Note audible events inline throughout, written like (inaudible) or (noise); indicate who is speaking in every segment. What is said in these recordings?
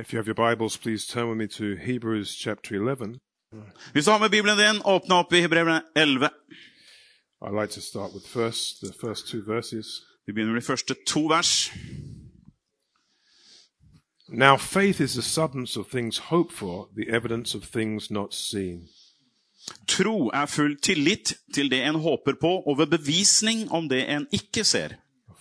Speaker 1: If you have your Bibles, please turn with me to Hebrews chapter 11.
Speaker 2: Hvis du har med Bibelen din, åpne opp i Hebreerne 11.
Speaker 1: I'd like to start with first the first two verses.
Speaker 2: Vi begynner med de første to vers.
Speaker 1: Now faith is the substance of things hoped for, the evidence of things not seen.
Speaker 2: Tro er full tillit til det en håper på, og ved bevisning om det en ikke ser.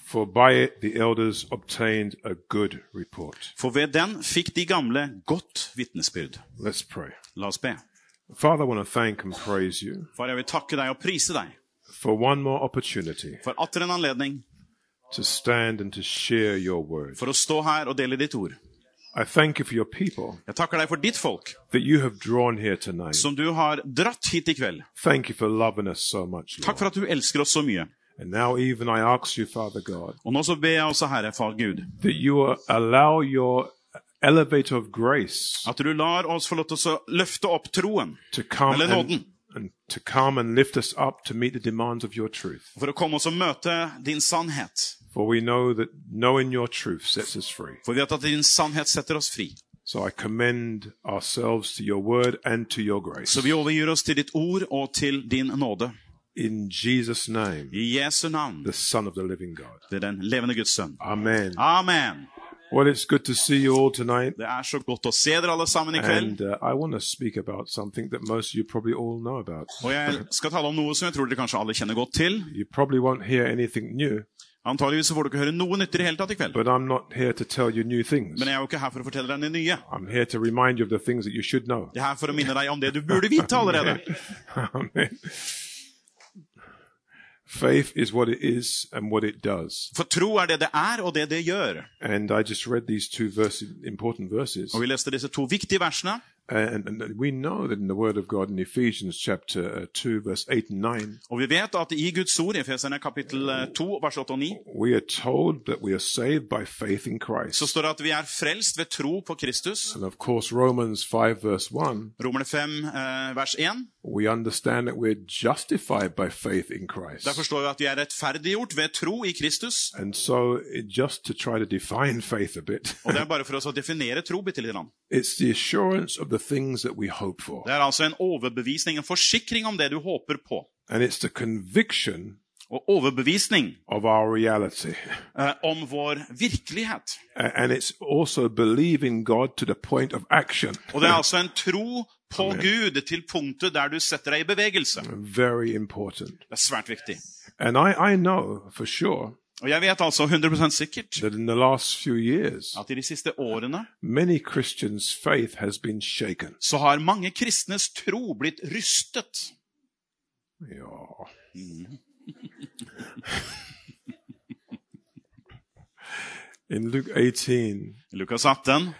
Speaker 1: For by it the elders obtained a good report.
Speaker 2: For ved den fikk de gamle godt vitnesbyrd.
Speaker 1: Let's pray.
Speaker 2: La oss be.
Speaker 1: Father, I want to thank and praise you
Speaker 2: Far, jeg vil takke deg og prise deg
Speaker 1: for one more opportunity
Speaker 2: for atter en anledning
Speaker 1: to stand and to share your word.
Speaker 2: for å stå her og dele ditt ord.
Speaker 1: I thank you for your people
Speaker 2: Jeg takker deg for ditt folk,
Speaker 1: that you have drawn here tonight.
Speaker 2: som du har dratt hit i kveld.
Speaker 1: Thank you for loving us so much.
Speaker 2: Takk
Speaker 1: Lord.
Speaker 2: for at du elsker oss så mye.
Speaker 1: And now, even I ask you, Father God,
Speaker 2: Og nå så ber jeg også, Herre, far Gud,
Speaker 1: that you will allow your elevator of grace
Speaker 2: at du lar oss få lov til å løfte opp troen
Speaker 1: to come
Speaker 2: Eller
Speaker 1: and,
Speaker 2: nåden.
Speaker 1: and to come and lift us up to meet the demands of your truth.
Speaker 2: for å komme oss og møte din sannhet.
Speaker 1: For we know that knowing your truth sets us free.
Speaker 2: For vi vet at din sannhet setter oss fri.
Speaker 1: So I commend ourselves to your word and to your grace.
Speaker 2: Så vi overgir oss til ditt ord og til din nåde.
Speaker 1: In Jesus' name,
Speaker 2: I Jesu navn.
Speaker 1: the Son of the Living God.
Speaker 2: Det er den levende Guds sønn.
Speaker 1: Amen.
Speaker 2: Amen.
Speaker 1: Well, it's good to see you all tonight.
Speaker 2: Det er så godt å se dere alle sammen i
Speaker 1: And
Speaker 2: kveld.
Speaker 1: uh, I want to speak about something that most of you probably all know about.
Speaker 2: Og jeg skal tale om noe som jeg tror dere kanskje alle kjenner godt til.
Speaker 1: You probably won't hear anything new,
Speaker 2: Antageligvis så får du ikke høre noe nytt i det hele tatt i kveld.
Speaker 1: but I'm not here to tell you new things.
Speaker 2: Men jeg er jo ikke her for å fortelle deg det nye.
Speaker 1: I'm here to remind you of the things that you should know.
Speaker 2: Jeg er her for å minne deg om det du burde vite allerede.
Speaker 1: (laughs) Amen. Faith is what it is and what it does.
Speaker 2: For tro er det det er, og det det gjør.
Speaker 1: And I just read these two verses, important verses.
Speaker 2: Og vi leste disse to viktige versene.
Speaker 1: And, and we know that in the Word of God in Ephesians chapter uh, 2, verse 8 and 9,
Speaker 2: Og vi vet at i Guds ord, i Efeserne kapittel 2, vers 8 og 9,
Speaker 1: we are told that we are saved by faith in
Speaker 2: så
Speaker 1: Christ.
Speaker 2: står det at vi er frelst ved tro på Kristus.
Speaker 1: And of course, Romans 5, verse 1,
Speaker 2: Romerne 5, eh, vers 1.
Speaker 1: we understand that we're justified by faith in Christ.
Speaker 2: Der forstår vi at vi er rettferdiggjort ved tro i Kristus.
Speaker 1: And so, it, just to try to define (laughs) faith a bit,
Speaker 2: Og det er bare for oss å definere tro bitte litt. grann.
Speaker 1: it's the assurance of the things that we hope for,
Speaker 2: Det er altså en overbevisning, en forsikring om det du håper på.
Speaker 1: and it's the conviction
Speaker 2: Og overbevisning
Speaker 1: of our reality.
Speaker 2: eh, om vår virkelighet.
Speaker 1: A- And it's also believing God to the point of action.
Speaker 2: Og det er altså en tro på Gud til punktet der du setter deg i bevegelse.
Speaker 1: Very important.
Speaker 2: Det er svært viktig.
Speaker 1: And I, I know for sure
Speaker 2: Og jeg vet altså 100 sikkert
Speaker 1: that in the last few years,
Speaker 2: at i de siste årene
Speaker 1: many Christians' faith has been shaken.
Speaker 2: så har mange kristnes tro blitt rystet.
Speaker 1: Ja. In Luke 18,
Speaker 2: I Lukas 18,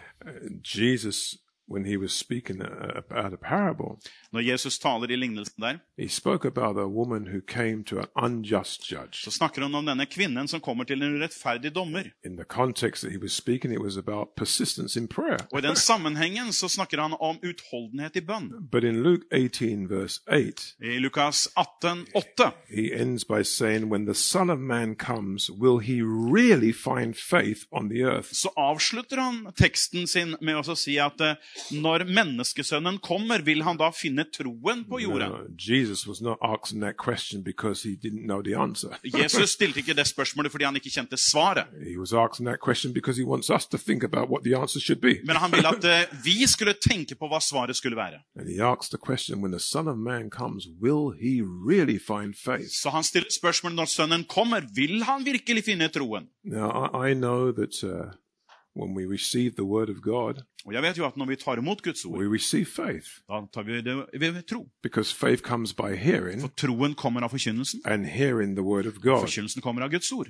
Speaker 1: Jesus, when he was speaking uh, about a parable,
Speaker 2: når Jesus taler i lignelsen der,
Speaker 1: he spoke about a woman who came to an unjust judge.
Speaker 2: så snakker han om denne kvinnen som kommer til en urettferdig dommer.
Speaker 1: In the context that he was speaking, it was about persistence in prayer.
Speaker 2: Og i den sammenhengen så snakker han om utholdenhet i bønn.
Speaker 1: But in Luke 18, verse 8,
Speaker 2: I Lukas 18, 8,
Speaker 1: he ends by saying, When the Son of Man comes, will he really find faith on the earth?
Speaker 2: så avslutter han teksten sin med å si at eh, når menneskesønnen kommer, vil han da finne troen på jorden.
Speaker 1: No, Jesus was not asking that question because he didn't know the answer.
Speaker 2: Jesus stilte ikke det spørsmålet fordi han ikke kjente svaret.
Speaker 1: He was asking that question because he wants us to think about what the answer should be.
Speaker 2: Men han ville at eh, vi skulle tenke på hva svaret skulle være.
Speaker 1: And he asks the question, When the Son of Man comes, will he really find faith?
Speaker 2: Så han stiller spørsmålet når sønnen kommer, vil han virkelig finne troen?
Speaker 1: Now, I, I know that uh, when we receive the Word of God,
Speaker 2: Og jeg vet jo at når vi tar imot Guds ord,
Speaker 1: we receive faith
Speaker 2: da tar vi det ved ved tro.
Speaker 1: because faith comes by hearing,
Speaker 2: For troen kommer av forkynnelsen.
Speaker 1: and hearing the Word of God.
Speaker 2: Forkynnelsen kommer av Guds ord.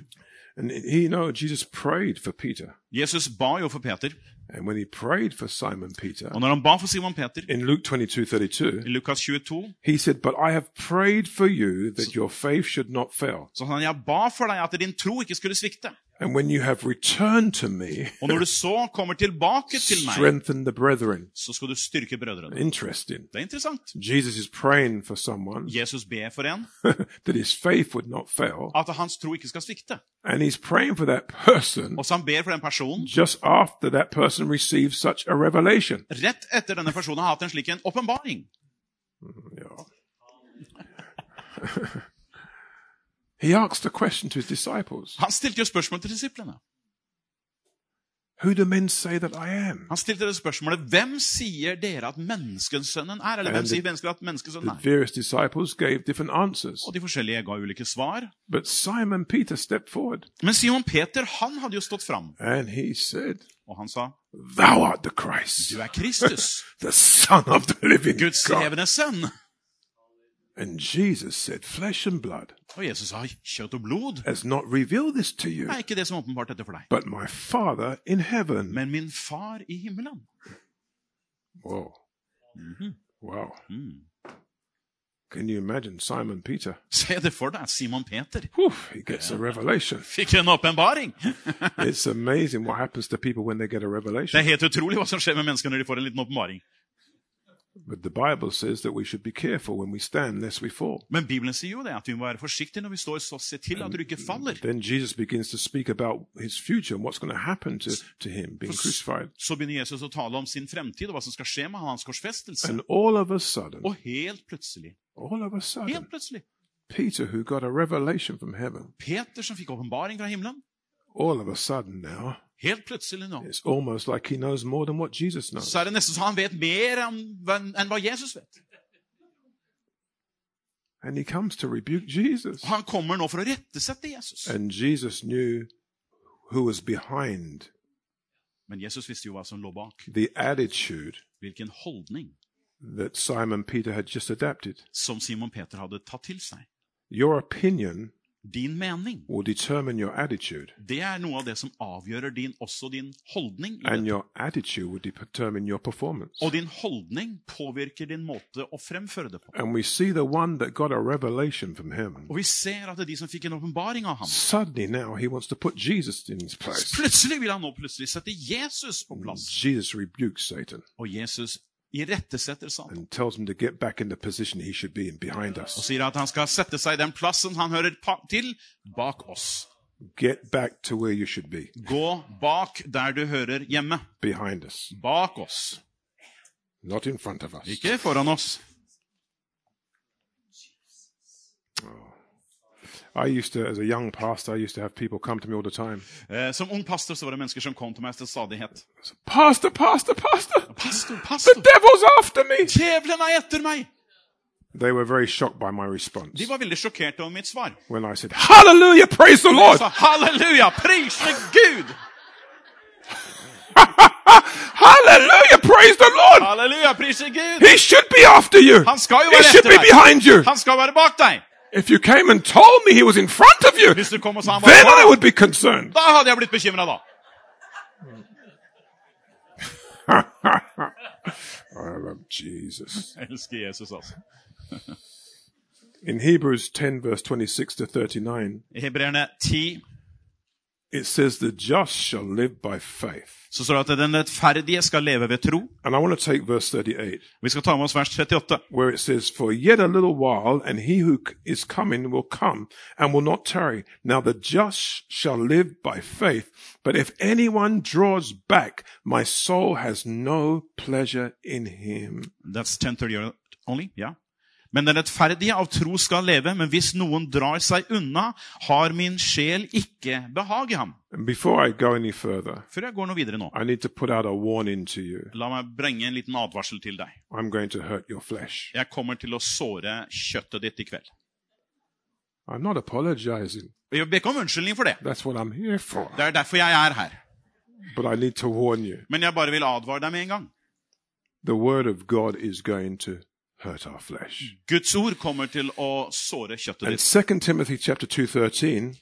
Speaker 1: And he, you know, Jesus prayed for Peter.
Speaker 2: Jesus ba jo for Peter,
Speaker 1: And when he prayed for Simon Peter,
Speaker 2: og når han ba for Simon Peter
Speaker 1: in Luke twenty-two thirty-two,
Speaker 2: i Lukas 22,
Speaker 1: he said, But I have prayed for you that your faith should not fail.
Speaker 2: så sa han, jeg ba for deg at din tro ikke skulle svikte.
Speaker 1: And when you have returned to me,
Speaker 2: Og når du så kommer tilbake til meg,
Speaker 1: strengthen the brethren.
Speaker 2: så skal du styrke brødrene.
Speaker 1: Interesting.
Speaker 2: Det er interessant.
Speaker 1: Jesus is praying for someone
Speaker 2: Jesus ber for en
Speaker 1: (laughs) that his faith would not fail.
Speaker 2: at hans tro ikke skal svikte.
Speaker 1: And he's praying for that person
Speaker 2: Og så han ber for den personen
Speaker 1: just after that person receives such a revelation. (laughs)
Speaker 2: rett etter denne personen har hatt en slik en åpenbaring.
Speaker 1: Yeah. he asked a question to his disciples
Speaker 2: Han stilte jo spørsmål til disiplene.
Speaker 1: Who do men say that I am?
Speaker 2: Han stilte det spørsmålet Hvem sier dere at menneskesønnen er? Eller hvem
Speaker 1: And the-
Speaker 2: sier mennesker at
Speaker 1: The
Speaker 2: menneskesønnen er?
Speaker 1: various disciples gave different answers.
Speaker 2: Og de forskjellige ga ulike svar.
Speaker 1: But Simon Peter stepped forward
Speaker 2: Men Simon Peter han hadde jo stått fram,
Speaker 1: and he said,
Speaker 2: og han sa
Speaker 1: Thou art the Christ,
Speaker 2: Du er Kristus,
Speaker 1: the Son of the living
Speaker 2: Guds
Speaker 1: God.
Speaker 2: levende sønn.
Speaker 1: And Jesus said, Flesh and blood
Speaker 2: Og Jesus sa kjøtt og blod.
Speaker 1: has not revealed this to you,
Speaker 2: Det er ikke det som er åpenbart dette for deg.
Speaker 1: but my Father in heaven.
Speaker 2: Men min far i himmelen.
Speaker 1: Whoa. Wow.
Speaker 2: Mm.
Speaker 1: Can you imagine Simon Peter?
Speaker 2: Se det for deg. Simon Peter
Speaker 1: Whew, he gets a revelation.
Speaker 2: fikk en åpenbaring. (laughs)
Speaker 1: It's amazing what happens to people when they get a
Speaker 2: Det
Speaker 1: revelation.
Speaker 2: er helt utrolig hva som skjer med mennesker når de får en liten åpenbaring.
Speaker 1: But the Bible says that we should be careful when we stand, lest we fall.
Speaker 2: Men Bibelen sier jo det, at vi må være forsiktige når vi står så se til at du ikke faller.
Speaker 1: Then Jesus begins to speak about his future and what's going to happen to, to him being crucified.
Speaker 2: Så begynner Jesus å tale om sin fremtid og hva som skal skje med hans korsfestelse.
Speaker 1: And all of a sudden,
Speaker 2: Og helt plutselig,
Speaker 1: all of a
Speaker 2: helt
Speaker 1: sudden,
Speaker 2: plutselig,
Speaker 1: Peter, who got a revelation from heaven,
Speaker 2: Peter som fikk åpenbaring fra himmelen,
Speaker 1: all of a sudden now,
Speaker 2: helt plutselig nå,
Speaker 1: it's almost like he knows more than what Jesus knows.
Speaker 2: så er det nesten så han vet mer enn enn hva Jesus vet.
Speaker 1: And he comes to rebuke Jesus.
Speaker 2: Og han kommer nå for å rettesette Jesus.
Speaker 1: And Jesus knew who was behind
Speaker 2: Men Jesus visste jo hva som lå bak.
Speaker 1: the attitude
Speaker 2: Hvilken holdning
Speaker 1: that Simon Peter had just adapted.
Speaker 2: som Simon Peter hadde tatt til seg.
Speaker 1: Your opinion
Speaker 2: Din mening.
Speaker 1: will determine your attitude,
Speaker 2: Det er noe av det som avgjør din, også din holdning. i
Speaker 1: and
Speaker 2: dette.
Speaker 1: your attitude will determine your performance.
Speaker 2: Og din holdning påvirker din måte å fremføre det på.
Speaker 1: And we see the one that got a revelation from him.
Speaker 2: Og vi ser at det er de som fikk en åpenbaring av ham.
Speaker 1: Suddenly now he wants to put Jesus in his place.
Speaker 2: Plutselig vil han nå plutselig sette Jesus på plass.
Speaker 1: Jesus rebukes Satan
Speaker 2: Og Jesus irettesetter seg
Speaker 1: and tells him to get back in the position he should be in behind
Speaker 2: og
Speaker 1: us.
Speaker 2: sier at han skal sette seg i den plassen han hører pa til, bak oss.
Speaker 1: Get back to where you should be,
Speaker 2: Gå bak der du hører hjemme.
Speaker 1: behind us,
Speaker 2: Bak oss.
Speaker 1: not in front of us.
Speaker 2: Ikke foran oss.
Speaker 1: I used to, as a young pastor, I used to have people come to me all the time.
Speaker 2: Eh, som ung pastor så var det mennesker som kom til meg til stadighet.
Speaker 1: Pastor, pastor, pastor,
Speaker 2: Pastor,
Speaker 1: the
Speaker 2: pastor!
Speaker 1: devil's after me.
Speaker 2: Djevelen er etter meg!
Speaker 1: They were very shocked by my response
Speaker 2: De var veldig sjokkert over mitt svar.
Speaker 1: when I said, Hallelujah, praise the Lord.
Speaker 2: Så halleluja! Prisende Gud!
Speaker 1: Hallelujah, praise the Lord.
Speaker 2: Halleluja! Prisende Gud!
Speaker 1: He should be after you.
Speaker 2: Han skal jo
Speaker 1: He
Speaker 2: være
Speaker 1: should
Speaker 2: etter
Speaker 1: be
Speaker 2: deg.
Speaker 1: behind you.
Speaker 2: Han skal være bak deg!
Speaker 1: If you came and told me he was in front of you,
Speaker 2: Hvis du kom og sa han var
Speaker 1: then I
Speaker 2: foran,
Speaker 1: would be concerned.
Speaker 2: da hadde jeg blitt bekymra, da.
Speaker 1: I love Jesus.
Speaker 2: Jeg elsker Jesus, altså.
Speaker 1: In Hebrews 10, verse 26 to 39,
Speaker 2: I Hebreerne 10
Speaker 1: it says, The just shall live by faith.
Speaker 2: så står det at den rettferdige skal leve ved tro.
Speaker 1: And I want to take verse 38.
Speaker 2: Vi skal ta med oss vers 38.
Speaker 1: where it says, For yet a little while, and he who c- is coming will come and will not tarry. Now the just shall live by faith. But if anyone draws back, my soul has no pleasure in him.
Speaker 2: That's 1030 only, ja. Men den rettferdige av tro skal leve, men hvis noen drar seg unna, har min sjel ikke behag i ham.
Speaker 1: And before I go any further,
Speaker 2: Før jeg går noe videre nå,
Speaker 1: I need to put out a warning to you.
Speaker 2: la meg bringe en liten advarsel til deg.
Speaker 1: I'm going to hurt your flesh.
Speaker 2: Jeg kommer til å såre kjøttet ditt i kveld.
Speaker 1: I'm not apologizing.
Speaker 2: Jeg ber ikke om unnskyldning for det.
Speaker 1: That's what I'm here for.
Speaker 2: Det er derfor jeg er her.
Speaker 1: But I need to warn you.
Speaker 2: Men jeg bare vil advare deg med en gang.
Speaker 1: The word of God is going to hurt our flesh.
Speaker 2: Guds ord kommer til å såre kjøttet
Speaker 1: And
Speaker 2: ditt.
Speaker 1: 2 Timothy chapter 2:13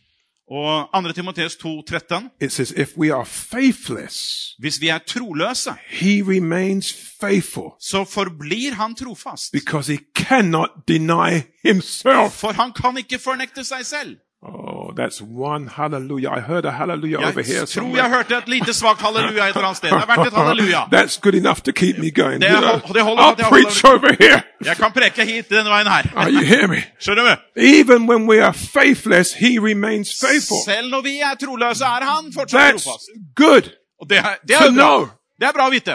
Speaker 2: Og 2. Timoteus 2,13.:
Speaker 1: It says, if we are faithless,
Speaker 2: Hvis vi er troløse,
Speaker 1: he remains faithful
Speaker 2: så forblir han trofast.
Speaker 1: because he cannot deny himself.
Speaker 2: For han kan ikke fornekte seg selv.
Speaker 1: Oh, that's one hallelujah. I heard a hallelujah over here.
Speaker 2: Jeg tror jeg
Speaker 1: somewhere.
Speaker 2: hørte et lite svakt halleluja et eller annet sted. Det har vært et
Speaker 1: (laughs)
Speaker 2: halleluja.
Speaker 1: That's good enough to keep me going.
Speaker 2: Det
Speaker 1: you know.
Speaker 2: hol- det holder
Speaker 1: I'll
Speaker 2: at jeg
Speaker 1: preach over here.
Speaker 2: Jeg kan preke hit denne veien her.
Speaker 1: Are you hear me?
Speaker 2: Skjønner du?
Speaker 1: Even when we are faithless, he remains faithful.
Speaker 2: Selv når vi er troløse, er han fortsatt
Speaker 1: That's
Speaker 2: trofast.
Speaker 1: good
Speaker 2: Og det er, det er,
Speaker 1: to
Speaker 2: jo bra.
Speaker 1: know.
Speaker 2: det er bra å vite.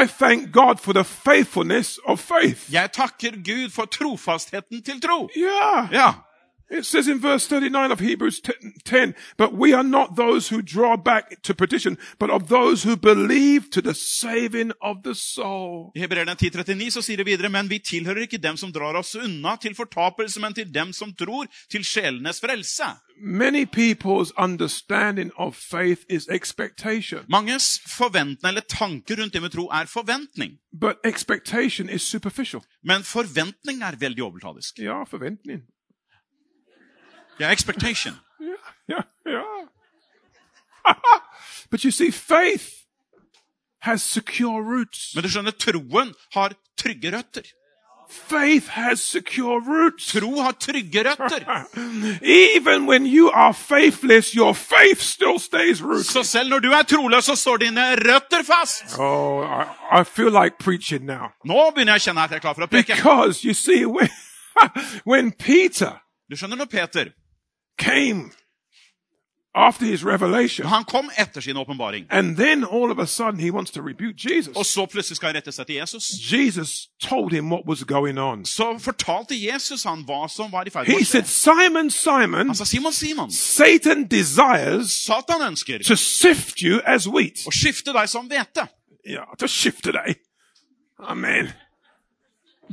Speaker 1: I thank God for the faithfulness of faith.
Speaker 2: Jeg takker Gud for trofastheten til tro.
Speaker 1: Yeah.
Speaker 2: Ja.
Speaker 1: It says in verse 39 of Hebrews 10, 10, but we are not those who draw back to perdition, but of those who believe to the saving of the soul.
Speaker 2: I Hebreerne 10.39 så sier det videre, men vi tilhører ikke dem som drar oss unna til fortapelse, men til dem som tror, til sjelenes frelse.
Speaker 1: Many people's understanding of faith is expectation,
Speaker 2: Manges forventning, eller tanker rundt det med tro, er forventning.
Speaker 1: but expectation is superficial.
Speaker 2: Men forventning er veldig overtalisk.
Speaker 1: Ja, forventning.
Speaker 2: Det er expectation.
Speaker 1: Yeah, yeah, yeah. (laughs) but you see, faith has secure roots.
Speaker 2: Men du skjønner, troen har trygge røtter.
Speaker 1: Faith has secure roots.
Speaker 2: Tro har trygge røtter.
Speaker 1: (laughs) Even when you are faithless, your faith still stays rooted.
Speaker 2: Så selv når du er troløs, så står dine røtter fast.
Speaker 1: Oh, I, I feel like preaching now.
Speaker 2: Nå begynner jeg å kjenne at jeg er klar for å preke.
Speaker 1: Because you see, when, (laughs) when Peter
Speaker 2: Du skjønner nå, Peter.
Speaker 1: came after his revelation,
Speaker 2: Han kom etter sin åpenbaring.
Speaker 1: and then all of a sudden he wants to rebuke
Speaker 2: Og
Speaker 1: Jesus,
Speaker 2: så plutselig skal han rette seg til Jesus.
Speaker 1: Jesus told him what was going on.
Speaker 2: Så fortalte Jesus han hva som var i ferd med
Speaker 1: He
Speaker 2: å skje.
Speaker 1: said, Simon, Simon,
Speaker 2: Han sa, Simon, Simon,
Speaker 1: Satan desires
Speaker 2: Satan ønsker
Speaker 1: to sift you as wheat.
Speaker 2: å skifte deg som hvete.
Speaker 1: Yeah, to shift today. Amen.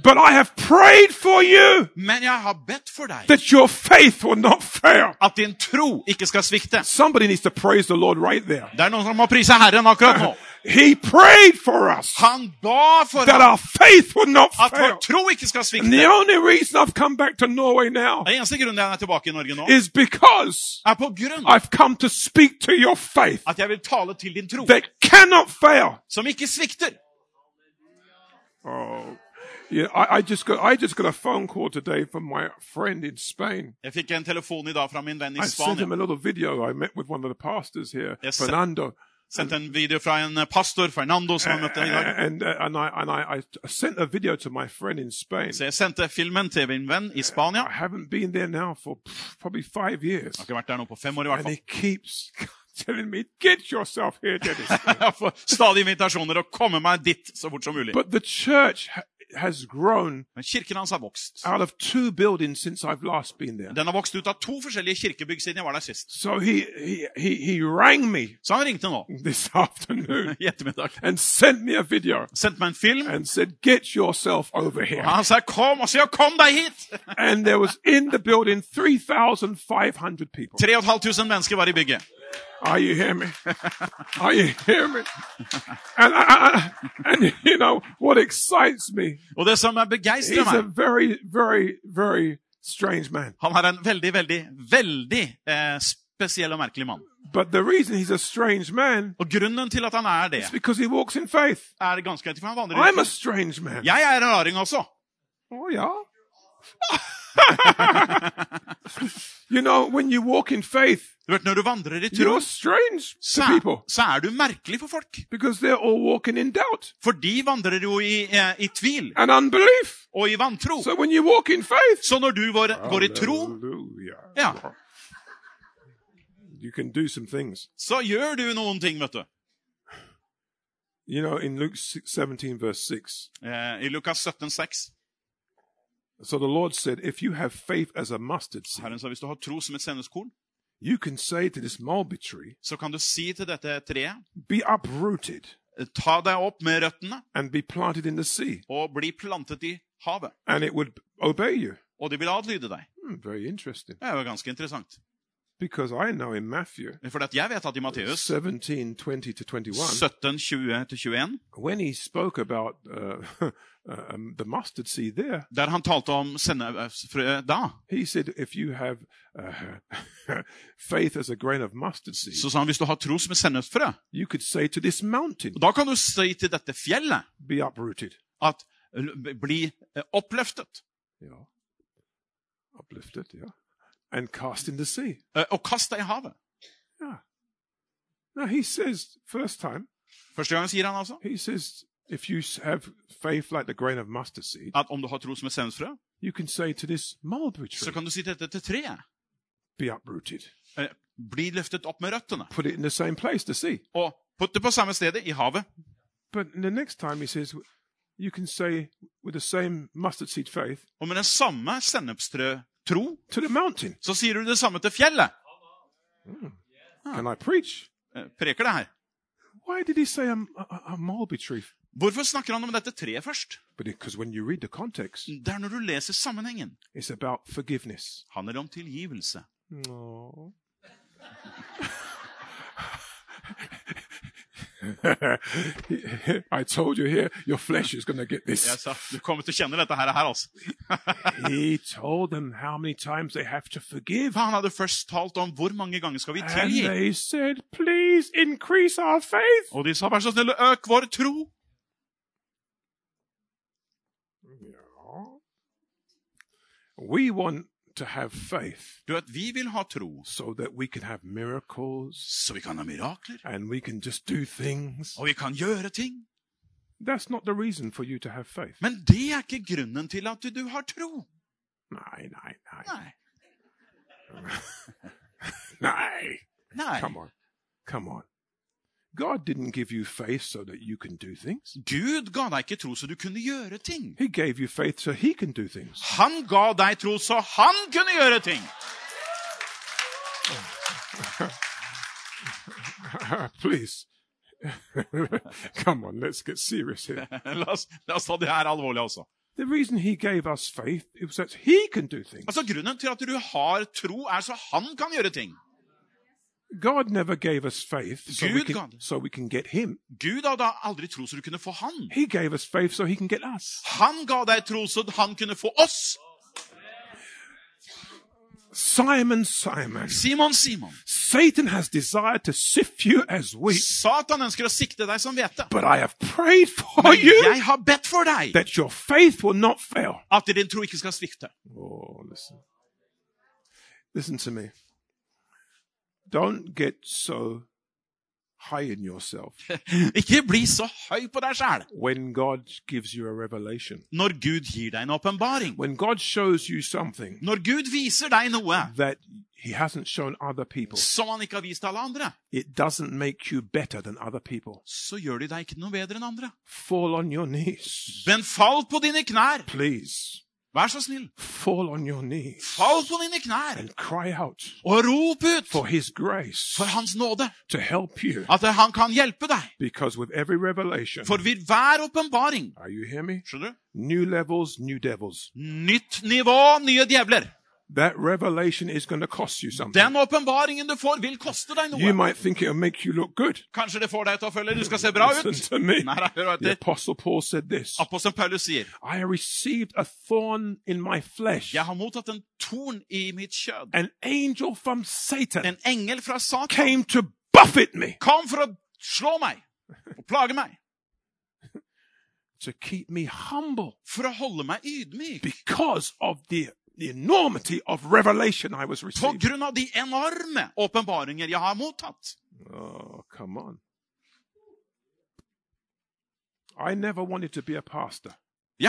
Speaker 1: But I have prayed for you
Speaker 2: Men jeg har bedt for deg
Speaker 1: that your faith will not fail.
Speaker 2: at din tro ikke skal svikte.
Speaker 1: Somebody needs to praise the Lord right there.
Speaker 2: Det er noen som må prise Herren akkurat nå.
Speaker 1: He prayed for us
Speaker 2: Han ba for
Speaker 1: that
Speaker 2: at
Speaker 1: our faith would not
Speaker 2: vår
Speaker 1: fail.
Speaker 2: tro ikke skal
Speaker 1: And the
Speaker 2: svikte.
Speaker 1: only reason I've come back to Norway now
Speaker 2: Den eneste grunnen jeg er tilbake i Norge nå,
Speaker 1: is because
Speaker 2: er på grunn av
Speaker 1: I've come to speak to your faith
Speaker 2: at jeg vil tale til din tro,
Speaker 1: that cannot fail.
Speaker 2: som ikke svikter.
Speaker 1: Oh. Yeah, I, I just got I just got a phone call today from my friend in Spain.
Speaker 2: Jeg fikk en telefon i dag fra min venn
Speaker 1: I
Speaker 2: i
Speaker 1: sent
Speaker 2: Spania.
Speaker 1: him a little video. I met with one of the pastors here,
Speaker 2: Yes, sir.
Speaker 1: Fernando,
Speaker 2: Sendte en video fra en eh, pastor, Fernando, som jeg møtte i dag.
Speaker 1: and uh, and I and I, I sent a video to my friend in Spain.
Speaker 2: Så jeg sendte filmen til min venn i Spania.
Speaker 1: I haven't been there now for pff, probably five years,
Speaker 2: Jeg har ikke vært der nå på fem år i hvert
Speaker 1: and
Speaker 2: fall.
Speaker 1: he keeps (laughs) telling me, "Get yourself here, Dennis."
Speaker 2: (laughs) Jeg får stadig invitasjoner å komme meg dit så fort som mulig.
Speaker 1: but the church ha- has grown
Speaker 2: Men kirken hans har vokst.
Speaker 1: out of two buildings since I've last been there.
Speaker 2: Den har vokst ut av to forskjellige kirkebygg siden jeg var der sist.
Speaker 1: So he he he, he rang me
Speaker 2: Så han ringte nå
Speaker 1: this (laughs)
Speaker 2: (laughs)
Speaker 1: afternoon
Speaker 2: i ettermiddag.
Speaker 1: and sent me a video
Speaker 2: Sendte meg en film.
Speaker 1: and said, "Get yourself over here."
Speaker 2: Han sa 'kom', og så 'kom deg hit'!
Speaker 1: and there was in the building 3,500 people.
Speaker 2: 3500 mennesker var i bygget.
Speaker 1: Are you hearing me? (laughs) Are you hearing me? And, I, I- and you know what excites me?
Speaker 2: Og det som begeistrer
Speaker 1: He's a
Speaker 2: meg
Speaker 1: very, very, very strange man.
Speaker 2: Han er en veldig, veldig, veldig eh, spesiell og merkelig mann.
Speaker 1: But the reason he's a strange man
Speaker 2: Og grunnen til at han er det,
Speaker 1: is because he walks in faith.
Speaker 2: er ganske enkelt, for han vandrer
Speaker 1: I'm a
Speaker 2: rundt.
Speaker 1: strange man.
Speaker 2: Jeg er en raring også.
Speaker 1: Oh yeah. (laughs) you know, when you walk in faith,
Speaker 2: Du vet, Når du vandrer i tro,
Speaker 1: you're strange
Speaker 2: så
Speaker 1: to
Speaker 2: er,
Speaker 1: people
Speaker 2: så er du merkelig for folk.
Speaker 1: because they're all walking in doubt
Speaker 2: For de vandrer jo i, eh, i tvil
Speaker 1: and unbelief.
Speaker 2: og i vantro.
Speaker 1: So when you walk in faith,
Speaker 2: Så når du går, går i tro,
Speaker 1: Hallelujah.
Speaker 2: Ja.
Speaker 1: You can do some things.
Speaker 2: så gjør du noen ting, vet du.
Speaker 1: You know, in Luke si- 17, verse 6,
Speaker 2: Eh, I Lukas 17, 6.
Speaker 1: so the Lord said, If you have faith as a mustard seed,
Speaker 2: Herren sa hvis du har tro som et sennepskorn,
Speaker 1: you can say to this mulberry tree,
Speaker 2: så kan du si til dette treet
Speaker 1: Be uprooted
Speaker 2: Ta deg opp med røttene
Speaker 1: and be planted in the sea,
Speaker 2: og bli plantet i havet.
Speaker 1: and it would obey you.
Speaker 2: Og det vil adlyde deg.
Speaker 1: Hmm, very interesting.
Speaker 2: Det er jo ganske interessant.
Speaker 1: Because I know in Matthew
Speaker 2: For at jeg vet at i Matteus
Speaker 1: 17, 20 to 21,
Speaker 2: 17, 20-21,
Speaker 1: when he spoke about uh, (laughs) um, the mustard seed there,
Speaker 2: der han talte om sennepsfrø da,
Speaker 1: he said, If you have uh, (laughs) faith as a grain of mustard seed,
Speaker 2: så sa han hvis du har tro som et sennepsfrø,
Speaker 1: you could say to this mountain,
Speaker 2: da kan du si til dette fjellet
Speaker 1: be uprooted.
Speaker 2: at l- bli eh, oppløftet.
Speaker 1: Ja. Uplifted, ja. and cast in the sea.
Speaker 2: eh, og kast deg i havet.
Speaker 1: Yeah. Now he says, first time,
Speaker 2: Første gangen sier han altså
Speaker 1: he says, if you have faith like the grain of mustard seed,
Speaker 2: at om du har tro som et sennepsfrø,
Speaker 1: you can say to this mulberry
Speaker 2: så
Speaker 1: tree,
Speaker 2: kan du si dette til treet.
Speaker 1: be uprooted.
Speaker 2: Eh, Bli løftet opp med røttene.
Speaker 1: Put it in the same place, the sea.
Speaker 2: Og putt det på samme stedet, i havet.
Speaker 1: But the next time he says, you can say with the same mustard seed faith
Speaker 2: Og med den samme sennepstrø-tro,
Speaker 1: to the mountain.
Speaker 2: så sier du det samme til fjellet.
Speaker 1: Can I preach?
Speaker 2: Eh, Preker det her.
Speaker 1: Why did he say a, a, a mulberry tree?
Speaker 2: Hvorfor snakker han om dette treet først?
Speaker 1: Because when you read the context,
Speaker 2: Det er når du leser sammenhengen.
Speaker 1: it's about forgiveness.
Speaker 2: Handler om tilgivelse.
Speaker 1: No. I told you here, your flesh is going to get
Speaker 2: Jeg
Speaker 1: this.
Speaker 2: sa, du kommer til å kjenne dette her, her altså.
Speaker 1: He told them how many times they have to forgive.
Speaker 2: For han hadde først talt om hvor mange ganger skal vi
Speaker 1: And
Speaker 2: tilgi.
Speaker 1: they said, please increase our faith.
Speaker 2: Og de sa, vær så snill, øk vår tro.
Speaker 1: We want to have faith
Speaker 2: Du vet, vi vil ha tro,
Speaker 1: so that we can have miracles
Speaker 2: så vi kan ha mirakler.
Speaker 1: and we can just do things.
Speaker 2: Og vi kan gjøre ting.
Speaker 1: That's not the reason for you to have faith.
Speaker 2: Men det er ikke grunnen til at du- du har tro.
Speaker 1: Nein, nein, nein,
Speaker 2: Nei.
Speaker 1: nein.
Speaker 2: Nei.
Speaker 1: Come on. Come on. God didn't give you faith so that you can do things.
Speaker 2: Gud ga deg ikke tro så du kunne gjøre ting.
Speaker 1: He gave you faith so he can do
Speaker 2: (laughs)
Speaker 1: things. (laughs)
Speaker 2: Han ga deg tro så han kunne gjøre ting. (laughs)
Speaker 1: Please. (laughs) Come on, let's get serious here.
Speaker 2: La oss, la oss ta det her alvorlig, altså.
Speaker 1: The reason he gave us faith is that he can do things.
Speaker 2: Altså, Grunnen til at du har tro, er så han kan gjøre ting.
Speaker 1: Oh, (laughs)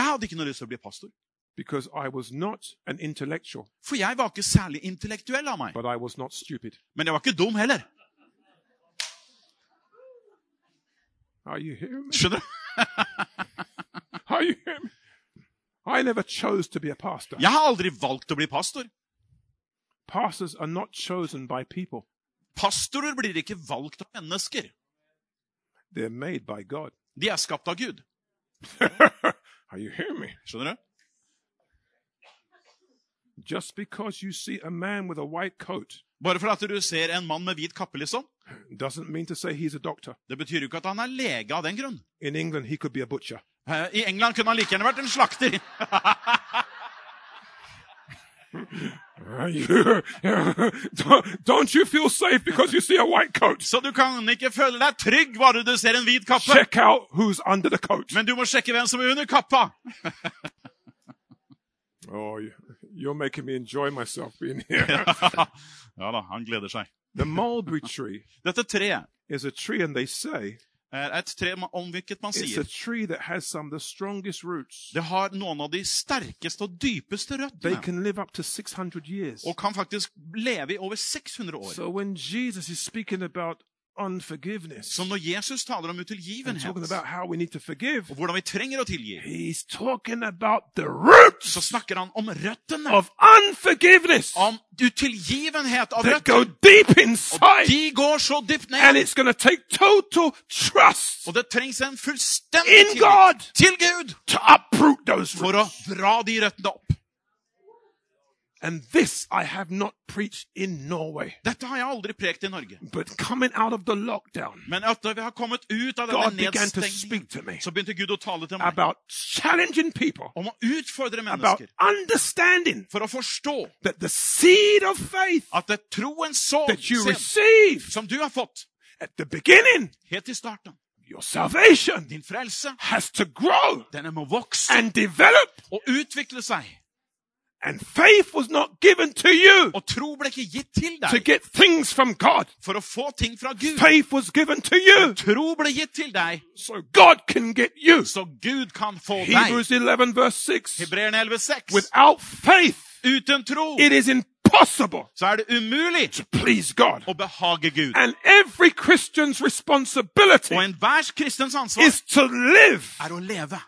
Speaker 1: Oh, (laughs) (laughs) (laughs)
Speaker 2: liksom. Eh,
Speaker 1: Oh, You're making me enjoy myself being here.
Speaker 2: ja da, han gleder seg.
Speaker 1: (laughs) the mulberry tree
Speaker 2: Dette treet
Speaker 1: is a tree, and they say
Speaker 2: er et tre ma- om hvilket man
Speaker 1: it's a
Speaker 2: sier
Speaker 1: tree that has some of the strongest roots.
Speaker 2: det har noen av de sterkeste og dypeste
Speaker 1: They
Speaker 2: røttene.
Speaker 1: can live up to 600 years.
Speaker 2: Og kan faktisk leve i over 600 år.
Speaker 1: So when Jesus is speaking about unforgiveness,
Speaker 2: Så når Jesus taler om
Speaker 1: and talking
Speaker 2: utilgivenhet,
Speaker 1: about how we need to forgive,
Speaker 2: og hvordan vi trenger å tilgi,
Speaker 1: he's talking about the
Speaker 2: så
Speaker 1: roots
Speaker 2: snakker han om røttene.
Speaker 1: of unforgiveness
Speaker 2: Om utilgivenhet av
Speaker 1: that go
Speaker 2: røtter.
Speaker 1: deep inside.
Speaker 2: De går så dypt
Speaker 1: And
Speaker 2: ned.
Speaker 1: it's going to take total trust
Speaker 2: Og det trengs en fullstendig
Speaker 1: in
Speaker 2: tillit
Speaker 1: God
Speaker 2: til Gud
Speaker 1: to uproot those
Speaker 2: for å
Speaker 1: roots.
Speaker 2: dra de røttene opp.
Speaker 1: And this I have not preached in Norway.
Speaker 2: Dette har jeg aldri prekt i Norge.
Speaker 1: But coming out of the lockdown,
Speaker 2: Men etter vi har kommet ut av denne
Speaker 1: God began to
Speaker 2: nedstengningen,
Speaker 1: speak to me
Speaker 2: så begynte Gud å tale til meg
Speaker 1: about challenging people,
Speaker 2: om å utfordre
Speaker 1: about
Speaker 2: mennesker
Speaker 1: understanding
Speaker 2: for å forstå
Speaker 1: that the seed of faith
Speaker 2: at det troen så
Speaker 1: that you
Speaker 2: sent
Speaker 1: receive
Speaker 2: som du har fått
Speaker 1: at the beginning,
Speaker 2: helt i starten,
Speaker 1: your salvation,
Speaker 2: din frelse,
Speaker 1: has to grow
Speaker 2: denne må vokse
Speaker 1: and develop.
Speaker 2: og utvikle seg.
Speaker 1: And faith was not given to you
Speaker 2: Og tro ble ikke gitt til
Speaker 1: to
Speaker 2: deg
Speaker 1: get things from God.
Speaker 2: for å få ting fra Gud.
Speaker 1: Faith was given to you
Speaker 2: Tro ble gitt til deg
Speaker 1: so God can get you.
Speaker 2: så Gud kan få deg.
Speaker 1: Hebrews 11 verse 6.
Speaker 2: Hebreerne 11,6.
Speaker 1: Without faith,
Speaker 2: Uten tro
Speaker 1: it is impossible
Speaker 2: så er det umulig
Speaker 1: to please God.
Speaker 2: å behage Gud.
Speaker 1: And every Christian's responsibility
Speaker 2: Og enhver kristens ansvar
Speaker 1: is to live,
Speaker 2: er å leve.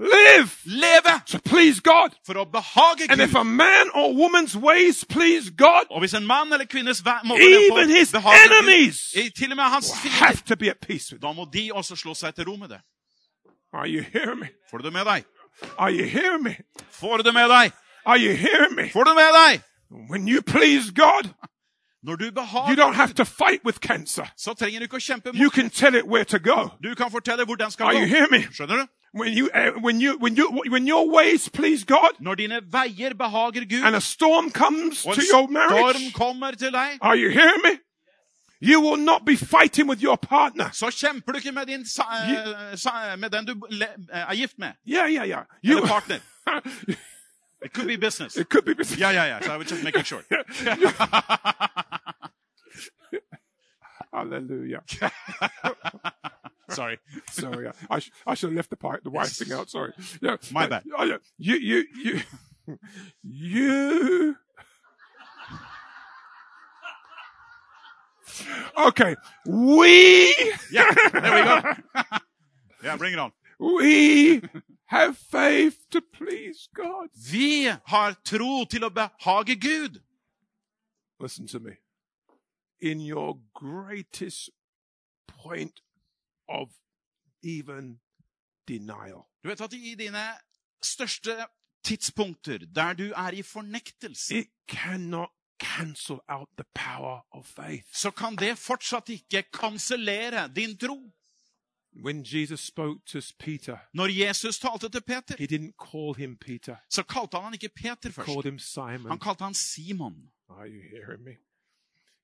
Speaker 1: live
Speaker 2: Leve
Speaker 1: to please God.
Speaker 2: for å behage
Speaker 1: And if
Speaker 2: Gud.
Speaker 1: a man or woman's ways please God,
Speaker 2: Og hvis en mann eller kvinnes væ- måte
Speaker 1: Even
Speaker 2: leve på
Speaker 1: his
Speaker 2: behager Gud,
Speaker 1: enemies
Speaker 2: i- til og med hans fiender,
Speaker 1: have to be at peace with God.
Speaker 2: da må de også slå seg til ro med det.
Speaker 1: Are you hearing me?
Speaker 2: Får du det med deg?
Speaker 1: Are you hearing me?
Speaker 2: Får du det med deg?
Speaker 1: Are you hearing me?
Speaker 2: Får du det med deg?
Speaker 1: When you please God,
Speaker 2: Når du
Speaker 1: you
Speaker 2: behager,
Speaker 1: don't have to fight with cancer.
Speaker 2: så trenger du ikke å kjempe mot.
Speaker 1: You can tell it where to go.
Speaker 2: Du kan fortelle hvor den skal
Speaker 1: Are you
Speaker 2: gå.
Speaker 1: hearing me?
Speaker 2: Skjønner du?
Speaker 1: When you, eh, when you, when you, when your ways please God,
Speaker 2: Når dine veier behager
Speaker 1: and
Speaker 2: Gud,
Speaker 1: a storm comes
Speaker 2: og
Speaker 1: to
Speaker 2: en
Speaker 1: your
Speaker 2: storm
Speaker 1: marriage, uh,
Speaker 2: kommer til deg,
Speaker 1: are you hearing me? You will not be fighting with your partner.
Speaker 2: så kjemper du ikke med, din, sa, eh, sa, med den du le, eh, er gift med.
Speaker 1: Yeah, yeah, yeah. (laughs)
Speaker 2: Eller
Speaker 1: You,
Speaker 2: partner. It could be business.
Speaker 1: it could be.
Speaker 2: Yeah, yeah, yeah. So I was just making sure. (laughs)
Speaker 1: Hallelujah.
Speaker 2: Sorry.
Speaker 1: Sorry, I- I, sh- I should have left the part, the wife thing out. Sorry. Yeah,
Speaker 2: My
Speaker 1: yeah,
Speaker 2: bad.
Speaker 1: yeah, yeah. You, you, you, you. (laughs) Okay, we,
Speaker 2: Yeah,
Speaker 1: (laughs)
Speaker 2: there we go. yeah, bring it on.
Speaker 1: we have faith to please God.
Speaker 2: Vi har tro til å behage Gud.
Speaker 1: Listen to me. In your greatest point of even denial,
Speaker 2: Du vet at i dine største tidspunkter, der du er i fornektelse,
Speaker 1: it cannot cancel out the power of faith.
Speaker 2: så kan det fortsatt ikke kansellere din tro.
Speaker 1: When Jesus spoke to Peter,
Speaker 2: Når Jesus talte til Peter,
Speaker 1: he didn't call him Peter,
Speaker 2: så kalte han han ikke Peter
Speaker 1: he called
Speaker 2: først.
Speaker 1: him Simon.
Speaker 2: Han kalte han Simon.
Speaker 1: Are you hearing me?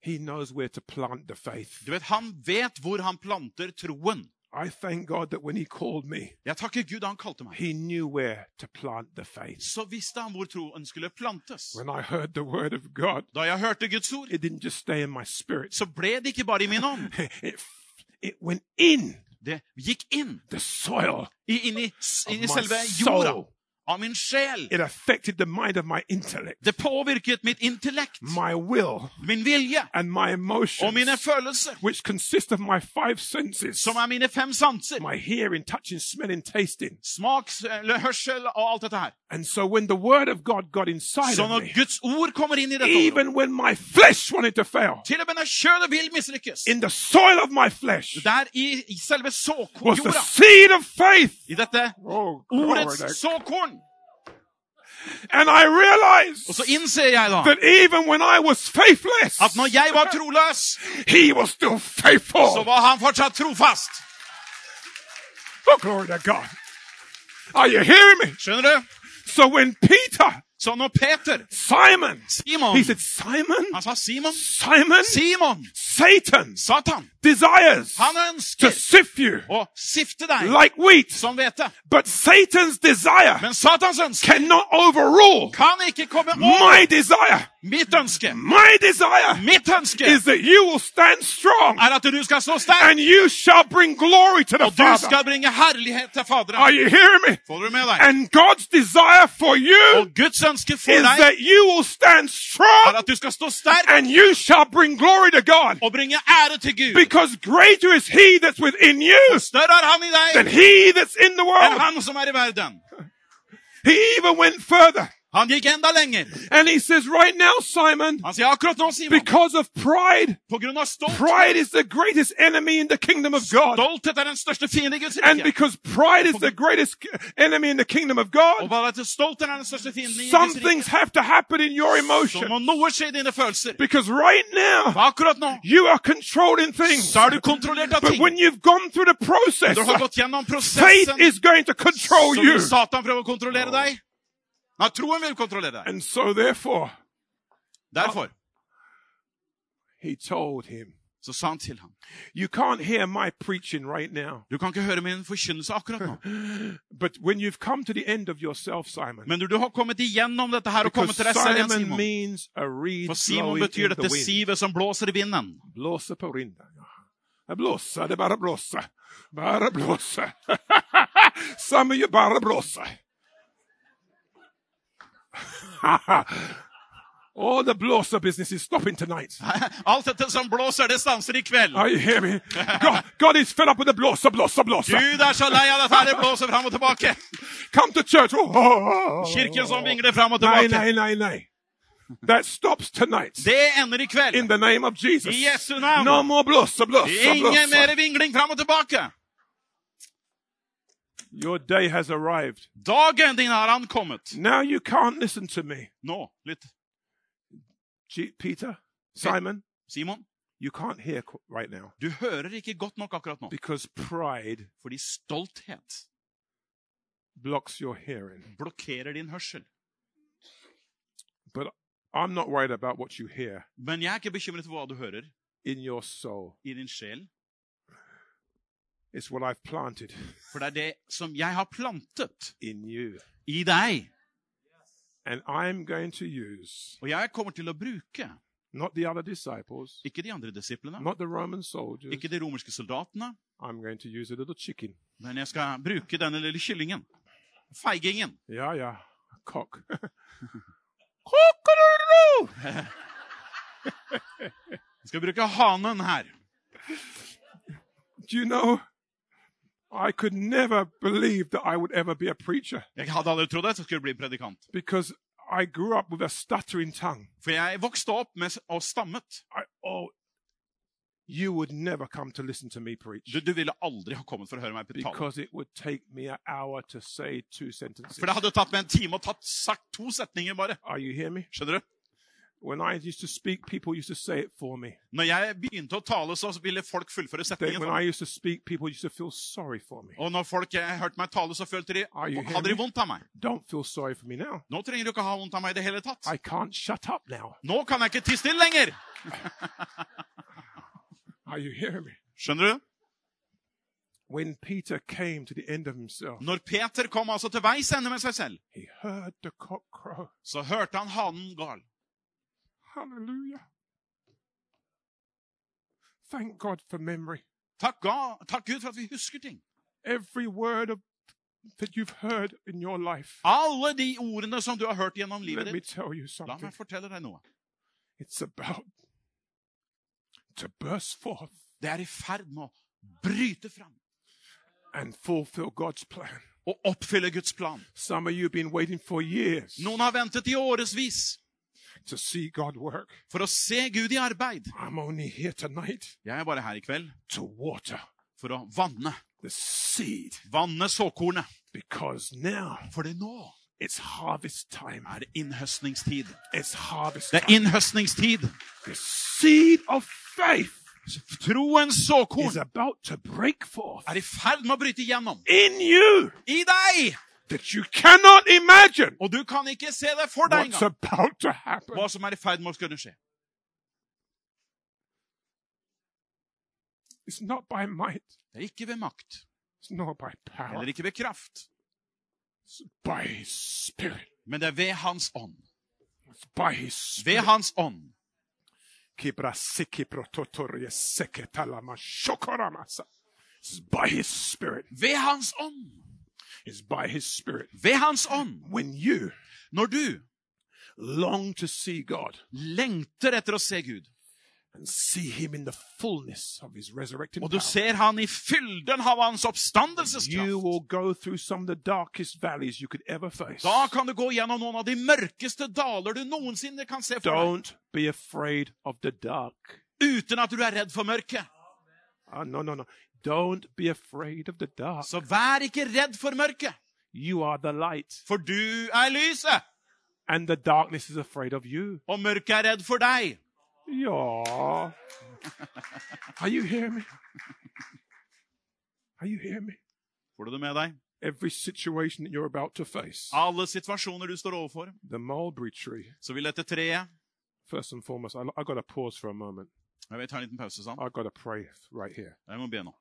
Speaker 1: He knows where to plant the faith.
Speaker 2: Du vet, Han vet hvor han planter troen.
Speaker 1: I thank God that when he called me,
Speaker 2: Jeg takker Gud han kalte meg.
Speaker 1: he knew where to plant the faith.
Speaker 2: Så visste han hvor troen skulle plantes.
Speaker 1: When I heard the word of God,
Speaker 2: Da jeg hørte Guds ord,
Speaker 1: it didn't just stay in my spirit, (laughs)
Speaker 2: så ble det ikke bare i min ånd.
Speaker 1: it, it went in
Speaker 2: Det gikk inn.
Speaker 1: the soil
Speaker 2: I, inn i, s-
Speaker 1: of
Speaker 2: inn i
Speaker 1: my
Speaker 2: selve jorda.
Speaker 1: soul.
Speaker 2: Av min sjel.
Speaker 1: It affected the mind of my intellect,
Speaker 2: Det påvirket mitt intellekt,
Speaker 1: my will,
Speaker 2: min vilje
Speaker 1: and my
Speaker 2: og mine
Speaker 1: emotions,
Speaker 2: følelser,
Speaker 1: which consist of my five senses.
Speaker 2: som er mine fem sanser.
Speaker 1: my hearing, touching, smelling, tasting.
Speaker 2: Smak, s- eller hørsel og alt dette her.
Speaker 1: And so when the word of God got inside
Speaker 2: Så
Speaker 1: of
Speaker 2: når
Speaker 1: me,
Speaker 2: Guds ord kommer inn i dette området,
Speaker 1: even when my flesh wanted to fail,
Speaker 2: til og med når kjølet vil mislykkes,
Speaker 1: in the soil of my flesh
Speaker 2: der i, i selve
Speaker 1: was the
Speaker 2: såkornjorda,
Speaker 1: seed of faith.
Speaker 2: i dette
Speaker 1: Oh, glory
Speaker 2: ordets
Speaker 1: to-
Speaker 2: såkorn,
Speaker 1: and I realized
Speaker 2: og så innser jeg da
Speaker 1: that even when I was faithless,
Speaker 2: at når jeg var troløs,
Speaker 1: he was still
Speaker 2: så
Speaker 1: faithful.
Speaker 2: var han fortsatt trofast.
Speaker 1: Oh, glory to God. Are you hearing me?
Speaker 2: Skjønner du?
Speaker 1: So when Peter
Speaker 2: Så når Peter
Speaker 1: Simon!
Speaker 2: Simon
Speaker 1: He said, Simon,
Speaker 2: Han sa Simon.
Speaker 1: Simon,
Speaker 2: Simon!
Speaker 1: Satan
Speaker 2: Satan!
Speaker 1: desires
Speaker 2: Han
Speaker 1: to
Speaker 2: ønsker
Speaker 1: sift you
Speaker 2: å sifte deg
Speaker 1: like wheat,
Speaker 2: som hvete.
Speaker 1: but Satan's desire
Speaker 2: Men Satans ønske
Speaker 1: cannot overrule
Speaker 2: kan ikke komme over
Speaker 1: my desire.
Speaker 2: mitt ønske.
Speaker 1: My desire
Speaker 2: Mitt ønske
Speaker 1: is that you will stand strong
Speaker 2: er at du skal stå sterk,
Speaker 1: and you shall bring glory to the
Speaker 2: og du
Speaker 1: Father.
Speaker 2: skal bringe herlighet til
Speaker 1: Are
Speaker 2: Faderen.
Speaker 1: you hearing me?
Speaker 2: Får du med deg?
Speaker 1: And God's desire for you
Speaker 2: Og Guds ønske for
Speaker 1: is
Speaker 2: deg
Speaker 1: that you will stand
Speaker 2: er
Speaker 1: strong
Speaker 2: at du skal stå sterk
Speaker 1: and you shall bring glory to God.
Speaker 2: og bringe ære til Gud.
Speaker 1: Because greater is He that's within you
Speaker 2: Større er han i
Speaker 1: than
Speaker 2: deg
Speaker 1: He that's in the
Speaker 2: enn
Speaker 1: world.
Speaker 2: han som er i verden.
Speaker 1: He even went further
Speaker 2: Han gikk enda lenger.
Speaker 1: and He says, right now, Simon,
Speaker 2: Han sier akkurat nå, Simon,
Speaker 1: because of pride,
Speaker 2: på grunn av stolt.
Speaker 1: pride is the greatest enemy in the kingdom of God.
Speaker 2: Stolthet er den største fiende i Guds
Speaker 1: And
Speaker 2: rike.
Speaker 1: because pride is the greatest enemy in the kingdom of
Speaker 2: Og
Speaker 1: God,
Speaker 2: bare at stolthet er den største fienden i
Speaker 1: some
Speaker 2: Guds
Speaker 1: things
Speaker 2: rike.
Speaker 1: have to happen in your
Speaker 2: Så
Speaker 1: emotion.
Speaker 2: må noe skje i dine følelser.
Speaker 1: Because right
Speaker 2: For
Speaker 1: now,
Speaker 2: Akkurat nå
Speaker 1: you are controlling things.
Speaker 2: så er du kontrollert av
Speaker 1: But
Speaker 2: ting.
Speaker 1: when you've gone through the process,
Speaker 2: Du har gått gjennom
Speaker 1: faith
Speaker 2: prosessen.
Speaker 1: is going to control
Speaker 2: Så vil
Speaker 1: you.
Speaker 2: Satan prøve å kontrollere deg. Nei, troen vil kontrollere deg.
Speaker 1: And so, therefore,
Speaker 2: Derfor
Speaker 1: he told him,
Speaker 2: så sa han til ham
Speaker 1: You can't hear my preaching right now.
Speaker 2: Du kan ikke høre min forkynnelse
Speaker 1: (laughs)
Speaker 2: akkurat nå,
Speaker 1: But when you've come to the end of yourself, Simon,
Speaker 2: men når du har kommet igjennom dette her og kommet
Speaker 1: because
Speaker 2: til deg selv igjen,
Speaker 1: Simon
Speaker 2: Simon
Speaker 1: means a reed
Speaker 2: For Simon
Speaker 1: blowing in
Speaker 2: betyr
Speaker 1: the
Speaker 2: dette
Speaker 1: wind.
Speaker 2: sivet som blåser i vinden. (laughs)
Speaker 1: Blåsa på vinden. Jag blåser, det är bara blåsa. Bara blåsa. (laughs) Samma ju bara blåsa. (laughs) All the blåser business is stopping tonight.
Speaker 2: Alt dette som blåser, det stanser i kveld.
Speaker 1: Are you hearing
Speaker 2: (laughs)
Speaker 1: me? God, God is fed up with the blåsa, blåsa, blåsa.
Speaker 2: Gud er så lei av dette her, det blåser fram og tilbake.
Speaker 1: Come to church. Oh, oh, oh.
Speaker 2: Kirken som vingler fram og
Speaker 1: Nej, nej,
Speaker 2: tilbake.
Speaker 1: nej, nej. That stops tonight.
Speaker 2: Det ender i kveld.
Speaker 1: In the name of Jesus.
Speaker 2: I Jesu
Speaker 1: No
Speaker 2: navn.
Speaker 1: more blåsa, blåsa,
Speaker 2: Ingen
Speaker 1: blåsa.
Speaker 2: mer vingling fram og tilbake.
Speaker 1: Your day has arrived.
Speaker 2: Dagen din har ankommet.
Speaker 1: Now you can't listen to me.
Speaker 2: Nå, lytt.
Speaker 1: G- Peter, Simon,
Speaker 2: Simon,
Speaker 1: you can't hear qu- right now
Speaker 2: du hører ikke godt nok akkurat nå.
Speaker 1: because pride
Speaker 2: Fordi stolthet
Speaker 1: blocks your hearing.
Speaker 2: blokkerer din hørsel.
Speaker 1: But I'm not worried about what you hear
Speaker 2: Men jeg er ikke bekymret for hva du hører
Speaker 1: in your soul.
Speaker 2: i din sjel.
Speaker 1: It's what I've planted
Speaker 2: For det er det som jeg har plantet
Speaker 1: in you.
Speaker 2: i deg.
Speaker 1: And I'm going to use
Speaker 2: Og jeg kommer til å bruke,
Speaker 1: not the other disciples,
Speaker 2: ikke de andre disiplene,
Speaker 1: not the Roman soldiers.
Speaker 2: ikke de romerske soldatene,
Speaker 1: I'm going to use a little chicken.
Speaker 2: men jeg skal bruke denne lille kyllingen. Feigingen.
Speaker 1: Yeah, yeah. A cock. (laughs)
Speaker 2: Jeg skal bruke hanen her.
Speaker 1: Do you know? I could never believe that I would ever be a preacher
Speaker 2: Jeg hadde aldri trodd at jeg skulle bli predikant.
Speaker 1: because I grew up with a stuttering tongue.
Speaker 2: For jeg vokste opp med s- og stammet.
Speaker 1: I, oh, you would never come to listen to me preach
Speaker 2: Du, du ville aldri ha kommet for å høre meg tale.
Speaker 1: because it would take me an hour to say two sentences.
Speaker 2: For det hadde tatt meg en time og tatt sagt to setninger bare.
Speaker 1: Are you hear me?
Speaker 2: Skjønner du?
Speaker 1: When I used to speak, people used to say it for me.
Speaker 2: Når jeg begynte å tale, så ville folk
Speaker 1: They,
Speaker 2: fullføre setningen.
Speaker 1: when
Speaker 2: for meg.
Speaker 1: I used to speak, people used to feel sorry for me.
Speaker 2: Og når folk eh, hørte meg tale, så følte de
Speaker 1: Are you
Speaker 2: Hadde de
Speaker 1: hearing me?
Speaker 2: vondt av meg?
Speaker 1: Don't feel sorry for me now.
Speaker 2: Nå trenger du ikke ha vondt av meg i det hele tatt.
Speaker 1: I can't shut up now.
Speaker 2: Nå kan jeg ikke tie stille lenger!
Speaker 1: Are you hearing me?
Speaker 2: Skjønner du?
Speaker 1: When Peter came to the end of himself,
Speaker 2: Når Peter kom altså til veis ende med seg selv,
Speaker 1: he heard the cock crow.
Speaker 2: så hørte han hanen gal.
Speaker 1: Hallelujah. Thank God for memory.
Speaker 2: Takk, ga, takk Gud for at vi husker ting.
Speaker 1: Every word of, that you've heard in your life.
Speaker 2: Alle de ordene som du har hørt gjennom livet
Speaker 1: Let me
Speaker 2: ditt.
Speaker 1: tell you
Speaker 2: La
Speaker 1: something.
Speaker 2: meg fortelle deg noe.
Speaker 1: It's about to burst forth
Speaker 2: Det er i ferd med å bryte fram
Speaker 1: and fulfill God's plan.
Speaker 2: og oppfylle Guds plan.
Speaker 1: Some of you have been waiting for years
Speaker 2: Noen har ventet i årevis
Speaker 1: to see God work.
Speaker 2: for å se Gud i arbeid.
Speaker 1: I'm only here tonight
Speaker 2: Jeg er bare her i kveld
Speaker 1: to water
Speaker 2: for å vanne.
Speaker 1: the seed
Speaker 2: Vanne såkornet.
Speaker 1: because now
Speaker 2: For det nå
Speaker 1: it's harvest time.
Speaker 2: er det innhøstningstid.
Speaker 1: It's harvest
Speaker 2: Det er
Speaker 1: time.
Speaker 2: innhøstningstid.
Speaker 1: The seed of faith
Speaker 2: Troens
Speaker 1: is
Speaker 2: såkorn
Speaker 1: about to break forth
Speaker 2: er i ferd med å bryte igjennom.
Speaker 1: in you.
Speaker 2: I deg!
Speaker 1: that you cannot imagine
Speaker 2: Og du kan ikke se det for deg
Speaker 1: what's
Speaker 2: engang
Speaker 1: about to happen.
Speaker 2: hva som er i ferd med å kunne skje.
Speaker 1: It's not by might,
Speaker 2: Det er ikke ved makt,
Speaker 1: it's not by power,
Speaker 2: heller ikke ved kraft,
Speaker 1: it's by His Spirit.
Speaker 2: men det er ved Hans ånd.
Speaker 1: It's by His
Speaker 2: Ved
Speaker 1: Spirit.
Speaker 2: Hans ånd.
Speaker 1: Kibrasiki prototorie seketalama shokoramasa. It's by His Spirit.
Speaker 2: Ved Hans ånd.
Speaker 1: It's by His Spirit.
Speaker 2: Ved Hans ånd.
Speaker 1: When you
Speaker 2: Når du
Speaker 1: long to see God
Speaker 2: lengter etter å se Gud,
Speaker 1: and see Him in the fullness of His resurrected
Speaker 2: og du
Speaker 1: power,
Speaker 2: ser Han i fylden av Hans
Speaker 1: you
Speaker 2: oppstandelseskraft,
Speaker 1: will go through some of the darkest valleys you could ever face.
Speaker 2: da kan du gå gjennom noen av de mørkeste daler du noensinne kan se for deg,
Speaker 1: Don't be afraid of the dark.
Speaker 2: uten at du er redd for mørket.
Speaker 1: Ah, no, no, no. Don't be afraid of the dark.
Speaker 2: Så vær ikke redd for mørket,
Speaker 1: You are the light,
Speaker 2: for du er lyset,
Speaker 1: and the darkness is afraid of you.
Speaker 2: og mørket er redd for deg.
Speaker 1: Yeah. Are you hearing me? Are you hearing me?
Speaker 2: Får du det med deg?
Speaker 1: Every situation that you're about to face,
Speaker 2: Alle situasjoner du står overfor,
Speaker 1: the mulberry tree,
Speaker 2: så vil dette treet
Speaker 1: first and foremost, I, I got to pause for a moment.
Speaker 2: Jeg vil ta en liten pause, sånn.
Speaker 1: I got to pray right here.
Speaker 2: Jeg må be nå.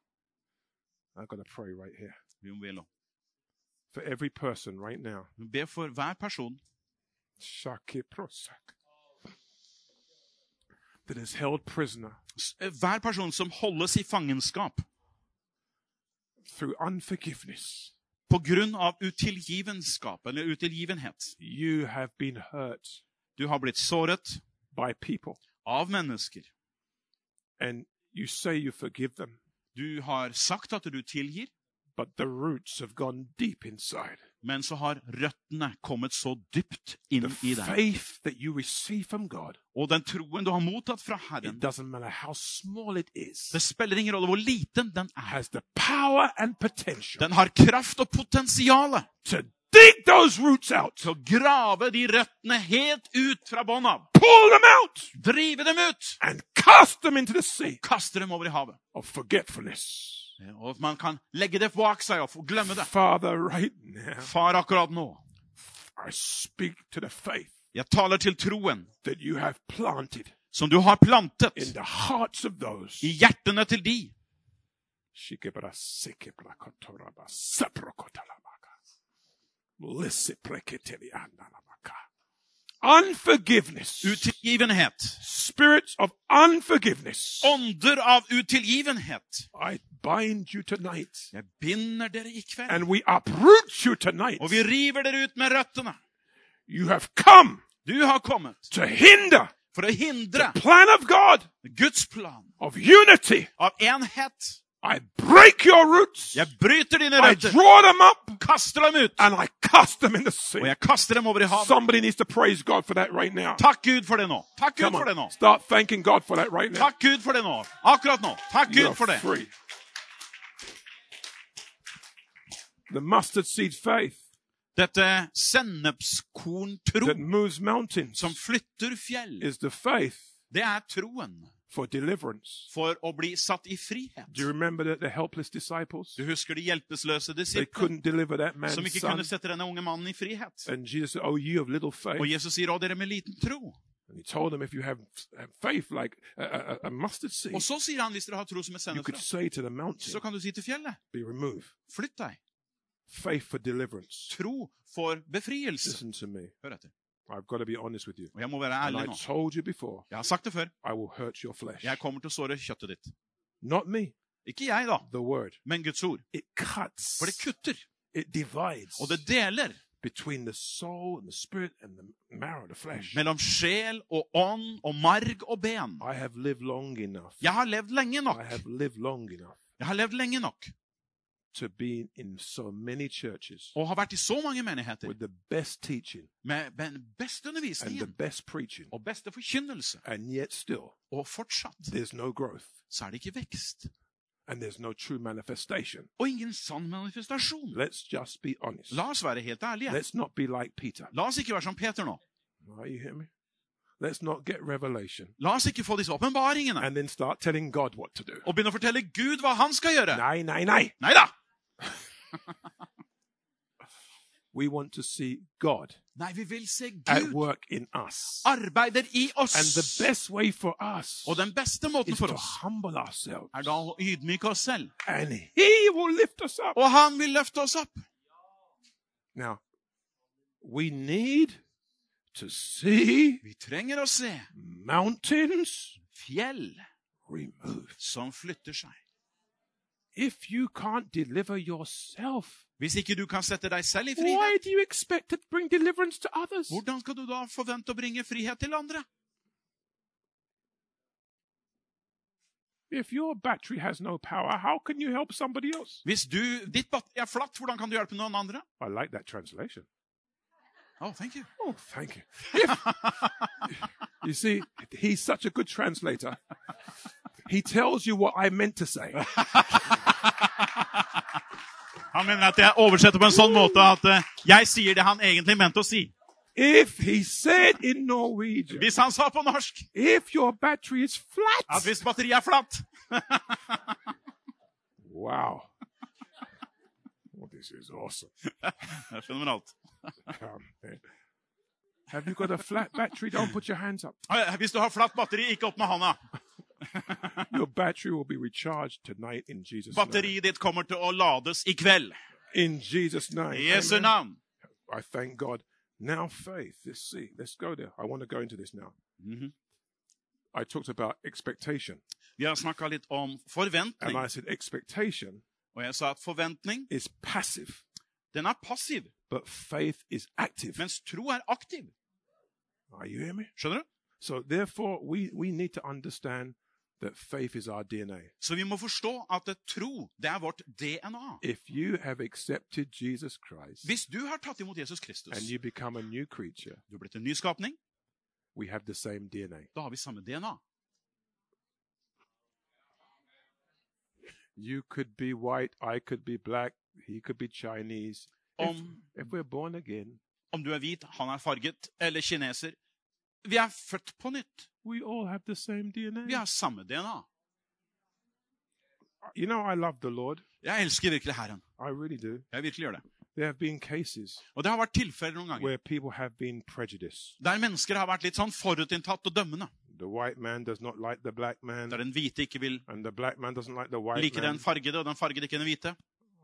Speaker 1: I got to pray right here.
Speaker 2: Vi må be nå.
Speaker 1: For every person right now.
Speaker 2: Be for hver person
Speaker 1: Shakiprosak. That is held prisoner
Speaker 2: S- eh, Hver person som holdes i fangenskap
Speaker 1: through unforgiveness.
Speaker 2: på grunn av utilgivenskap eller utilgivenhet.
Speaker 1: You have been hurt
Speaker 2: Du har blitt såret
Speaker 1: by people,
Speaker 2: av mennesker.
Speaker 1: and you say you forgive them,
Speaker 2: Du har sagt at du tilgir,
Speaker 1: but the roots have gone deep inside.
Speaker 2: men så har røttene kommet så dypt inn
Speaker 1: The
Speaker 2: i deg.
Speaker 1: faith that you receive from God,
Speaker 2: Og den troen du har mottatt fra
Speaker 1: it
Speaker 2: Herren,
Speaker 1: doesn't matter how small it
Speaker 2: det
Speaker 1: is,
Speaker 2: spiller ingen rolle hvor liten den er.
Speaker 1: has the power and potential
Speaker 2: Den har kraft og potensial
Speaker 1: to dig those roots out,
Speaker 2: til
Speaker 1: to
Speaker 2: å grave de røttene helt ut fra bånn av.
Speaker 1: pull them out,
Speaker 2: Drive dem ut!
Speaker 1: and cast them into the sea
Speaker 2: Kaste dem over i havet.
Speaker 1: of forgetfulness.
Speaker 2: Og man kan legge det bak seg og få glemme det.
Speaker 1: Father, right now,
Speaker 2: Far, akkurat nå,
Speaker 1: I speak to the faith
Speaker 2: jeg taler til troen
Speaker 1: that you have planted
Speaker 2: som du har
Speaker 1: in
Speaker 2: plantet
Speaker 1: the hearts of those.
Speaker 2: i hjertene til de,
Speaker 1: Shikebrasikibrakotoraba, saprokotalabaka, lisipreketeriandalabaka. Unforgiveness.
Speaker 2: utilgivenhet.
Speaker 1: Spirits of unforgiveness.
Speaker 2: Oh. Ånder av utilgivenhet.
Speaker 1: I bind you tonight.
Speaker 2: Jeg binder dere i kveld.
Speaker 1: And we uproot you tonight.
Speaker 2: Og vi river dere ut med røttene.
Speaker 1: You have come
Speaker 2: Du har kommet
Speaker 1: to hinder
Speaker 2: for å hindre
Speaker 1: the plan of God
Speaker 2: Guds plan
Speaker 1: of unity.
Speaker 2: av enhet.
Speaker 1: I break your roots.
Speaker 2: Jeg bryter dine
Speaker 1: I
Speaker 2: røtter,
Speaker 1: draw them up
Speaker 2: kaster dem ut,
Speaker 1: and I cast them in the
Speaker 2: og
Speaker 1: sea.
Speaker 2: jeg kaster dem over i havet.
Speaker 1: Somebody needs to praise God for that right now.
Speaker 2: Takk Gud for det nå. Takk Gud
Speaker 1: Come
Speaker 2: for det nå.
Speaker 1: on. Start thanking God for that right now.
Speaker 2: Takk Gud for det nå. Akkurat nå. Takk
Speaker 1: You're
Speaker 2: Gud for det.
Speaker 1: free. The mustard seed faith
Speaker 2: Dette sennepskorntro
Speaker 1: that moves mountains
Speaker 2: som flytter fjell,
Speaker 1: is the faith
Speaker 2: det er troen
Speaker 1: for deliverance.
Speaker 2: for å bli satt i
Speaker 1: Do you
Speaker 2: frihet.
Speaker 1: remember that the helpless disciples?
Speaker 2: Du husker de hjelpeløse
Speaker 1: They
Speaker 2: disiplene
Speaker 1: couldn't deliver that
Speaker 2: som
Speaker 1: man's
Speaker 2: ikke
Speaker 1: son.
Speaker 2: kunne sette denne unge mannen i frihet.
Speaker 1: And Jesus said, Oh, you of little
Speaker 2: Og
Speaker 1: faith.
Speaker 2: Jesus sier å, dere med liten tro.
Speaker 1: And he told them, If you have have faith like a, a, a mustard seed,
Speaker 2: Og så sier han hvis dere har tro som et
Speaker 1: you could
Speaker 2: sennepsfrø,
Speaker 1: say to the mountain,
Speaker 2: så kan du si til fjellet
Speaker 1: Be removed.
Speaker 2: flytt deg.
Speaker 1: Faith for deliverance.
Speaker 2: Tro for befrielse.
Speaker 1: Listen to me.
Speaker 2: Hør etter.
Speaker 1: I've got to be honest with you.
Speaker 2: Og jeg må være
Speaker 1: And I
Speaker 2: ærlig nå.
Speaker 1: told you before,
Speaker 2: Jeg har sagt det før.
Speaker 1: I will hurt your flesh.
Speaker 2: Jeg kommer til å såre kjøttet ditt.
Speaker 1: Not me,
Speaker 2: Ikke jeg, da,
Speaker 1: the word.
Speaker 2: men Guds ord.
Speaker 1: It cuts.
Speaker 2: For det kutter,
Speaker 1: It divides
Speaker 2: og det deler
Speaker 1: between the soul and the spirit and the marrow, the flesh.
Speaker 2: mellom sjel og ånd og marg og ben.
Speaker 1: I have lived long enough.
Speaker 2: Jeg har levd lenge nok.
Speaker 1: I have lived long enough
Speaker 2: Jeg har levd lenge nok
Speaker 1: to be in so many churches
Speaker 2: og har vært i så mange menigheter
Speaker 1: with the best teaching
Speaker 2: med den beste
Speaker 1: and the
Speaker 2: undervisningen
Speaker 1: best preaching,
Speaker 2: og beste forkynnelse,
Speaker 1: and yet still
Speaker 2: og fortsatt
Speaker 1: there's no growth
Speaker 2: så er det ikke vekst
Speaker 1: and there's no true manifestation.
Speaker 2: og ingen sann manifestasjon.
Speaker 1: Let's just be honest.
Speaker 2: La oss være helt ærlige.
Speaker 1: Let's not be like Peter.
Speaker 2: La oss ikke være som Peter nå.
Speaker 1: Are you hearing me? Let's not get revelation
Speaker 2: La oss ikke få disse åpenbaringene
Speaker 1: and then start telling God what to do.
Speaker 2: og begynne å fortelle Gud hva han skal gjøre.
Speaker 1: Nay, nay, nay.
Speaker 2: Nei da!
Speaker 1: We want to see God
Speaker 2: Nei, vi vil se
Speaker 1: at
Speaker 2: Gud
Speaker 1: work in us.
Speaker 2: arbeider i
Speaker 1: And the
Speaker 2: oss.
Speaker 1: best way for us
Speaker 2: Og den beste måten
Speaker 1: is
Speaker 2: for
Speaker 1: to
Speaker 2: oss
Speaker 1: humble ourselves.
Speaker 2: er da å ydmyke oss selv.
Speaker 1: And He will lift us up.
Speaker 2: Og han vil løfte oss opp.
Speaker 1: Now, we need to see
Speaker 2: Vi trenger å se
Speaker 1: mountains
Speaker 2: fjell
Speaker 1: removed.
Speaker 2: som flytter seg.
Speaker 1: If you can't deliver yourself,
Speaker 2: Hvis ikke du kan sette deg selv i frihet,
Speaker 1: why do you expect to bring deliverance to others?
Speaker 2: hvordan skal du da forvente å bringe frihet til andre?
Speaker 1: If your battery has no power, how can you help somebody else?
Speaker 2: Hvis du, ditt batteri er flatt, hvordan kan du hjelpe noen andre?
Speaker 1: I like that translation.
Speaker 2: Oh, thank you.
Speaker 1: Oh, thank you. If- you see, he's such a good translator. He tells you what I meant to say.
Speaker 2: Han mener at jeg oversetter på en sånn måte at eh, jeg sier det han egentlig mente å si.
Speaker 1: If he said in Norwegian,
Speaker 2: Hvis han sa på norsk
Speaker 1: if your battery is
Speaker 2: at
Speaker 1: flat,
Speaker 2: hvis batteriet er flatt
Speaker 1: Wow. Well, this is awesome.
Speaker 2: Det er fenomenalt.
Speaker 1: Um, eh, have you got a flat battery? Don't put your hands up.
Speaker 2: Eh, Hvis du har flatt batteri, ikke opp med handa.
Speaker 1: Your battery will be recharged tonight in Jesus' name.
Speaker 2: Batteriet ditt kommer til å lades i kveld.
Speaker 1: In Jesus' name.
Speaker 2: I Jesu
Speaker 1: Amen.
Speaker 2: navn.
Speaker 1: I thank God. Now faith. Let's see. Let's go there. I want to go into this now.
Speaker 2: Mhm.
Speaker 1: I talked about expectation,
Speaker 2: Vi har snakka litt om
Speaker 1: and
Speaker 2: forventning.
Speaker 1: I said expectation
Speaker 2: Og jeg sa at forventning,
Speaker 1: is passive,
Speaker 2: den er passiv,
Speaker 1: but faith is active.
Speaker 2: mens tro er aktiv.
Speaker 1: Are you hearing me?
Speaker 2: Skjønner du?
Speaker 1: So therefore, we we need to understand that faith is our DNA.
Speaker 2: Så vi må forstå at eh, tro, det er vårt DNA.
Speaker 1: if you have accepted Jesus Christ
Speaker 2: Hvis du har tatt imot Jesus Kristus,
Speaker 1: and you become a new creature,
Speaker 2: du er blitt en nyskapning,
Speaker 1: we have the same DNA.
Speaker 2: da har vi samme DNA.
Speaker 1: You could be white, I could be black, he could be Chinese. If,
Speaker 2: Om,
Speaker 1: if we're born again,
Speaker 2: om du er hvit, han er farget, eller kineser. Vi er født på nytt.
Speaker 1: we all have the same DNA.
Speaker 2: Vi har samme DNA.
Speaker 1: You know, I love the Lord.
Speaker 2: Jeg elsker virkelig Herren.
Speaker 1: I really do.
Speaker 2: Jeg virkelig gjør det.
Speaker 1: There have been cases
Speaker 2: Og det har vært tilfeller noen ganger
Speaker 1: where people have been prejudiced.
Speaker 2: der mennesker har vært litt sånn forutinntatt og dømmende.
Speaker 1: The white man does not like the black man,
Speaker 2: Der den hvite ikke vil
Speaker 1: and the black man doesn't like the white
Speaker 2: like
Speaker 1: man.
Speaker 2: den fargede, og den fargede ikke den hvite.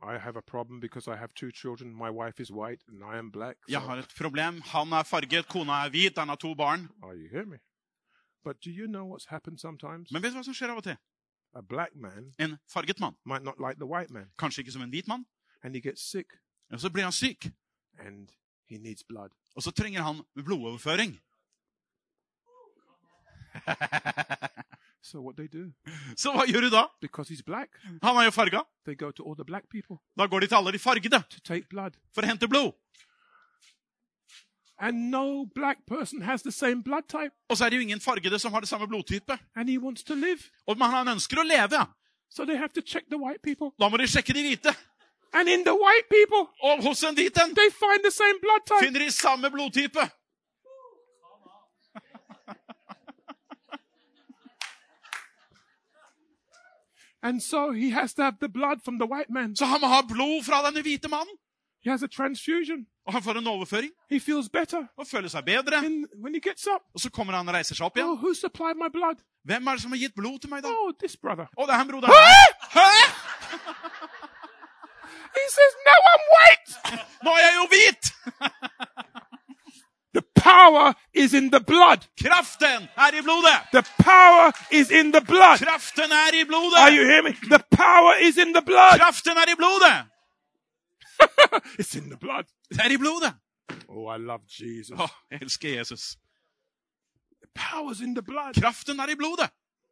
Speaker 1: I have a problem because I have two children. My wife is white and I am black.
Speaker 2: Jeg
Speaker 1: so-
Speaker 2: har et problem. Han er farget, kona er hvit, han har to barn.
Speaker 1: Are Oh, you hearing me? But do you know what's happened sometimes?
Speaker 2: Men vet du hva som skjer av og til?
Speaker 1: A black man
Speaker 2: En farget mann,
Speaker 1: might not like the white man
Speaker 2: kanskje ikke som en hvit mann,
Speaker 1: and he gets sick
Speaker 2: og så blir han syk.
Speaker 1: and he needs blood.
Speaker 2: Og så trenger han blodoverføring. (laughs)
Speaker 1: So what they do?
Speaker 2: Så hva gjør du da?
Speaker 1: Because he's black,
Speaker 2: Han er jo farga.
Speaker 1: they go to all the black people
Speaker 2: Da går de til alle de fargede
Speaker 1: to take blood.
Speaker 2: for å hente blod.
Speaker 1: And no black person has the same blood type
Speaker 2: Og så er det jo ingen fargede som har det samme blodtype.
Speaker 1: and he wants to live.
Speaker 2: Og men han ønsker å leve.
Speaker 1: So they have to check the white people.
Speaker 2: Da må de sjekke de hvite.
Speaker 1: And in the white people,
Speaker 2: Og hos en hvit en
Speaker 1: they find the same blood type.
Speaker 2: finner de samme blodtype.
Speaker 1: And so he has to have the blood from the white man.
Speaker 2: Så han må ha blod fra denne hvite mannen.
Speaker 1: He has a transfusion.
Speaker 2: Og han får en overføring
Speaker 1: He feels better.
Speaker 2: og føler seg bedre.
Speaker 1: And when he gets up,
Speaker 2: Og så kommer han og reiser seg opp igjen.
Speaker 1: oh, who supplied my blood?
Speaker 2: Hvem er det som har gitt blod til meg, da?
Speaker 1: Oh, this brother.
Speaker 2: Å, det er han broderen. her. Hæ?
Speaker 1: He says, No, I'm white.
Speaker 2: Nå er jeg jo hvit! (laughs)
Speaker 1: The power is in the blood.
Speaker 2: Kraften er i blodet!
Speaker 1: The power is in the blood.
Speaker 2: Kraften er i
Speaker 1: Are
Speaker 2: blodet!
Speaker 1: you hearing me? The power is in the blood.
Speaker 2: Kraften er i blodet!
Speaker 1: It's in the blood.
Speaker 2: Det er i blodet!
Speaker 1: Oh, I love Jesus.
Speaker 2: Å, jeg elsker Jesus.
Speaker 1: The power's in the blood.
Speaker 2: Kraften er i blodet!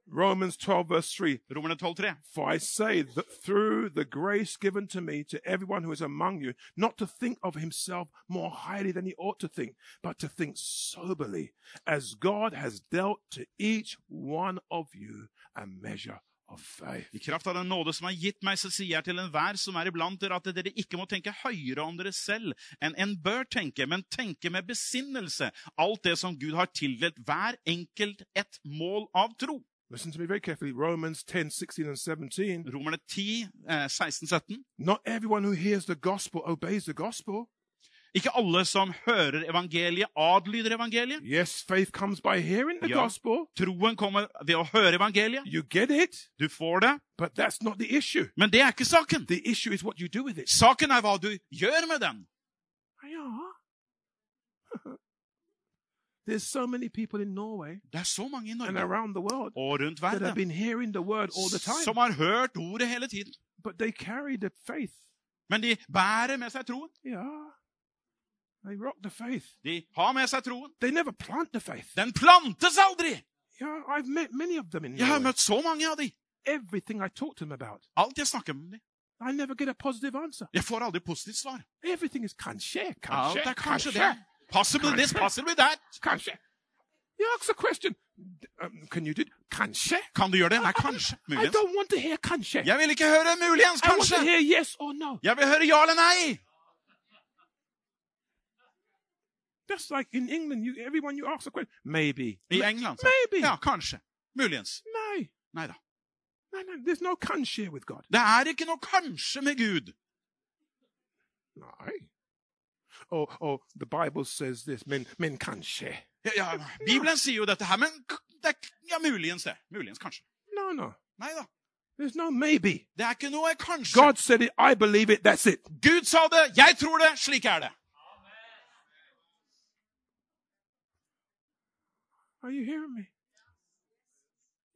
Speaker 1: Romans 12, verse 3.
Speaker 2: Romerne 12,3.
Speaker 1: For I say that through the grace given to me to everyone who is among you, not to think of himself more highly than he ought to think, but to think soberly, as God has dealt to each one of you a measure of faith.
Speaker 2: I kraft av den nåde som er gitt meg, så sier jeg til enhver som er iblant dere, at dere ikke må tenke høyere om dere selv enn en bør tenke, men tenke med besinnelse alt det som Gud har tildelt hver enkelt et mål av tro.
Speaker 1: Listen to me very carefully. Romans 10, 16, and 17.
Speaker 2: Romerne 10, eh, 16, 17.
Speaker 1: Not everyone who hears the gospel obeys the gospel.
Speaker 2: Ikke alle som hører evangeliet, adlyder evangeliet.
Speaker 1: Yes, faith comes by hearing the
Speaker 2: Yeah.
Speaker 1: gospel.
Speaker 2: Troen kommer ved å høre evangeliet.
Speaker 1: You get it,
Speaker 2: Du får det,
Speaker 1: but that's not the issue.
Speaker 2: men det er ikke saken.
Speaker 1: The issue is what you do with it.
Speaker 2: Saken er hva du gjør med den.
Speaker 1: Yeah. (laughs) There's so many people in Norway
Speaker 2: Det er så mange i
Speaker 1: and
Speaker 2: Norge
Speaker 1: around the world
Speaker 2: og rundt
Speaker 1: that have
Speaker 2: verden
Speaker 1: been hearing the word all the time,
Speaker 2: som har hørt ordet hele tiden,
Speaker 1: but they carry the faith.
Speaker 2: men de bærer med seg troen.
Speaker 1: Yeah. They rock the faith.
Speaker 2: De har med seg troen.
Speaker 1: They never plant the faith.
Speaker 2: Den plantes aldri!
Speaker 1: Yeah, I've met many of them in
Speaker 2: Jeg har
Speaker 1: Norway.
Speaker 2: møtt så mange av de.
Speaker 1: Everything I talk to them about,
Speaker 2: Alt jeg snakker med dem.
Speaker 1: I never get a positive answer.
Speaker 2: Jeg får aldri positivt svar.
Speaker 1: Everything is kanskje,
Speaker 2: Alt
Speaker 1: kanskje,
Speaker 2: er kanskje det.
Speaker 1: kanskje,
Speaker 2: Possibly this,
Speaker 1: Kanskje.
Speaker 2: possibly that.
Speaker 1: kanskje. You ask the question, d- um, can you do kanskje?
Speaker 2: Kan du gjøre det? Nei, kanskje.
Speaker 1: I
Speaker 2: Muligens.
Speaker 1: don't want to hear kanskje.
Speaker 2: Jeg vil ikke høre muligens,
Speaker 1: I want to
Speaker 2: kanskje.
Speaker 1: hear yes or no.
Speaker 2: Jeg vil høre ja eller nei.
Speaker 1: That's like in England, you, everyone you ask the question, maybe.
Speaker 2: I England. Så.
Speaker 1: Maybe.
Speaker 2: Ja, kanskje. Muligens.
Speaker 1: No.
Speaker 2: Nei da.
Speaker 1: No, no, there's no kanskje with God.
Speaker 2: Det er ikke noe kanskje med Gud.
Speaker 1: No. Oh, oh, the Bible says this, men, men kanskje.
Speaker 2: Ja, ja, Bibelen sier jo dette her, men k- det er, k- ja, muligens det. Muligens, kanskje.
Speaker 1: No, no.
Speaker 2: Nei da.
Speaker 1: There's no maybe.
Speaker 2: Det er ikke noe kanskje.
Speaker 1: God said it, I believe it, that's it.
Speaker 2: Gud sa det, jeg tror det, slik er det.
Speaker 1: Are you hearing me?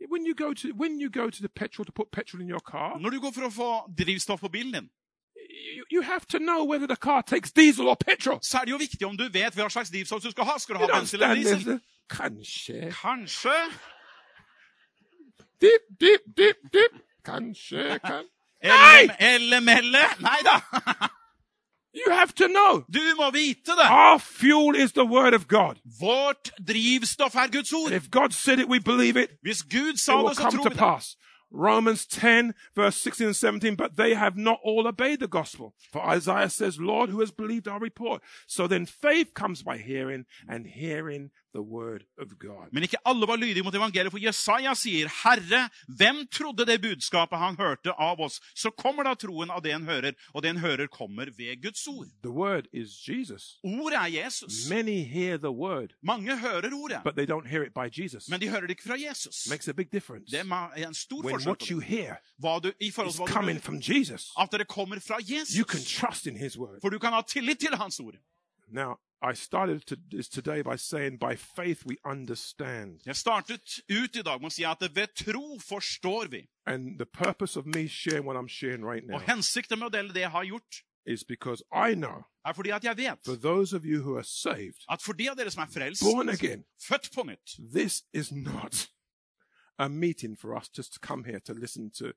Speaker 1: When you go to when you go to the petrol to put petrol in your car,
Speaker 2: Når du går for å få drivstoff på bilen din,
Speaker 1: you, you have to know whether the car takes diesel or petrol.
Speaker 2: så er det jo viktig om du vet hva slags drivstoff du skal ha. Skal du
Speaker 1: You
Speaker 2: ha
Speaker 1: don't
Speaker 2: bensin
Speaker 1: stand
Speaker 2: eller
Speaker 1: there.
Speaker 2: diesel?
Speaker 1: and say, Kanskje.
Speaker 2: Kanskje.
Speaker 1: Dip, dip, dip, dip. (laughs) Kanskje, kan.
Speaker 2: Eller, eller melle. Nei da.
Speaker 1: You have to know.
Speaker 2: Du må vite det.
Speaker 1: Our fuel is the word of God.
Speaker 2: Vårt drivstoff er Guds ord.
Speaker 1: If God said it, we believe it.
Speaker 2: Hvis Gud
Speaker 1: It
Speaker 2: sa
Speaker 1: will
Speaker 2: det, så
Speaker 1: come
Speaker 2: tror
Speaker 1: to
Speaker 2: vi det.
Speaker 1: pass. Romans 10, verse 16 and 17. But they have not all obeyed the gospel. For Isaiah says, Lord, who has believed our report? So then faith comes by hearing, and hearing the word of God.
Speaker 2: Men ikke alle var lydige mot evangeliet, for Jesaja sier, Herre, hvem trodde det budskapet han hørte av oss? Så kommer da troen av det en hører, og det en hører kommer ved Guds ord.
Speaker 1: The word is Jesus.
Speaker 2: Ordet er Jesus.
Speaker 1: Many hear the word,
Speaker 2: Mange hører ordet,
Speaker 1: but they don't hear it by Jesus.
Speaker 2: men de hører det ikke fra Jesus.
Speaker 1: Makes a big difference.
Speaker 2: Det ma- er en stor
Speaker 1: When
Speaker 2: forskjell
Speaker 1: what
Speaker 2: på
Speaker 1: you
Speaker 2: det.
Speaker 1: hear
Speaker 2: hva du, i forhold
Speaker 1: is
Speaker 2: til hva du
Speaker 1: coming
Speaker 2: hører.
Speaker 1: from Jesus,
Speaker 2: At dere kommer fra
Speaker 1: you can
Speaker 2: Ah, Jesus.
Speaker 1: trust in his word.
Speaker 2: For du kan ha tillit til hans ord.
Speaker 1: Now, I started to, this today by saying, by faith we understand.
Speaker 2: Jeg startet ut i dag med å si at ved tro forstår vi.
Speaker 1: And the purpose of me sharing what I'm sharing right now
Speaker 2: Og hensikten med å dele det jeg har gjort,
Speaker 1: is because I know
Speaker 2: er fordi at jeg vet
Speaker 1: for those of you who are saved,
Speaker 2: at for de av dere som er frelst,
Speaker 1: born again,
Speaker 2: født på nytt,
Speaker 1: this is not a meeting for us just to come here to listen to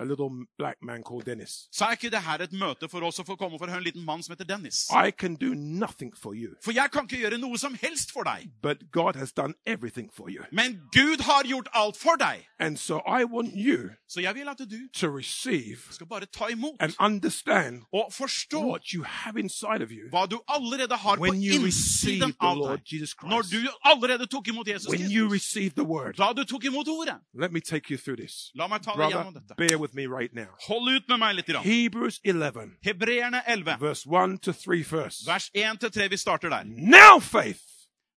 Speaker 1: a little black man called Dennis.
Speaker 2: så er ikke det her et møte for oss å få komme for å høre en liten mann som heter Dennis.
Speaker 1: I can do nothing for you,
Speaker 2: For jeg kan ikke gjøre noe som helst for deg.
Speaker 1: but God has done everything for you.
Speaker 2: Men Gud har gjort alt for deg.
Speaker 1: And so I want you
Speaker 2: Så jeg vil at du
Speaker 1: to receive
Speaker 2: skal bare ta imot
Speaker 1: and understand
Speaker 2: og forstå
Speaker 1: what you have inside of you
Speaker 2: hva du allerede har på
Speaker 1: when you receive
Speaker 2: innsiden
Speaker 1: the
Speaker 2: av
Speaker 1: Lord
Speaker 2: deg.
Speaker 1: Jesus
Speaker 2: Når
Speaker 1: Christ.
Speaker 2: du allerede tok imot Jesus
Speaker 1: When you
Speaker 2: Kristus.
Speaker 1: receive the word.
Speaker 2: Da du tok imot ordet.
Speaker 1: Let me take you through this.
Speaker 2: La meg ta deg
Speaker 1: Brother,
Speaker 2: gjennom dette.
Speaker 1: bear with me right now.
Speaker 2: Hold ut med meg litt. Grann.
Speaker 1: Hebrews 11,
Speaker 2: Hebreerne 11,
Speaker 1: verse 1 to 3 first.
Speaker 2: vers 1-3. Vi starter der.
Speaker 1: Now faith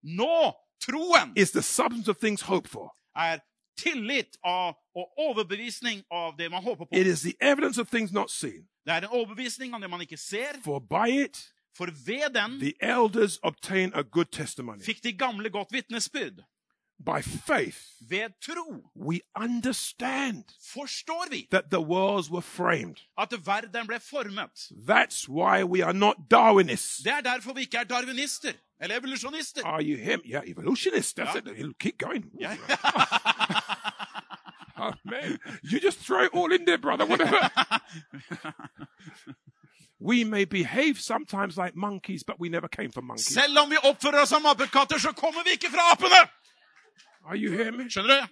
Speaker 2: Nå troen
Speaker 1: is the substance of things hoped for.
Speaker 2: er tillit av, og overbevisning av det man håper på.
Speaker 1: It is the evidence of things not seen.
Speaker 2: Det er en overbevisning av det man ikke ser,
Speaker 1: For by it
Speaker 2: for ved den
Speaker 1: the elders obtain a good testimony.
Speaker 2: fikk de gamle godt vitnesbyrd.
Speaker 1: By faith
Speaker 2: Ved tro
Speaker 1: we understand
Speaker 2: forstår vi
Speaker 1: that the worlds were framed.
Speaker 2: at verden ble formet.
Speaker 1: That's why we are not Darwinists.
Speaker 2: Det er derfor vi ikke er darwinister eller evolusjonister.
Speaker 1: Are you him? Yeah, evolutionists. That's
Speaker 2: Yeah.
Speaker 1: it. It'll keep going. Ooh.
Speaker 2: Yeah.
Speaker 1: (laughs) Oh, man. You just throw it all in there, brother. Whatever.
Speaker 2: (laughs)
Speaker 1: we may behave sometimes like monkeys, but we never came from monkeys.
Speaker 2: Selv om vi oppfører oss som apekatter, så kommer vi ikke fra apene!
Speaker 1: Are you hearing me?
Speaker 2: Skjønner du?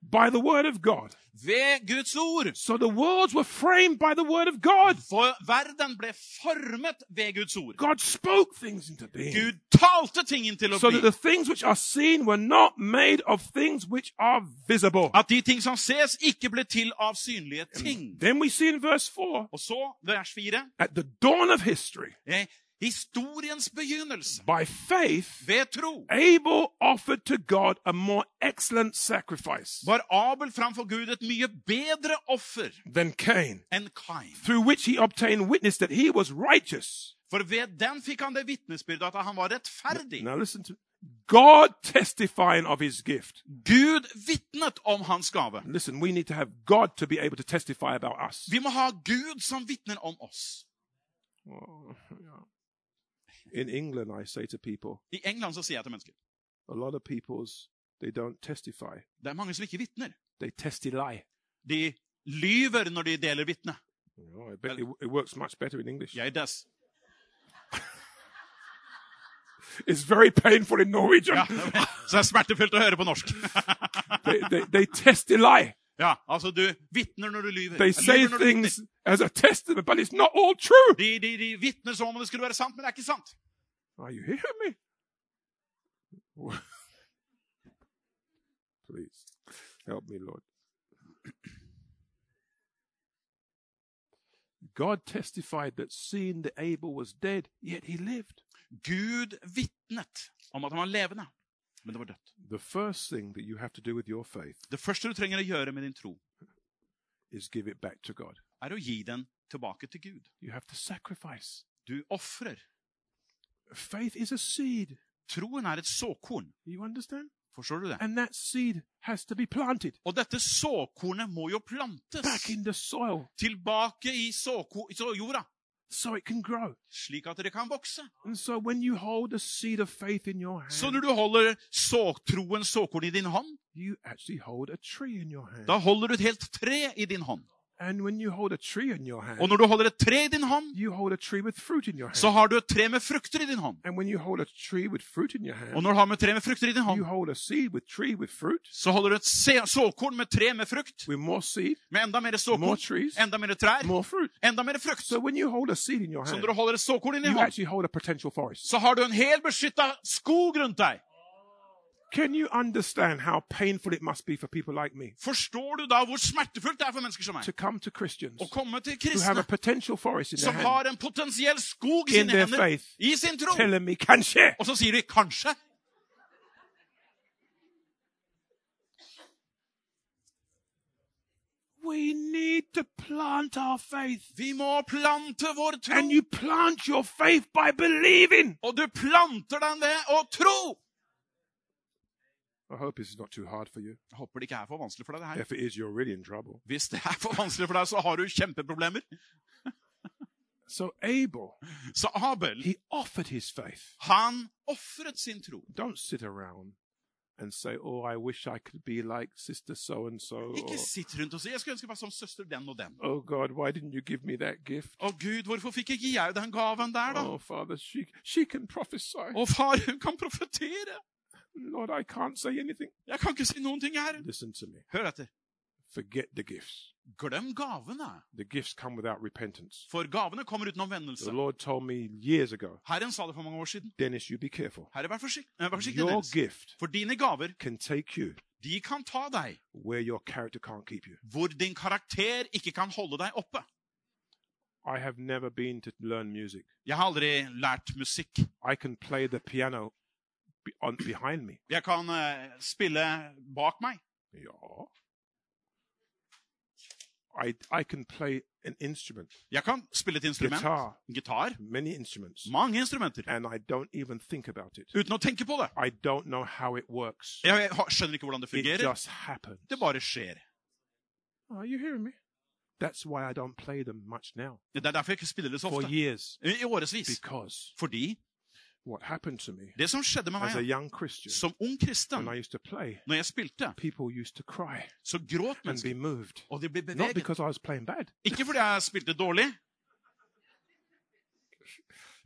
Speaker 1: By the word of God.
Speaker 2: Ved Guds ord.
Speaker 1: So the worlds were framed by the word of God.
Speaker 2: For verden ble formet ved Guds ord.
Speaker 1: God spoke things into being.
Speaker 2: Gud talte ting inn til å
Speaker 1: So that
Speaker 2: bli.
Speaker 1: the things which are seen were not made of things which are visible.
Speaker 2: At de ting som ses, ikke ble til av synlige ting.
Speaker 1: Then we see in verse 4
Speaker 2: Og så, vers 4,
Speaker 1: at the dawn of history,
Speaker 2: eh, Historiens begynnelse.
Speaker 1: By faith,
Speaker 2: Ved tro
Speaker 1: Abel offered to God a more excellent sacrifice
Speaker 2: var Abel framfor Gud et mye bedre offer
Speaker 1: than Cain,
Speaker 2: enn Kain.
Speaker 1: through which he obtained witness that he was righteous.
Speaker 2: For ved den fikk han det vitnesbyrdet at han var rettferdig.
Speaker 1: Now listen to God testifying of his gift.
Speaker 2: Gud vitnet om hans gave.
Speaker 1: Listen, we need to have God to be able to testify about us.
Speaker 2: Vi må ha Gud som vitner om oss.
Speaker 1: Oh, yeah. (laughs) In England, I say to people,
Speaker 2: I England så sier jeg til mennesker
Speaker 1: a lot of people's they don't testify,
Speaker 2: det er mange som ikke vitner.
Speaker 1: they testy lie.
Speaker 2: De lyver når de deler vitne.
Speaker 1: Oh, I bet it, it works much better in English.
Speaker 2: Jeg dess.
Speaker 1: It's very painful in Norwegian.
Speaker 2: Ja, så det er smertefullt å høre på norsk. (laughs)
Speaker 1: They, they, they testy lie.
Speaker 2: Ja, altså du vitner når du lyver.
Speaker 1: They say
Speaker 2: lyver når du vitner.
Speaker 1: things as a testament, but it's not all true.
Speaker 2: De, de, de vitner som om det skulle være sant, men det er ikke sant.
Speaker 1: Are you hearing me? (laughs) Wha- Please help me, Lord. (clears throat) God testified that seeing that Abel was dead, yet he lived.
Speaker 2: Gud vitnet om at han var levende, men det var dødt.
Speaker 1: The first thing that you have to do with your faith
Speaker 2: Det første du trenger å gjøre med din tro,
Speaker 1: is give it back to God.
Speaker 2: er å gi den tilbake til Gud.
Speaker 1: You have to sacrifice.
Speaker 2: Du ofrer.
Speaker 1: Faith is a seed.
Speaker 2: Troen er et såkorn.
Speaker 1: You understand?
Speaker 2: Forstår du det?
Speaker 1: And that seed has to be planted
Speaker 2: Og dette såkornet må jo plantes
Speaker 1: back in the soil
Speaker 2: tilbake i såko- så jorda,
Speaker 1: so it can grow.
Speaker 2: slik at det kan vokse.
Speaker 1: And so when you hold a seed of faith in your hand,
Speaker 2: Så når du holder såtroens såkorn i din hånd,
Speaker 1: you actually hold a tree in your hand.
Speaker 2: da holder du et helt tre i din hånd.
Speaker 1: And when you hold a tree in your hand,
Speaker 2: Og når du holder et tre i din hånd,
Speaker 1: you hold a tree with fruit in your hand.
Speaker 2: så har du et tre med frukter i din hånd.
Speaker 1: and when you hold a tree with fruit in your hand,
Speaker 2: Og når du har med tre med frukter i din
Speaker 1: you
Speaker 2: hånd,
Speaker 1: hold a seed with tree with fruit,
Speaker 2: så holder du et se- såkorn med tre med frukt,
Speaker 1: with more seed,
Speaker 2: med enda mer
Speaker 1: more
Speaker 2: såkorn,
Speaker 1: trees,
Speaker 2: enda mer trær,
Speaker 1: more fruit.
Speaker 2: enda mer frukt.
Speaker 1: So when you hold a seed in your
Speaker 2: Så
Speaker 1: hand,
Speaker 2: når du holder et såkorn i din
Speaker 1: you
Speaker 2: hånd,
Speaker 1: actually hold a potential forest.
Speaker 2: så har du en hel beskytta skog rundt deg.
Speaker 1: Can you understand how painful it must be for people like me
Speaker 2: Forstår du da hvor smertefullt det er for mennesker som meg
Speaker 1: to come to Christians
Speaker 2: å komme til
Speaker 1: who have a
Speaker 2: kristne
Speaker 1: potential forest in their
Speaker 2: som
Speaker 1: hand,
Speaker 2: har en potensiell skog i
Speaker 1: In
Speaker 2: sine
Speaker 1: their
Speaker 2: hender,
Speaker 1: faith.
Speaker 2: i sin tro,
Speaker 1: telling me, can share?
Speaker 2: og så sier de 'kanskje'?
Speaker 1: We need to plant our faith.
Speaker 2: Vi må plante vår tro.
Speaker 1: And you plant your faith by believing.
Speaker 2: Og du planter den ved å tro.
Speaker 1: I hope this is not too hard for you.
Speaker 2: Jeg håper det ikke er for vanskelig for deg. det her.
Speaker 1: If it is, you're really in trouble.
Speaker 2: Hvis det er for vanskelig for deg, så har du kjempeproblemer.
Speaker 1: So Abel,
Speaker 2: Så Abel,
Speaker 1: he offered his faith.
Speaker 2: han ofret sin tro.
Speaker 1: Don't sit around and say, "Oh, I wish I could be like sister so and so."
Speaker 2: Ikke sitt rundt og si 'jeg skulle ønske jeg var som søster den og den'.
Speaker 1: Oh God, why didn't you give me that gift?
Speaker 2: Å Gud, hvorfor fikk ikke jeg den gaven der, da?
Speaker 1: Oh Father, she she can prophesy.
Speaker 2: Å far, hun kan profetere!
Speaker 1: Lord, I can't say anything.
Speaker 2: Jeg kan ikke si noen ting her.
Speaker 1: Listen to me.
Speaker 2: Hør etter.
Speaker 1: Forget the gifts.
Speaker 2: Glem gavene,
Speaker 1: The gifts come without repentance.
Speaker 2: for gavene kommer uten omvendelse.
Speaker 1: The Lord told me years ago,
Speaker 2: Herren sa det for mange år siden.
Speaker 1: Dennis, you be careful.
Speaker 2: Herre, vær forsiktig, eh, vær forsiktig
Speaker 1: Your
Speaker 2: Dennis.
Speaker 1: gift
Speaker 2: For dine gaver,
Speaker 1: can take you
Speaker 2: de kan ta deg
Speaker 1: where your character can't keep you.
Speaker 2: hvor din karakter ikke kan holde deg oppe.
Speaker 1: I have never been to learn music.
Speaker 2: Jeg har aldri lært musikk.
Speaker 1: I can play the piano be- on, behind me.
Speaker 2: Jeg kan eh, spille bak meg.
Speaker 1: Yeah. I, I can play an instrument,
Speaker 2: Jeg kan spille et instrument.
Speaker 1: Gitar.
Speaker 2: Gitar.
Speaker 1: many instruments,
Speaker 2: Mange instrumenter.
Speaker 1: and I don't even think about it.
Speaker 2: Uten å tenke på det.
Speaker 1: I don't know how it works.
Speaker 2: Jeg har- skjønner ikke hvordan det
Speaker 1: It
Speaker 2: fungerer.
Speaker 1: just happens.
Speaker 2: Det bare skjer.
Speaker 1: Are Oh, you hearing me? That's why I don't play them much now.
Speaker 2: Det er derfor jeg ikke spiller det så
Speaker 1: For
Speaker 2: ofte.
Speaker 1: years.
Speaker 2: I årevis.
Speaker 1: Because
Speaker 2: Fordi
Speaker 1: what happened to me
Speaker 2: det som skjedde med
Speaker 1: as a
Speaker 2: meg
Speaker 1: young Christian,
Speaker 2: som ung kristen,
Speaker 1: when I used to play,
Speaker 2: når jeg spilte,
Speaker 1: people used to cry
Speaker 2: så gråt
Speaker 1: and be
Speaker 2: mennesker.
Speaker 1: moved.
Speaker 2: Og de ble
Speaker 1: Not
Speaker 2: beveget.
Speaker 1: because I was playing bad,
Speaker 2: Ikke fordi jeg spilte dårlig,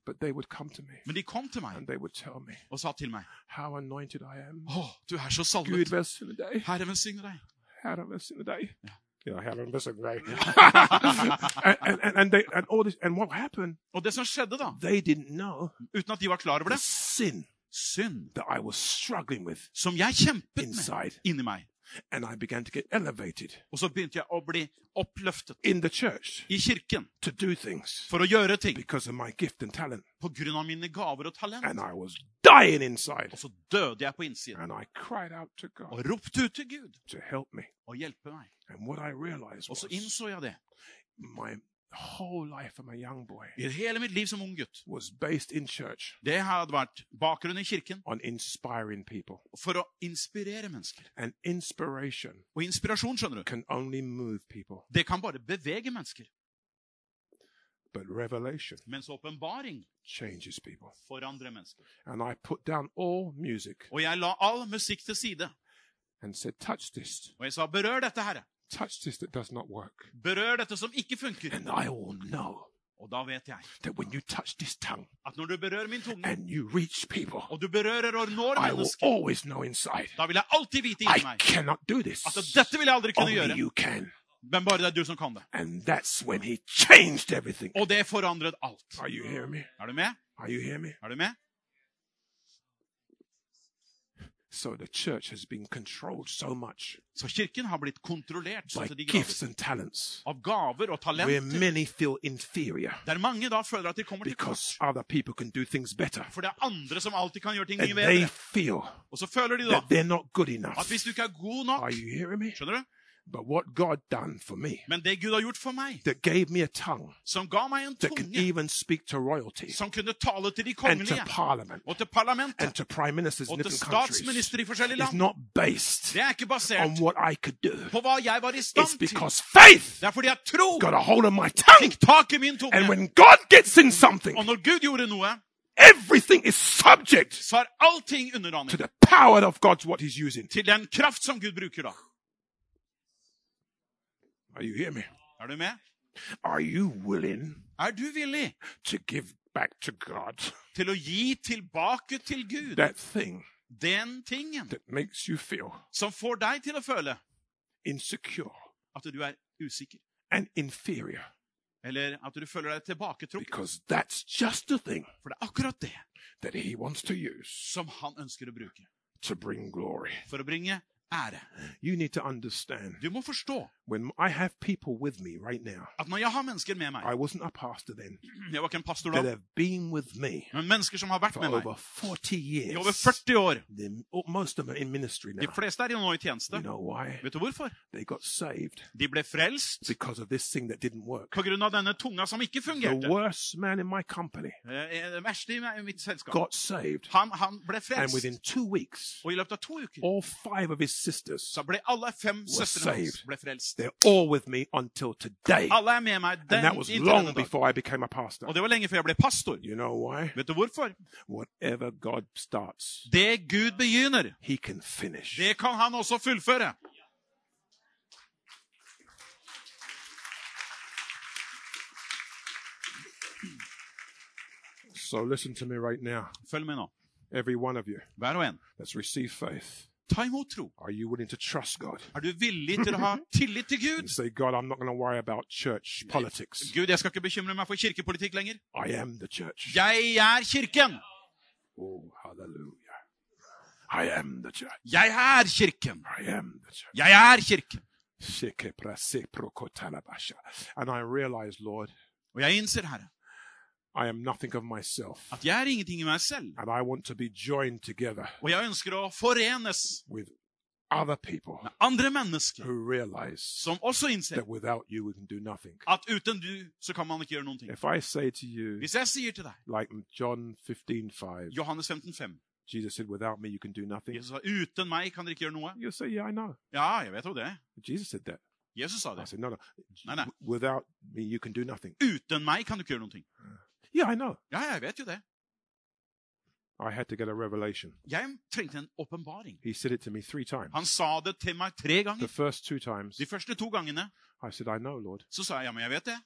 Speaker 1: but they would come to me
Speaker 2: men de kom til meg
Speaker 1: and they would tell me
Speaker 2: og sa til meg
Speaker 1: how anointed I am.
Speaker 2: Å, du er så
Speaker 1: Gud
Speaker 2: salvet.
Speaker 1: velsigne deg.
Speaker 2: Herre velsigne deg.
Speaker 1: Herren velsigne deg. Ja, Herren velsigne deg.
Speaker 2: Ja.
Speaker 1: and, (laughs) and, and- and, they, and, all this, and what happened,
Speaker 2: Og det som skjedde, da,
Speaker 1: they didn't know
Speaker 2: uten at de var klar over
Speaker 1: the
Speaker 2: det
Speaker 1: sin
Speaker 2: Synd
Speaker 1: that I was struggling with
Speaker 2: som jeg kjempet med
Speaker 1: inside.
Speaker 2: inni meg.
Speaker 1: and I began to get elevated
Speaker 2: Og så begynte jeg å bli oppløftet
Speaker 1: in the church
Speaker 2: i kirken
Speaker 1: to do things
Speaker 2: for å gjøre ting
Speaker 1: because of my gift and talent.
Speaker 2: på grunn av mine gaver og talent.
Speaker 1: And I was dying inside.
Speaker 2: Og så døde jeg på innsiden
Speaker 1: And I cried out to God
Speaker 2: og ropte ut til Gud
Speaker 1: to help me.
Speaker 2: og hjelpe meg.
Speaker 1: And what I realized
Speaker 2: Og så
Speaker 1: was
Speaker 2: innså jeg det.
Speaker 1: my whole life I'm a young boy
Speaker 2: I hele mitt liv som ung gutt.
Speaker 1: was based in church
Speaker 2: Det hadde vært bakgrunn i kirken
Speaker 1: on inspiring people.
Speaker 2: for å inspirere mennesker.
Speaker 1: And inspiration
Speaker 2: Og inspirasjon, skjønner du,
Speaker 1: can only move people,
Speaker 2: det kan bare bevege mennesker.
Speaker 1: but revelation
Speaker 2: Mens åpenbaring
Speaker 1: changes people.
Speaker 2: forandrer mennesker.
Speaker 1: And I put down all music
Speaker 2: Og jeg la all musikk til side.
Speaker 1: and said, Touch this,
Speaker 2: Og jeg sa, berør dette herre.
Speaker 1: touch this that does not work.
Speaker 2: Berør dette som ikke funker.
Speaker 1: And I will know
Speaker 2: Og da vet jeg
Speaker 1: that when you touch this tongue
Speaker 2: at når du berører min tunge,
Speaker 1: and you reach people,
Speaker 2: og du berører og når
Speaker 1: I will
Speaker 2: mennesker,
Speaker 1: always know inside.
Speaker 2: da vil jeg alltid vite inni
Speaker 1: I
Speaker 2: meg
Speaker 1: cannot do this.
Speaker 2: at dette vil jeg aldri kunne
Speaker 1: Only
Speaker 2: gjøre,
Speaker 1: you can.
Speaker 2: men bare det er du som kan det.
Speaker 1: And that's when he changed everything.
Speaker 2: Og det forandret alt.
Speaker 1: Are you hearing me?
Speaker 2: Er du med?
Speaker 1: Are you hearing me?
Speaker 2: Er du med?
Speaker 1: So the church has been controlled so much
Speaker 2: Så kirken har blitt kontrollert sånn
Speaker 1: by
Speaker 2: til de grader,
Speaker 1: gifts and talents,
Speaker 2: av gaver og
Speaker 1: where
Speaker 2: talenter,
Speaker 1: many feel inferior
Speaker 2: der mange da føler at de kommer til kort.
Speaker 1: because other people can do things better.
Speaker 2: For det er andre som alltid kan gjøre ting mye
Speaker 1: And they
Speaker 2: bedre.
Speaker 1: feel
Speaker 2: Og så føler de da
Speaker 1: that they're not good
Speaker 2: at
Speaker 1: enough.
Speaker 2: hvis du ikke er god
Speaker 1: Are
Speaker 2: nok
Speaker 1: you hearing me?
Speaker 2: Skjønner du?
Speaker 1: But what God done for me,
Speaker 2: Men det Gud har gjort for meg,
Speaker 1: that gave me a tongue
Speaker 2: som ga meg en
Speaker 1: that can
Speaker 2: tunge
Speaker 1: even speak to royalty
Speaker 2: som kunne tale til de
Speaker 1: and to
Speaker 2: kongelige,
Speaker 1: parliament
Speaker 2: og til parlamentet,
Speaker 1: and to prime ministers in
Speaker 2: og til
Speaker 1: different countries,
Speaker 2: statsminister i forskjellige
Speaker 1: is
Speaker 2: land,
Speaker 1: not based
Speaker 2: det er ikke
Speaker 1: on
Speaker 2: basert
Speaker 1: what I could do.
Speaker 2: på hva jeg var i
Speaker 1: It's
Speaker 2: stand til.
Speaker 1: because faith
Speaker 2: Det er fordi jeg tror
Speaker 1: got a hold of my tongue.
Speaker 2: fikk tak i min
Speaker 1: And
Speaker 2: tunge.
Speaker 1: when God gets in
Speaker 2: Og
Speaker 1: something,
Speaker 2: når Gud gjorde noe,
Speaker 1: everything is subject
Speaker 2: så er allting
Speaker 1: to
Speaker 2: underdannet
Speaker 1: the power of God's what He's using.
Speaker 2: til den kraft som Gud bruker da.
Speaker 1: Are you hearing me?
Speaker 2: Er du med?
Speaker 1: Are you willing
Speaker 2: Er du villig
Speaker 1: to give back to God
Speaker 2: til å gi tilbake til Gud
Speaker 1: that thing
Speaker 2: den tingen
Speaker 1: that makes you feel
Speaker 2: som får deg til å føle
Speaker 1: insecure
Speaker 2: at du er usikker,
Speaker 1: and inferior?
Speaker 2: eller at du føler deg tilbaketrukket?
Speaker 1: Because that's just the thing
Speaker 2: For det er akkurat det
Speaker 1: that He wants to use
Speaker 2: som han ønsker å bruke
Speaker 1: to bring glory.
Speaker 2: for å bringe ære.
Speaker 1: You need to understand
Speaker 2: Du må forstå
Speaker 1: when I have people with me right now,
Speaker 2: at når jeg har mennesker med meg
Speaker 1: I wasn't a pastor then,
Speaker 2: Jeg var ikke en pastor
Speaker 1: that
Speaker 2: da,
Speaker 1: have been with me
Speaker 2: men mennesker som har vært
Speaker 1: for
Speaker 2: med meg
Speaker 1: over 40
Speaker 2: i over
Speaker 1: years.
Speaker 2: 40 år.
Speaker 1: The, most of them are in ministry
Speaker 2: De
Speaker 1: now.
Speaker 2: fleste er jo nå i tjeneste.
Speaker 1: You know why?
Speaker 2: Vet du hvorfor?
Speaker 1: They got saved
Speaker 2: De ble frelst
Speaker 1: because of this thing that didn't work.
Speaker 2: på grunn av denne tunga som ikke
Speaker 1: The
Speaker 2: fungerte.
Speaker 1: worst man in my company
Speaker 2: Eh, eh, Den verste i me- i mitt selskap.
Speaker 1: got saved,
Speaker 2: Han, han ble
Speaker 1: and
Speaker 2: frelst,
Speaker 1: within two weeks,
Speaker 2: og i løpet av to uker
Speaker 1: all five of his sisters,
Speaker 2: så ble alle fem
Speaker 1: Was
Speaker 2: søstrene hans
Speaker 1: saved.
Speaker 2: ble frelst.
Speaker 1: they're all with me until today.
Speaker 2: Alle er med meg
Speaker 1: And
Speaker 2: den
Speaker 1: that was
Speaker 2: inntil
Speaker 1: long
Speaker 2: denne dag.
Speaker 1: before I became a pastor.
Speaker 2: Og det var lenge før jeg ble pastor.
Speaker 1: You know why?
Speaker 2: Vet du hvorfor?
Speaker 1: Whatever God starts,
Speaker 2: Det Gud begynner,
Speaker 1: he can finish.
Speaker 2: det kan han også fullføre.
Speaker 1: So listen to me right now,
Speaker 2: Følg med nå,
Speaker 1: every one of you
Speaker 2: hver og en.
Speaker 1: that's received faith.
Speaker 2: Ta imot tro.
Speaker 1: Are you willing to trust God?
Speaker 2: Er du villig til å
Speaker 1: (laughs)
Speaker 2: ha tillit til
Speaker 1: And
Speaker 2: Gud?
Speaker 1: say, God, I'm not going to worry about church politics.
Speaker 2: Gud, jeg skal ikke bekymre meg for kirkepolitikk lenger.
Speaker 1: I am the church.
Speaker 2: Jeg er kirken!
Speaker 1: Oh, hallelujah. I am the church.
Speaker 2: Jeg er kirken!
Speaker 1: I am the church.
Speaker 2: Jeg er kirken!
Speaker 1: Sheke prase prokotalabasha. And I realize, Lord,
Speaker 2: Og jeg innser, Herre,
Speaker 1: I am nothing of myself.
Speaker 2: at jeg er ingenting i meg selv.
Speaker 1: And I want to be joined together
Speaker 2: Og jeg ønsker å forenes
Speaker 1: with other people
Speaker 2: med andre mennesker
Speaker 1: who realize
Speaker 2: som også innser
Speaker 1: that without you we can do nothing.
Speaker 2: at uten du, så kan man ikke gjøre noen ting.
Speaker 1: If I say to you,
Speaker 2: Hvis jeg sier til deg
Speaker 1: like John 15 5,
Speaker 2: Johannes 15,5
Speaker 1: Jesus said, Without me you can do nothing.
Speaker 2: Jesus sa uten meg kan dere ikke gjøre noe.
Speaker 1: You'll say, Yeah, I know.
Speaker 2: Ja, jeg vet jo det.
Speaker 1: Jesus said that.
Speaker 2: Jesus sa
Speaker 1: I
Speaker 2: det.
Speaker 1: said, No, no.
Speaker 2: No, no.
Speaker 1: Without me you can do nothing.
Speaker 2: Uten meg kan du ikke gjøre noen ting.
Speaker 1: Yeah, I know.
Speaker 2: Ja, jeg vet jo det.
Speaker 1: I had to get a revelation.
Speaker 2: Jeg trengte en åpenbaring.
Speaker 1: He said it to me three times.
Speaker 2: Han sa det til meg tre
Speaker 1: The
Speaker 2: ganger.
Speaker 1: first two times,
Speaker 2: De første to gangene
Speaker 1: I said, I know, Lord.
Speaker 2: så sa jeg ja, men jeg vet det.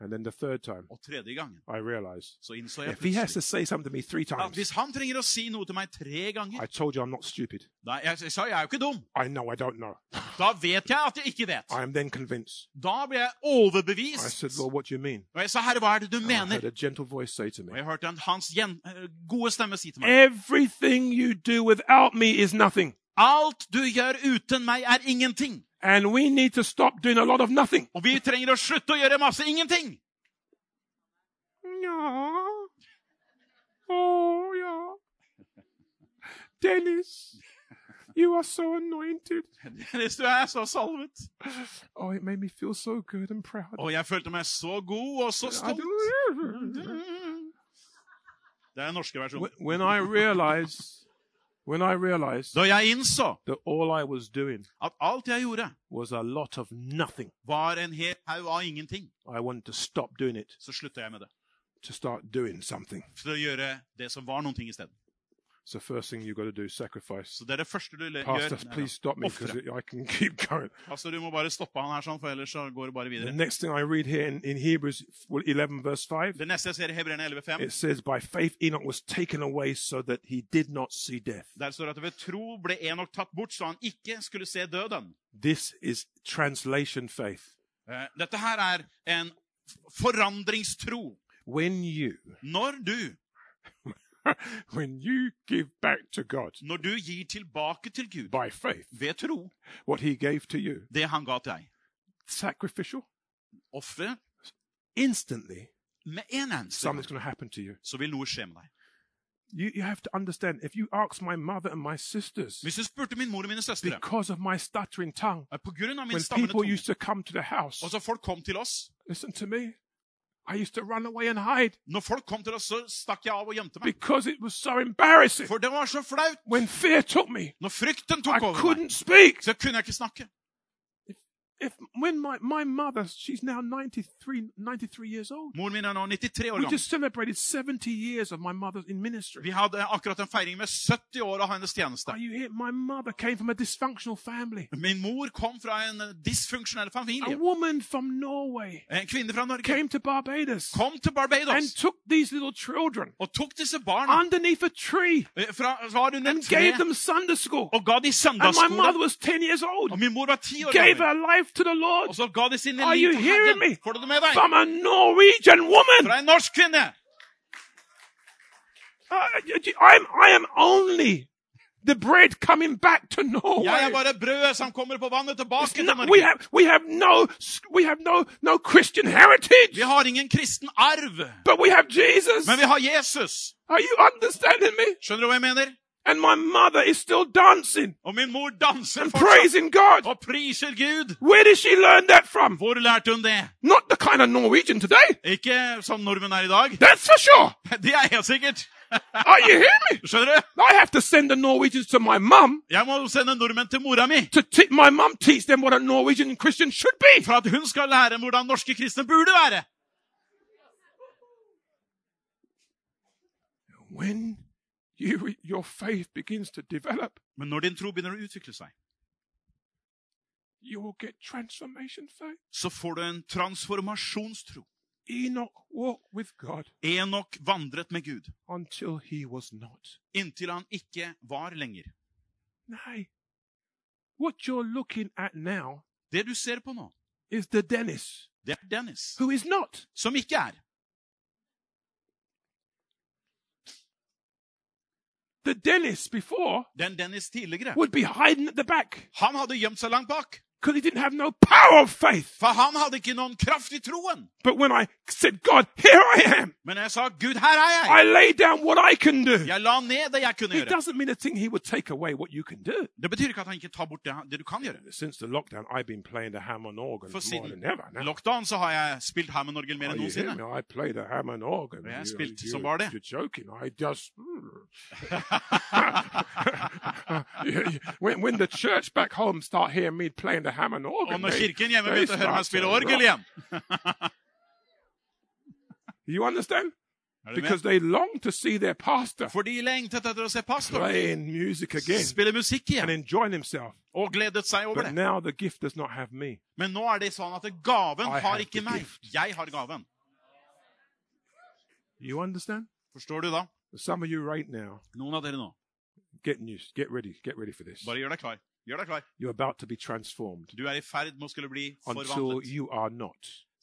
Speaker 1: And then the third time,
Speaker 2: Og tredje gangen
Speaker 1: I realized
Speaker 2: så innså jeg
Speaker 1: if he has to
Speaker 2: plutselig
Speaker 1: say something to me three
Speaker 2: at
Speaker 1: times,
Speaker 2: hvis han trenger å si noe til meg tre ganger
Speaker 1: I told you I'm not stupid.
Speaker 2: da, jeg, jeg sa jeg er jo ikke dum.
Speaker 1: I know I don't know.
Speaker 2: Da vet jeg at jeg ikke vet.
Speaker 1: I am then convinced.
Speaker 2: Da ble jeg
Speaker 1: I
Speaker 2: overbevist.
Speaker 1: said, Lord, what do you mean?
Speaker 2: Og jeg sa herre, hva er det du
Speaker 1: And I
Speaker 2: mener?
Speaker 1: heard a gentle voice say to
Speaker 2: Og
Speaker 1: me,
Speaker 2: jeg hørte en hans gjen, eh, gode stemme si til meg
Speaker 1: Everything you do without me is nothing.
Speaker 2: Alt du gjør uten meg, er ingenting.
Speaker 1: And we need to stop doing a lot of nothing.
Speaker 2: Og vi trenger å slutte å gjøre masse ingenting. (laughs)
Speaker 1: Ja. Oh, yeah. Dennis, you are so anointed.
Speaker 2: Hvis du er så salvet.
Speaker 1: Oh, it made me feel so good and proud.
Speaker 2: Og jeg følte meg så god og så
Speaker 1: I
Speaker 2: stolt.
Speaker 1: do-
Speaker 2: Det er den norske
Speaker 1: (laughs)
Speaker 2: versjonen.
Speaker 1: Wh- when I realized, when I realized
Speaker 2: Da jeg innså
Speaker 1: that all I was doing
Speaker 2: at alt jeg gjorde,
Speaker 1: was a lot of nothing,
Speaker 2: var en hel haug av ingenting,
Speaker 1: I wanted to stop doing it
Speaker 2: så slutta jeg med det.
Speaker 1: to start doing something.
Speaker 2: For å gjøre det som var noen ting isteden.
Speaker 1: So first thing you got to do is sacrifice.
Speaker 2: Så det er det første du le- gjør.
Speaker 1: Pastor, please stop me because I can (laughs) keep going.
Speaker 2: Altså, du må bare stoppe han her sånn, for ellers så går det bare
Speaker 1: The
Speaker 2: videre.
Speaker 1: next thing I read here in, in Hebrews 11 verse 5,
Speaker 2: Det neste jeg ser i Hebreerne 11,5,
Speaker 1: it says, By faith Enoch was taken away so that he did not see death.
Speaker 2: der står det at ved tro ble Enok tatt bort, så han ikke skulle se døden.
Speaker 1: This is translation faith.
Speaker 2: Eh, Dette her er en forandringstro.
Speaker 1: When you, (laughs)
Speaker 2: Når du,
Speaker 1: when you give back to God
Speaker 2: når du gir tilbake til Gud
Speaker 1: by faith
Speaker 2: ved tro
Speaker 1: what he gave to you,
Speaker 2: det han ga til deg,
Speaker 1: sacrificial,
Speaker 2: offeret
Speaker 1: instantly
Speaker 2: med en eneste gang,
Speaker 1: something's going to happen to you.
Speaker 2: så vil noe skje med deg.
Speaker 1: you. You have to understand, if you ask my mother and my sisters,
Speaker 2: Hvis du spurte min mor og mine søstre
Speaker 1: because of my stuttering tongue,
Speaker 2: eh, på grunn av min
Speaker 1: when
Speaker 2: stammende
Speaker 1: people
Speaker 2: tunge
Speaker 1: used to come to the house,
Speaker 2: Og så folk kom til oss.
Speaker 1: listen to me, I used to run away and hide
Speaker 2: Når folk kom til oss, så stakk jeg av og gjemte meg.
Speaker 1: because it was so embarrassing.
Speaker 2: For det var så flaut.
Speaker 1: When fear took me,
Speaker 2: Når frykten
Speaker 1: I
Speaker 2: tok over meg,
Speaker 1: couldn't speak.
Speaker 2: så kunne jeg ikke snakke.
Speaker 1: If when my, my mother, she's now 93, 93 years old.
Speaker 2: Moren min er nå 93 år
Speaker 1: We
Speaker 2: gammel.
Speaker 1: just celebrated 70 years of my mother in ministry.
Speaker 2: Vi hadde akkurat en feiring med 70 år av hennes tjeneste.
Speaker 1: Are you here? My mother came from a dysfunctional family.
Speaker 2: Min mor kom fra en eh, dysfunksjonell
Speaker 1: A
Speaker 2: familie.
Speaker 1: woman from Norway
Speaker 2: Eh, En kvinne fra Norge
Speaker 1: came to Barbados
Speaker 2: kom til
Speaker 1: and
Speaker 2: Barbados
Speaker 1: took these little children
Speaker 2: og tok disse barna
Speaker 1: underneath a tree
Speaker 2: eh, fra, var under
Speaker 1: and
Speaker 2: et tre
Speaker 1: gave them Sunday school.
Speaker 2: og ga de
Speaker 1: And my
Speaker 2: søndagsskole.
Speaker 1: mother was 10 years
Speaker 2: Og
Speaker 1: old.
Speaker 2: min mor var 10 år
Speaker 1: Gave
Speaker 2: gammel.
Speaker 1: her life to the
Speaker 2: Og
Speaker 1: Lord
Speaker 2: så ga de sine
Speaker 1: Are you
Speaker 2: liv til
Speaker 1: hearing
Speaker 2: Herren.
Speaker 1: me?
Speaker 2: Får du det med deg?
Speaker 1: from a Norwegian woman.
Speaker 2: Fra en norsk kvinne.
Speaker 1: Uh, I'm, I am only the bread coming back to
Speaker 2: Jeg er
Speaker 1: Norway.
Speaker 2: bare brødet som kommer på vannet tilbake til
Speaker 1: No, we
Speaker 2: Norge.
Speaker 1: have we have no we have no no Christian heritage,
Speaker 2: Vi har ingen kristen arv,
Speaker 1: but we have Jesus.
Speaker 2: men vi har Jesus.
Speaker 1: Are you understanding me?
Speaker 2: Skjønner du hva jeg mener?
Speaker 1: And my mother is still dancing
Speaker 2: Og min mor danser
Speaker 1: and
Speaker 2: fortsatt Oh.
Speaker 1: praising God.
Speaker 2: og priser Gud.
Speaker 1: Where did she learn that from?
Speaker 2: Hvor lærte hun det?
Speaker 1: Not the kind of Norwegian today.
Speaker 2: Ikke som nordmenn er i dag. (laughs)
Speaker 1: That's for sure.
Speaker 2: Det er helt sikkert.
Speaker 1: Are you hearing me?
Speaker 2: Skjønner du?
Speaker 1: I have to send the Norwegians to my mum
Speaker 2: Jeg må sende nordmenn til mora mi
Speaker 1: to te- my mum teach them what a Norwegian Christian should be.
Speaker 2: for at hun skal lære hvordan norske kristne burde være.
Speaker 1: When you your faith begins to develop,
Speaker 2: Men når din tro begynner å utvikle seg,
Speaker 1: you will get transformation faith.
Speaker 2: så får du en transformasjonstro.
Speaker 1: Enoch walked with God
Speaker 2: Enok vandret med Gud
Speaker 1: until he was not.
Speaker 2: inntil han ikke var lenger.
Speaker 1: Nay, what you're looking at now
Speaker 2: Det du ser på nå,
Speaker 1: is the Dennis
Speaker 2: det er Dennis,
Speaker 1: who is not.
Speaker 2: som ikke er.
Speaker 1: The Dennis before
Speaker 2: Den Dennis tidligere.
Speaker 1: would be hiding at the back
Speaker 2: Han hadde gjemt seg langt bak,
Speaker 1: because he didn't have no power of faith.
Speaker 2: for han hadde ikke noen kraft i troen.
Speaker 1: But when I said, God, here I am,
Speaker 2: Men jeg sa, Gud, her er jeg.
Speaker 1: I lay down what I can do.
Speaker 2: Jeg la ned det jeg kunne
Speaker 1: It
Speaker 2: gjøre.
Speaker 1: doesn't mean a thing he would take away what you can do.
Speaker 2: Det betyr ikke at han ikke tar bort det, han- det du kan gjøre.
Speaker 1: Since the lockdown, I've been playing the Hammond organ
Speaker 2: For
Speaker 1: more
Speaker 2: siden
Speaker 1: than ever. Now.
Speaker 2: lockdown så har jeg spilt Hammond-orgel mer
Speaker 1: Are
Speaker 2: enn
Speaker 1: you hearing me?
Speaker 2: er noensinne.
Speaker 1: I play the Hammond organ.
Speaker 2: Yeah,
Speaker 1: You-
Speaker 2: spilt
Speaker 1: you-
Speaker 2: som bare det.
Speaker 1: You're joking. I just.
Speaker 2: (laughs)
Speaker 1: when, when the church back home start hearing me playing the Hammond
Speaker 2: Og
Speaker 1: organ,
Speaker 2: når
Speaker 1: they-
Speaker 2: kirken hjemme
Speaker 1: they
Speaker 2: begynte å høre meg
Speaker 1: start
Speaker 2: spille
Speaker 1: to
Speaker 2: orgel
Speaker 1: rock.
Speaker 2: igjen
Speaker 1: you understand?
Speaker 2: Er du med?
Speaker 1: Because they long to see their pastor
Speaker 2: For de lengtet etter å se pastor
Speaker 1: playing music again
Speaker 2: spille musikk
Speaker 1: and
Speaker 2: igjen,
Speaker 1: enjoying himself.
Speaker 2: og gledet seg over
Speaker 1: But
Speaker 2: det.
Speaker 1: now the gift does not have me.
Speaker 2: Men nå er det sånn at gaven
Speaker 1: I
Speaker 2: har
Speaker 1: have the
Speaker 2: ikke meg.
Speaker 1: gift.
Speaker 2: Jeg har gaven.
Speaker 1: You understand?
Speaker 2: Forstår du da?
Speaker 1: Some of you right now,
Speaker 2: Noen av dere nå,
Speaker 1: get news, get ready, get ready for this.
Speaker 2: bare gjør deg klar. Gjør deg klar.
Speaker 1: You're about to be transformed
Speaker 2: Du er i ferd med å skulle bli
Speaker 1: until
Speaker 2: forvandlet.
Speaker 1: you are not.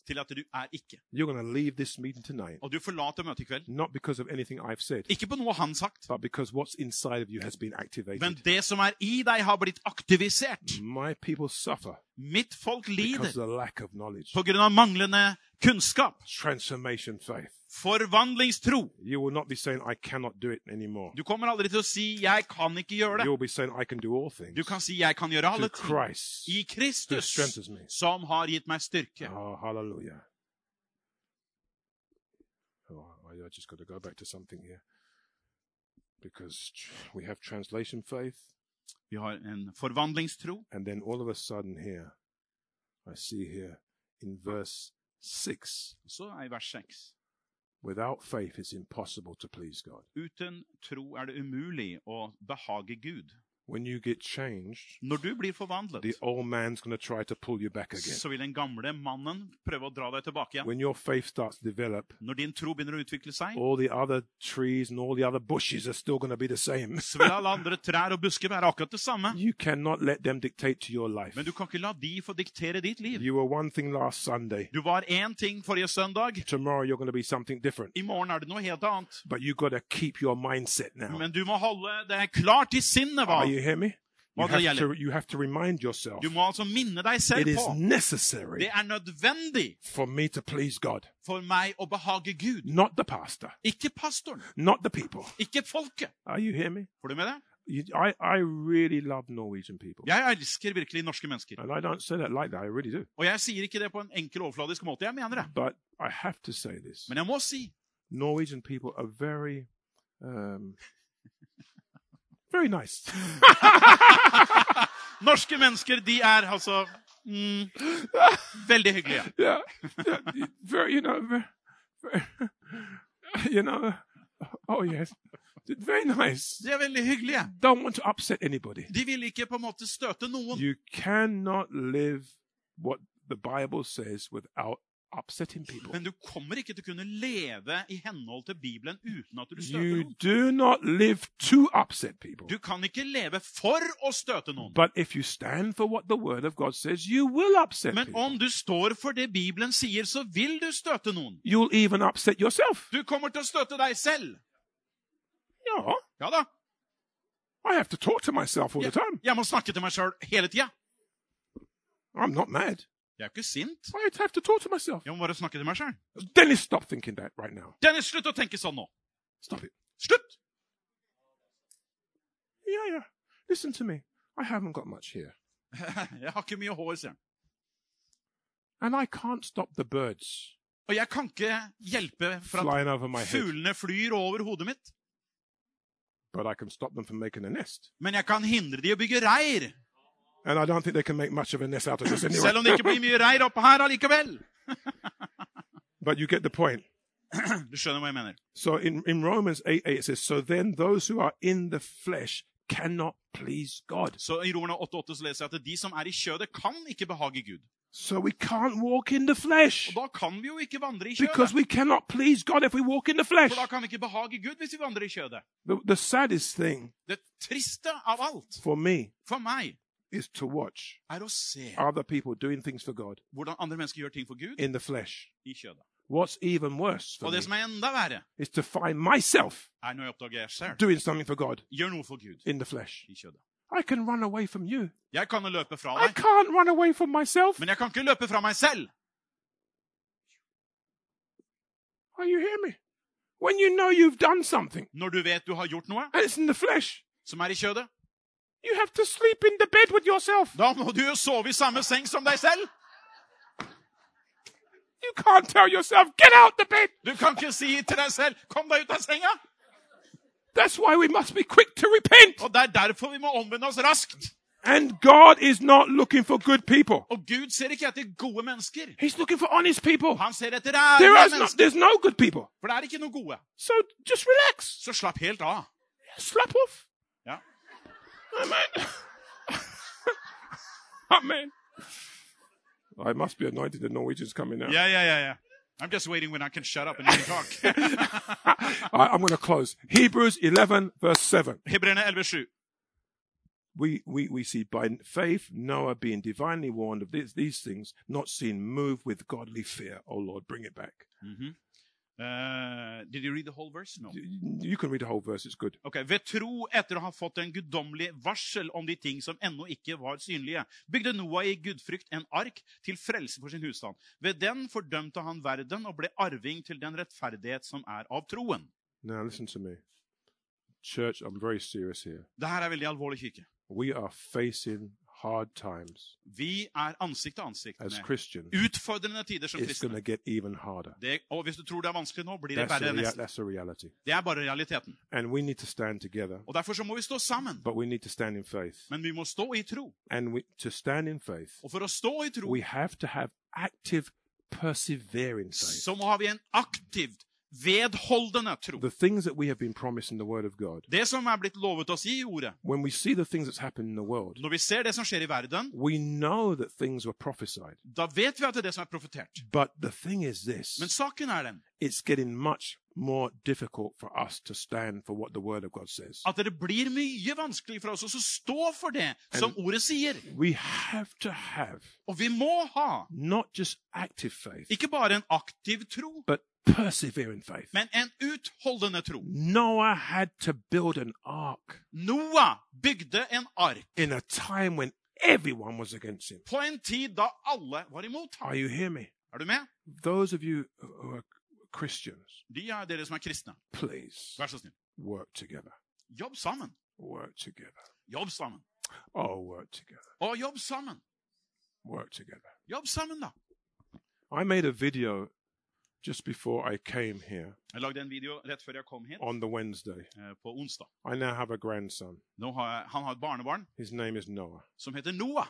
Speaker 2: til at du er ikke.
Speaker 1: You're going to leave this meeting tonight,
Speaker 2: Og du forlater møtet i kveld.
Speaker 1: not because of anything I've said,
Speaker 2: Ikke på noe han sagt,
Speaker 1: but because what's inside of you has been activated.
Speaker 2: men det som er i deg, har blitt aktivisert.
Speaker 1: My people suffer
Speaker 2: Mitt folk
Speaker 1: because of the
Speaker 2: lider
Speaker 1: lack of knowledge.
Speaker 2: på grunn av manglende kunnskap.
Speaker 1: Transformation faith.
Speaker 2: Forvandlingstro.
Speaker 1: You will not be saying, I cannot do it anymore.
Speaker 2: Du kommer aldri til å si 'jeg kan ikke gjøre det'.
Speaker 1: You'll be saying, I can do all things
Speaker 2: Du kan si 'jeg kan gjøre alle
Speaker 1: through
Speaker 2: ting'.
Speaker 1: Christ
Speaker 2: I
Speaker 1: who
Speaker 2: Kristus,
Speaker 1: strengthens me.
Speaker 2: som har gitt meg styrke.
Speaker 1: Oh, hallelujah. Oh, I, I just got to go back to something here. Because tr- we have translation faith,
Speaker 2: Vi har en forvandlingstro.
Speaker 1: and then all of a sudden here, I see here in verse 6
Speaker 2: Så er i vers 6.
Speaker 1: without faith, it's impossible to please God.
Speaker 2: Uten tro er det umulig å behage Gud.
Speaker 1: When you get changed,
Speaker 2: Når du blir forvandlet,
Speaker 1: the old man's going to try to pull you back again.
Speaker 2: så vil den gamle mannen prøve å dra deg tilbake igjen.
Speaker 1: When your faith starts to develop,
Speaker 2: Når din tro begynner å utvikle seg,
Speaker 1: all the other trees and all the other bushes are still going to be the same.
Speaker 2: så vil alle andre trær og busker være akkurat det samme.
Speaker 1: (laughs) You cannot let them dictate to your life.
Speaker 2: Men du kan ikke la de få diktere ditt liv.
Speaker 1: You were one thing last Sunday.
Speaker 2: Du var én ting forrige søndag.
Speaker 1: Tomorrow you're going to be something different.
Speaker 2: I morgen er det noe helt annet.
Speaker 1: But you got to keep your mindset now.
Speaker 2: Men du må holde det klart i sinnet, hva?
Speaker 1: Are you hear me? You
Speaker 2: Madre
Speaker 1: have, to,
Speaker 2: Yale.
Speaker 1: you have to remind yourself
Speaker 2: Du må altså minne deg
Speaker 1: it
Speaker 2: selv
Speaker 1: is
Speaker 2: på. Det
Speaker 1: necessary
Speaker 2: er nødvendig
Speaker 1: for me to please God,
Speaker 2: for meg å behage Gud.
Speaker 1: not the pastor,
Speaker 2: Ikke pastoren,
Speaker 1: not the people.
Speaker 2: ikke folket.
Speaker 1: Are you hear me?
Speaker 2: Får du med det?
Speaker 1: You, I, I really love Norwegian people.
Speaker 2: Jeg elsker virkelig norske mennesker.
Speaker 1: And I don't say that like that, I really do.
Speaker 2: Og jeg sier ikke det på en enkel, overfladisk måte. Jeg mener det.
Speaker 1: But I have to say this
Speaker 2: Men jeg må si (laughs)
Speaker 1: Norwegian people are very, um, very nice.
Speaker 2: Norske mennesker, de er altså mm, Veldig hyggelige.
Speaker 1: yeah, yeah, y- very, you know, very, very, (laughs) you know, oh yes, very nice.
Speaker 2: De er veldig hyggelige.
Speaker 1: Don't want to upset anybody.
Speaker 2: De vil ikke på en måte støte noen.
Speaker 1: You cannot live what the Bible says without upsetting people.
Speaker 2: Men du kommer ikke til å kunne leve i henhold til Bibelen uten at du støter
Speaker 1: You
Speaker 2: noen.
Speaker 1: do not live to upset people.
Speaker 2: Du kan ikke leve for å støte noen.
Speaker 1: But if you stand for what the Word of God says, you will upset
Speaker 2: Men
Speaker 1: people.
Speaker 2: om du står for det Bibelen sier, så vil du støte noen.
Speaker 1: You'll even upset yourself.
Speaker 2: Du kommer til å støte deg selv.
Speaker 1: Yeah,
Speaker 2: Ja da.
Speaker 1: I have to talk to myself all the
Speaker 2: Jeg,
Speaker 1: time.
Speaker 2: jeg må snakke til meg sjøl hele tida.
Speaker 1: I'm not mad.
Speaker 2: Jeg er jo ikke sint.
Speaker 1: I have to talk to myself.
Speaker 2: Jeg må bare snakke til meg sjøl.
Speaker 1: Dennis, stop thinking that right now.
Speaker 2: Dennis, slutt å tenke sånn nå.
Speaker 1: Stop it.
Speaker 2: Slutt! (laughs)
Speaker 1: Yeah, yeah. Listen to me. I haven't got much here.
Speaker 2: Jeg har ikke mye hår, sier han.
Speaker 1: And I can't stop the birds
Speaker 2: Og jeg kan ikke hjelpe for at
Speaker 1: flying over my head.
Speaker 2: fuglene flyr over hodet mitt.
Speaker 1: But I can stop them from making a nest.
Speaker 2: Men jeg kan hindre de å bygge reir.
Speaker 1: And I don't think they can make much of a nest out of this
Speaker 2: Selv om det ikke
Speaker 1: anyway.
Speaker 2: blir mye reir oppe her allikevel.
Speaker 1: but you get the point.
Speaker 2: Du skjønner hva jeg mener.
Speaker 1: So in, in Romans 8 8, it says, So then those who are in the flesh cannot please God.
Speaker 2: Så I Romerne 8,8 så leser jeg at de som er i kjødet, kan ikke behage Gud.
Speaker 1: So we can't walk in the flesh
Speaker 2: Og da kan vi jo ikke vandre i
Speaker 1: because
Speaker 2: kjødet.
Speaker 1: we cannot please God if we walk in the flesh.
Speaker 2: For da kan vi ikke behage Gud hvis vi vandrer i kjødet.
Speaker 1: The, the saddest thing
Speaker 2: Det triste av alt
Speaker 1: for me
Speaker 2: for meg
Speaker 1: is to watch
Speaker 2: er å se
Speaker 1: other people doing things for God
Speaker 2: hvordan andre mennesker gjør ting for Gud
Speaker 1: in the flesh.
Speaker 2: i kjødet.
Speaker 1: What's even worse for
Speaker 2: Og
Speaker 1: me
Speaker 2: det som er enda verre,
Speaker 1: is to find myself
Speaker 2: er når jeg oppdager jeg selv
Speaker 1: doing something for God
Speaker 2: gjør noe for Gud
Speaker 1: in the flesh.
Speaker 2: i kjødet.
Speaker 1: I can run away from you.
Speaker 2: Jeg kan jo løpe fra
Speaker 1: I
Speaker 2: deg,
Speaker 1: can't run away from myself.
Speaker 2: men jeg kan ikke løpe fra meg selv.
Speaker 1: Are Oh, you hear me? When you know you've done something
Speaker 2: Når du vet du har gjort noe
Speaker 1: and it's in the flesh,
Speaker 2: som er i kjødet,
Speaker 1: you have to sleep in the bed with yourself.
Speaker 2: da må du jo sove i samme seng som deg selv.
Speaker 1: You can't tell yourself, get out the bed.
Speaker 2: Du kan ikke si til deg selv 'kom deg ut av senga'.
Speaker 1: That's why we must be quick to repent.
Speaker 2: Og det er derfor vi må omvende oss raskt.
Speaker 1: And God is not looking for good people.
Speaker 2: Og Gud ser ikke etter gode mennesker.
Speaker 1: He's looking for honest people.
Speaker 2: Han ser etter
Speaker 1: There
Speaker 2: ærlige
Speaker 1: is no,
Speaker 2: mennesker.
Speaker 1: there's no good people.
Speaker 2: For det er ikke noe gode.
Speaker 1: So just relax.
Speaker 2: Så slapp helt av.
Speaker 1: Slap off.
Speaker 2: Ja.
Speaker 1: Amen. (laughs) Amen. I must be anointed. The Norwegians coming now.
Speaker 2: Ja, ja, ja, ja. I'm just waiting when I can shut up and you can talk.
Speaker 1: I, I'm going to close. Hebrews 11, verse 7.
Speaker 2: Hebreerne 11,7.
Speaker 1: we, we, we see by faith Noah being divinely warned of these, these things, not seen move with godly fear. Oh Lord, bring it back.
Speaker 2: Mhm. Eh, did you read the whole verse? No.
Speaker 1: You you can read the whole verse, it's good.
Speaker 2: Ok, Ved tro etter å ha fått en guddommelig varsel om de ting som ennå ikke var synlige, bygde Noah i gudfrykt en ark til frelse for sin husstand. Ved den fordømte han verden og ble arving til den rettferdighet som er av troen.
Speaker 1: Now listen to me. Church, I'm very serious here.
Speaker 2: Det her er veldig alvorlig, kirke.
Speaker 1: We are facing hard times
Speaker 2: Vi er ansikt til ansikt
Speaker 1: as
Speaker 2: med
Speaker 1: Christians.
Speaker 2: utfordrende tider som
Speaker 1: It's going
Speaker 2: kristne.
Speaker 1: to get even harder.
Speaker 2: Det, og hvis du tror det er vanskelig nå, blir det
Speaker 1: That's
Speaker 2: verre
Speaker 1: a, rea-
Speaker 2: nesten.
Speaker 1: that's a reality.
Speaker 2: Det er bare realiteten.
Speaker 1: And we need to stand together,
Speaker 2: Og Derfor så må vi stå sammen.
Speaker 1: but we need to stand in faith.
Speaker 2: Men vi må stå i tro.
Speaker 1: And we, to stand in faith,
Speaker 2: Og for å stå i tro,
Speaker 1: we have to have active, persevering faith.
Speaker 2: så må ha vi en aktivt, vedholdende tro.
Speaker 1: The things that we have been promised in the Word of God,
Speaker 2: Det som er blitt lovet oss i ordet.
Speaker 1: when we see the things that's happened in the world,
Speaker 2: Når vi ser det som skjer i verden,
Speaker 1: we know that things were prophesied.
Speaker 2: da vet vi at det er det som er profetert.
Speaker 1: But the thing is
Speaker 2: Men
Speaker 1: this
Speaker 2: saken er den
Speaker 1: it's getting much more difficult for us to stand for what the Word of God says.
Speaker 2: at det blir mye vanskelig for oss å stå for det som ordet sier.
Speaker 1: We have to have
Speaker 2: Og vi må ha
Speaker 1: not just active faith,
Speaker 2: ikke bare en aktiv tro,
Speaker 1: but persevering faith.
Speaker 2: men en utholdende tro.
Speaker 1: Noah had to build an ark
Speaker 2: Noah bygde en ark
Speaker 1: in a time when everyone was against him.
Speaker 2: på en tid da alle var imot
Speaker 1: Are
Speaker 2: ham.
Speaker 1: you hear me?
Speaker 2: Er du med?
Speaker 1: Those of you who are Christians,
Speaker 2: De er dere som er kristne.
Speaker 1: please
Speaker 2: Vær så snill.
Speaker 1: work together.
Speaker 2: Jobb sammen.
Speaker 1: Work together.
Speaker 2: Jobb sammen.
Speaker 1: Oh, work together.
Speaker 2: Og jobb sammen.
Speaker 1: Work together.
Speaker 2: Jobb sammen, da.
Speaker 1: I made a video just before I came here
Speaker 2: Jeg lagde en video rett før jeg kom hit,
Speaker 1: on the Wednesday.
Speaker 2: eh, på onsdag.
Speaker 1: I now have a grandson.
Speaker 2: Nå har jeg, han har et barnebarn
Speaker 1: His name is Noah,
Speaker 2: som heter Noah.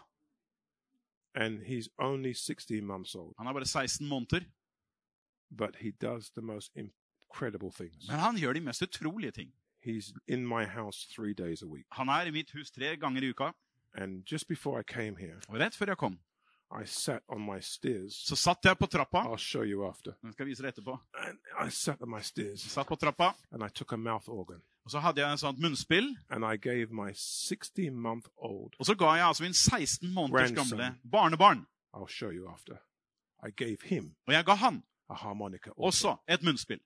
Speaker 1: and he's only 16 months old,
Speaker 2: Han er bare 16 måneder,
Speaker 1: but he does the most incredible things.
Speaker 2: men han gjør de mest utrolige ting.
Speaker 1: He's in my house three days a week.
Speaker 2: Han er i mitt hus tre ganger i uka,
Speaker 1: And just before I came here,
Speaker 2: og rett før jeg kom,
Speaker 1: I sat on my stairs.
Speaker 2: så satt jeg på trappa.
Speaker 1: I'll show you after.
Speaker 2: Jeg skal vise det etterpå.
Speaker 1: And I sat on my
Speaker 2: Jeg
Speaker 1: stairs
Speaker 2: Satt på trappa,
Speaker 1: and I took a mouth organ
Speaker 2: og så hadde jeg en sånt munnspill,
Speaker 1: and I gave my 16 month old,
Speaker 2: og så ga jeg altså min 16 måneders
Speaker 1: Grandson.
Speaker 2: gamle barnebarn,
Speaker 1: I'll show you after. I gave him
Speaker 2: og jeg ga han
Speaker 1: a harmonica also.
Speaker 2: også et munnspill.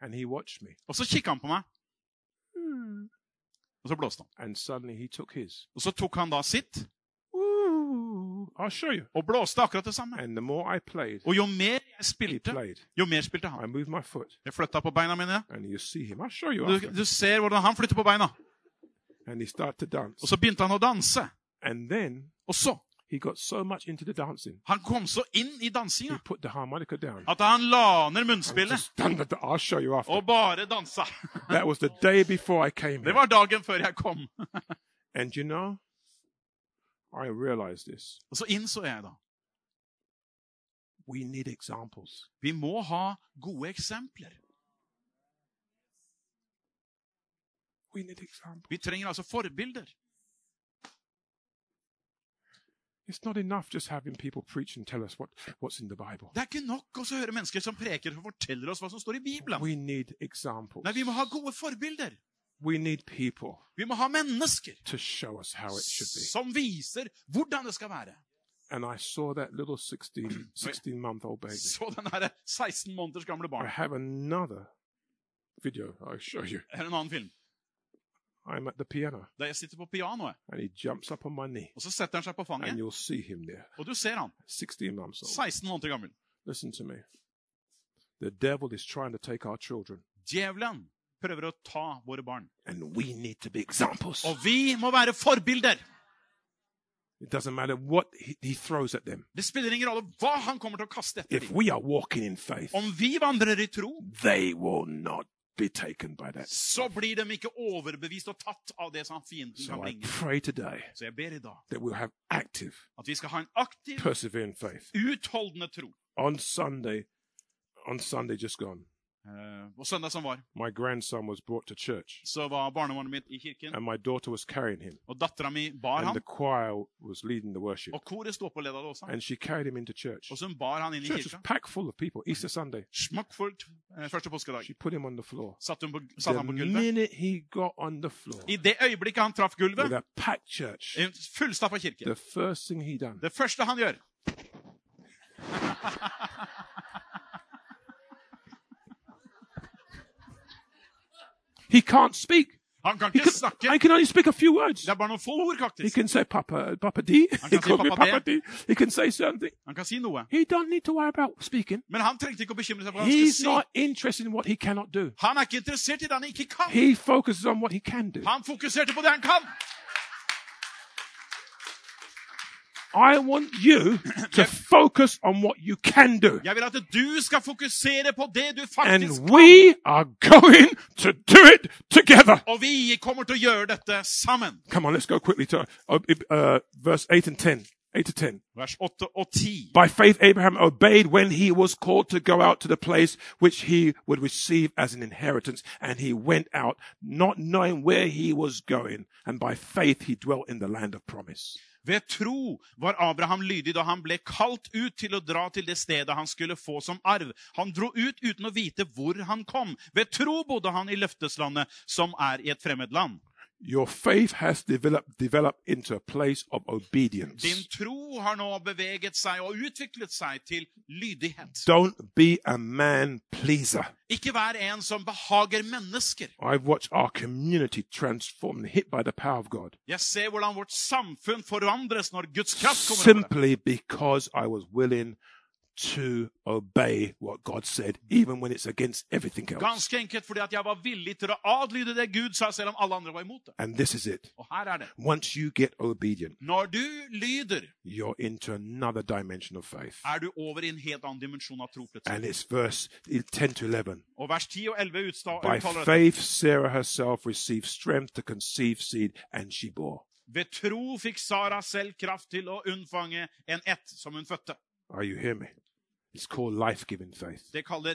Speaker 1: And he watched me.
Speaker 2: Og så kikket han på meg, og så blåste han.
Speaker 1: And suddenly he took his.
Speaker 2: Og så tok han da sitt,
Speaker 1: I'll show you.
Speaker 2: og blåste akkurat det samme.
Speaker 1: And the more I played,
Speaker 2: Og jo mer jeg
Speaker 1: he
Speaker 2: spilte,
Speaker 1: played.
Speaker 2: jo mer spilte
Speaker 1: I
Speaker 2: han.
Speaker 1: moved my foot
Speaker 2: Jeg flytta på beina mine.
Speaker 1: and you see him. I'll show you
Speaker 2: Du,
Speaker 1: after.
Speaker 2: du ser hvordan han flytter på beina.
Speaker 1: And he started to
Speaker 2: Og
Speaker 1: dance.
Speaker 2: så begynte han å danse.
Speaker 1: And then
Speaker 2: Og så
Speaker 1: he got so much into the dancing,
Speaker 2: Han kom så inn i
Speaker 1: he
Speaker 2: dansinga
Speaker 1: put the harmonica down.
Speaker 2: at han la ned
Speaker 1: And
Speaker 2: munnspillet
Speaker 1: just done the- I'll show you after.
Speaker 2: og bare dansa.
Speaker 1: That was the day before I came
Speaker 2: (laughs) Det
Speaker 1: here.
Speaker 2: var dagen før jeg kom.
Speaker 1: And you know, I realized this.
Speaker 2: Og så innså jeg da
Speaker 1: We need examples.
Speaker 2: vi må ha gode eksempler.
Speaker 1: We need examples.
Speaker 2: Vi trenger altså forbilder.
Speaker 1: It's not enough just having people preach and tell us what, what's in the Bible.
Speaker 2: Det er ikke nok også å høre mennesker som preker og forteller oss hva som står i Bibelen.
Speaker 1: We need examples.
Speaker 2: Nei, vi må ha gode forbilder.
Speaker 1: We need people
Speaker 2: Vi må ha mennesker
Speaker 1: to show us how it should be.
Speaker 2: som viser hvordan det skal være.
Speaker 1: And I saw that little 16, 16 month old baby.
Speaker 2: Så den her 16 måneders gamle
Speaker 1: I
Speaker 2: barn
Speaker 1: have another video I'll show you.
Speaker 2: Det er en annen film.
Speaker 1: I'm at the piano
Speaker 2: Der jeg sitter på pianoet,
Speaker 1: and he jumps up on my knee
Speaker 2: og så setter han seg på
Speaker 1: and
Speaker 2: fanget,
Speaker 1: you'll see him there.
Speaker 2: og du ser han.
Speaker 1: 16 months old.
Speaker 2: 16 måneder gammel.
Speaker 1: Listen to me. The devil is trying to take our children
Speaker 2: Djevelen prøver å ta våre barn.
Speaker 1: and we need to be examples.
Speaker 2: Og vi må være forbilder!
Speaker 1: It doesn't matter what he, he throws at them.
Speaker 2: Det spiller ingen rolle hva han kommer til å kaste etter
Speaker 1: If
Speaker 2: dem.
Speaker 1: we are walking in faith,
Speaker 2: Om vi vandrer i tro,
Speaker 1: they will not be taken by that.
Speaker 2: så blir de ikke overbevist og tatt av det som fienden kan
Speaker 1: So I
Speaker 2: bringe.
Speaker 1: pray today
Speaker 2: Så jeg ber i dag
Speaker 1: that we'll have active,
Speaker 2: at vi skal ha en aktiv,
Speaker 1: persevering faith.
Speaker 2: utholdende tro.
Speaker 1: On Sunday, on Sunday just gone,
Speaker 2: Eh, På søndag som var,
Speaker 1: My grandson was brought to church,
Speaker 2: så var barnebarnet mitt i kirken,
Speaker 1: and my daughter was carrying him,
Speaker 2: og dattera mi bar
Speaker 1: and
Speaker 2: han.
Speaker 1: the choir was leading the worship,
Speaker 2: Og koret sto opp og leda det også.
Speaker 1: and she carried him into church.
Speaker 2: Og så hun bar han inn i
Speaker 1: Church was
Speaker 2: kirka.
Speaker 1: packed full of people. Easter Sunday,
Speaker 2: Smakkfullt eh, første påskedag.
Speaker 1: she put him on the floor.
Speaker 2: Satt, hun på, satt
Speaker 1: The
Speaker 2: han på gulvet.
Speaker 1: minute he got on the floor
Speaker 2: I det øyeblikket han traff
Speaker 1: with
Speaker 2: gulvet,
Speaker 1: a packed church,
Speaker 2: i en fullstappa kirke
Speaker 1: the first thing he done,
Speaker 2: Det første han gjør
Speaker 1: he can't speak.
Speaker 2: Han kan
Speaker 1: He
Speaker 2: ikke
Speaker 1: can,
Speaker 2: snakke.
Speaker 1: I can only speak a few words.
Speaker 2: Det er bare noen få ord,
Speaker 1: He
Speaker 2: faktisk.
Speaker 1: can say Papa, Papa D.
Speaker 2: can
Speaker 1: He
Speaker 2: say
Speaker 1: called me
Speaker 2: Papa
Speaker 1: Papa D. He can say something.
Speaker 2: Han kan si noe.
Speaker 1: He don't need to worry about speaking.
Speaker 2: Men han trengte ikke å bekymre seg for hva han
Speaker 1: He's
Speaker 2: skulle
Speaker 1: not
Speaker 2: si.
Speaker 1: interested in what he cannot do.
Speaker 2: Han er ikke interessert i det han ikke kan.
Speaker 1: He focuses on what he can do.
Speaker 2: Han fokuserte på det han kan.
Speaker 1: I want
Speaker 2: (clears throat)
Speaker 1: you to focus on what you can do.
Speaker 2: Jeg vil at du skal fokusere på det du faktisk
Speaker 1: And we are going to do it together.
Speaker 2: Og vi kommer til å gjøre dette sammen.
Speaker 1: Come on, let's go quickly to uh, uh, verse 8 and 10. 8 to 10.
Speaker 2: Vers 8 og 10.
Speaker 1: By faith, Abraham obeyed when he was called to go out to the place which he would receive as an inheritance. And he went out, not knowing where he was going. And by faith, he dwelt in the land of promise.
Speaker 2: Ved tro var Abraham lydig da han ble kalt ut til å dra til det stedet han skulle få som arv. Han dro ut uten å vite hvor han kom. Ved tro bodde han i løfteslandet, som er i et fremmed land.
Speaker 1: Your faith has developed, developed into a place of
Speaker 2: Din
Speaker 1: obedience.
Speaker 2: tro har nå beveget seg og utviklet seg til lydighet.
Speaker 1: Don't be a man pleaser.
Speaker 2: Ikke vær en som behager mennesker.
Speaker 1: I've watched our community transformed, hit by the power of God,
Speaker 2: Jeg ser hvordan vårt samfunn forandres når Guds kraft kommer over det.
Speaker 1: simply because I was willing to obey what God said, even when it's against everything else.
Speaker 2: Ganske enkelt fordi at jeg var villig til å adlyde det Gud sa, selv om alle andre var imot det.
Speaker 1: And this is it.
Speaker 2: Og her er det.
Speaker 1: Once you get obedient,
Speaker 2: Når du lyder,
Speaker 1: you're into another dimension of faith.
Speaker 2: er du over i en helt annen dimensjon av tro plutselig.
Speaker 1: And it's verse 10 to 11.
Speaker 2: Og vers 10 og 11 utsta-
Speaker 1: By
Speaker 2: uttaler dette.
Speaker 1: faith, Sarah herself received strength to conceive seed, and she bore.
Speaker 2: Ved tro fikk Sara selv kraft til å unnfange en ett som hun fødte.
Speaker 1: Are you hearing me? It's called life giving faith.
Speaker 2: Det kaller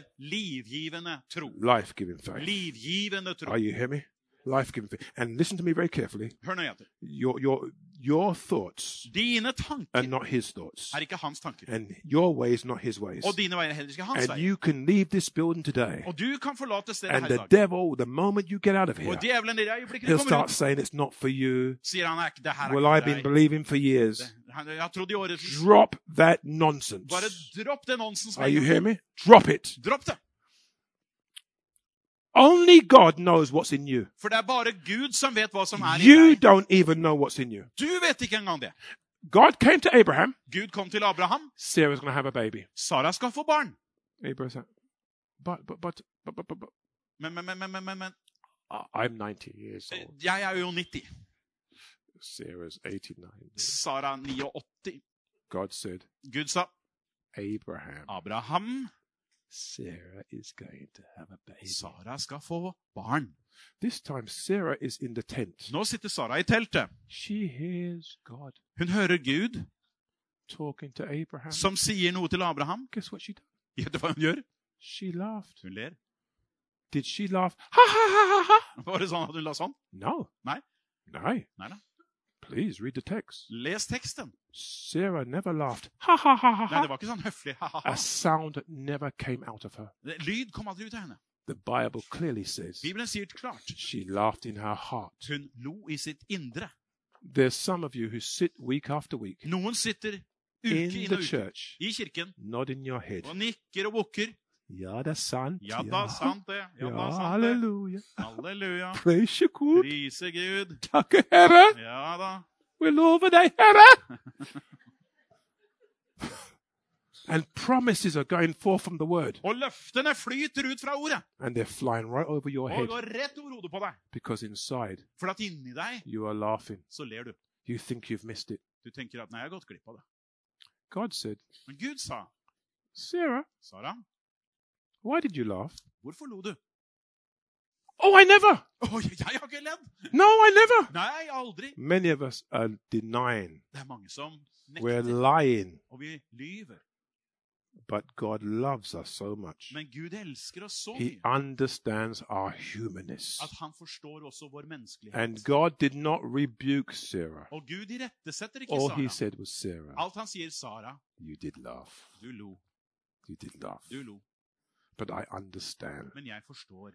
Speaker 2: livgivende tro.
Speaker 1: Life giving faith.
Speaker 2: Livgivende tro.
Speaker 1: Are you hearing me? Life giving faith. And listen to me very carefully.
Speaker 2: Hør nøye etter.
Speaker 1: Your, your, your thoughts
Speaker 2: Dine
Speaker 1: are
Speaker 2: tanker
Speaker 1: not his thoughts,
Speaker 2: er ikke hans tanker.
Speaker 1: and your ways not his ways.
Speaker 2: Og dine veier er heller ikke hans
Speaker 1: And
Speaker 2: veier.
Speaker 1: you can leave this building today,
Speaker 2: Og du kan forlate stedet
Speaker 1: and
Speaker 2: her i
Speaker 1: the
Speaker 2: dag.
Speaker 1: devil, the moment you get out of here,
Speaker 2: Og djevelen i det øyeblikket du
Speaker 1: he'll
Speaker 2: kommer
Speaker 1: start
Speaker 2: ut,
Speaker 1: saying it's not for you.
Speaker 2: sier han er ikke det her.
Speaker 1: Well,
Speaker 2: Er
Speaker 1: I've
Speaker 2: ikke
Speaker 1: been
Speaker 2: deg.
Speaker 1: believing for years.
Speaker 2: Det- han- Jeg har trodd i årevis.
Speaker 1: Drop that nonsense.
Speaker 2: Bare dropp det nonsens.
Speaker 1: Are you
Speaker 2: med en gang.
Speaker 1: hearing me? Drop it.
Speaker 2: Dropp det.
Speaker 1: Only God knows what's in you.
Speaker 2: For det er bare Gud som vet hva som er i
Speaker 1: You
Speaker 2: deg.
Speaker 1: don't even know what's in you.
Speaker 2: Du vet ikke engang det.
Speaker 1: God came to Abraham.
Speaker 2: Gud kom til Abraham.
Speaker 1: Sarah's going to have a baby.
Speaker 2: Sara skal få barn.
Speaker 1: Abraham said, but, but, but, but, but, but, but
Speaker 2: Men, men, men, men, men, men, men
Speaker 1: I- I'm 90 years
Speaker 2: eh,
Speaker 1: old.
Speaker 2: jeg er jo 90.
Speaker 1: Sarah's 89.
Speaker 2: Sara 89.
Speaker 1: God said,
Speaker 2: Gud sa
Speaker 1: Abraham,
Speaker 2: Abraham,
Speaker 1: Sarah is going to have a baby.
Speaker 2: Sara skal få barn.
Speaker 1: This time, Sarah is in the tent.
Speaker 2: Nå sitter Sara i teltet.
Speaker 1: She hears God
Speaker 2: Hun hører Gud
Speaker 1: talking to Abraham.
Speaker 2: som sier noe til Abraham. (laughs)
Speaker 1: Guess what she did?
Speaker 2: Gjett hva hun gjør?
Speaker 1: She laughed.
Speaker 2: Hun ler. (laughs)
Speaker 1: Did she laugh? Ha ha ha ha ha!
Speaker 2: Var det sånn at hun la sånn?
Speaker 1: No.
Speaker 2: No?
Speaker 1: No.
Speaker 2: No, no.
Speaker 1: Please read the text.
Speaker 2: Les teksten.
Speaker 1: Sarah never laughed. Ha ha ha ha
Speaker 2: Nei,
Speaker 1: ha.
Speaker 2: det var ikke sånn høflig. (laughs)
Speaker 1: A sound never came out of her.
Speaker 2: Det- Lyd kom aldri ut av henne.
Speaker 1: The Bible clearly says
Speaker 2: Bibelen sier det klart.
Speaker 1: she laughed in her heart.
Speaker 2: Hun lo i sitt indre.
Speaker 1: There's some of you who sit week after week
Speaker 2: Noen sitter uke
Speaker 1: in
Speaker 2: inn
Speaker 1: the
Speaker 2: og uke
Speaker 1: church,
Speaker 2: i kirken
Speaker 1: nodding your head.
Speaker 2: og nikker og bukker.
Speaker 1: Ja, det er sant.
Speaker 2: Ja da, sant det. Ja da,
Speaker 1: Ja,
Speaker 2: sant det.
Speaker 1: halleluja.
Speaker 2: Halleluja.
Speaker 1: Prise Gud.
Speaker 2: Prise Gud.
Speaker 1: Takke Herre.
Speaker 2: Ja da.
Speaker 1: We lover thy Herre. (laughs) and promises are going forth from the word,
Speaker 2: Og løftene flyter ut fra ordet
Speaker 1: and they're flying right over your
Speaker 2: og
Speaker 1: head
Speaker 2: går rett over hodet på deg.
Speaker 1: because inside
Speaker 2: For at inni deg
Speaker 1: you are laughing.
Speaker 2: så ler du.
Speaker 1: You think you've missed it.
Speaker 2: Du tenker at 'nei, jeg har gått glipp av det'.
Speaker 1: God said,
Speaker 2: Men Gud sa,
Speaker 1: Sarah,
Speaker 2: 'Sara,
Speaker 1: why did you laugh?
Speaker 2: hvorfor lo du?'
Speaker 1: Oh, I never.
Speaker 2: Å, jeg har ikke ledd!
Speaker 1: No, I never.
Speaker 2: Nei, aldri.
Speaker 1: Many of us are denying,
Speaker 2: Det er mange som
Speaker 1: we're
Speaker 2: nekter,
Speaker 1: lying.
Speaker 2: og vi lyver.
Speaker 1: But God loves us so much.
Speaker 2: Men Gud elsker oss så
Speaker 1: He
Speaker 2: mye
Speaker 1: understands our humanness.
Speaker 2: at han forstår også vår
Speaker 1: And
Speaker 2: menneskelighet.
Speaker 1: God did not rebuke Sarah.
Speaker 2: Og Gud irettesetter ikke
Speaker 1: All Oh, he
Speaker 2: Sara.
Speaker 1: said was, Sarah,
Speaker 2: Alt han sier, 'Sara,
Speaker 1: you did love.
Speaker 2: du lo,
Speaker 1: You did love.
Speaker 2: du lo,
Speaker 1: But I understand.
Speaker 2: men jeg forstår'.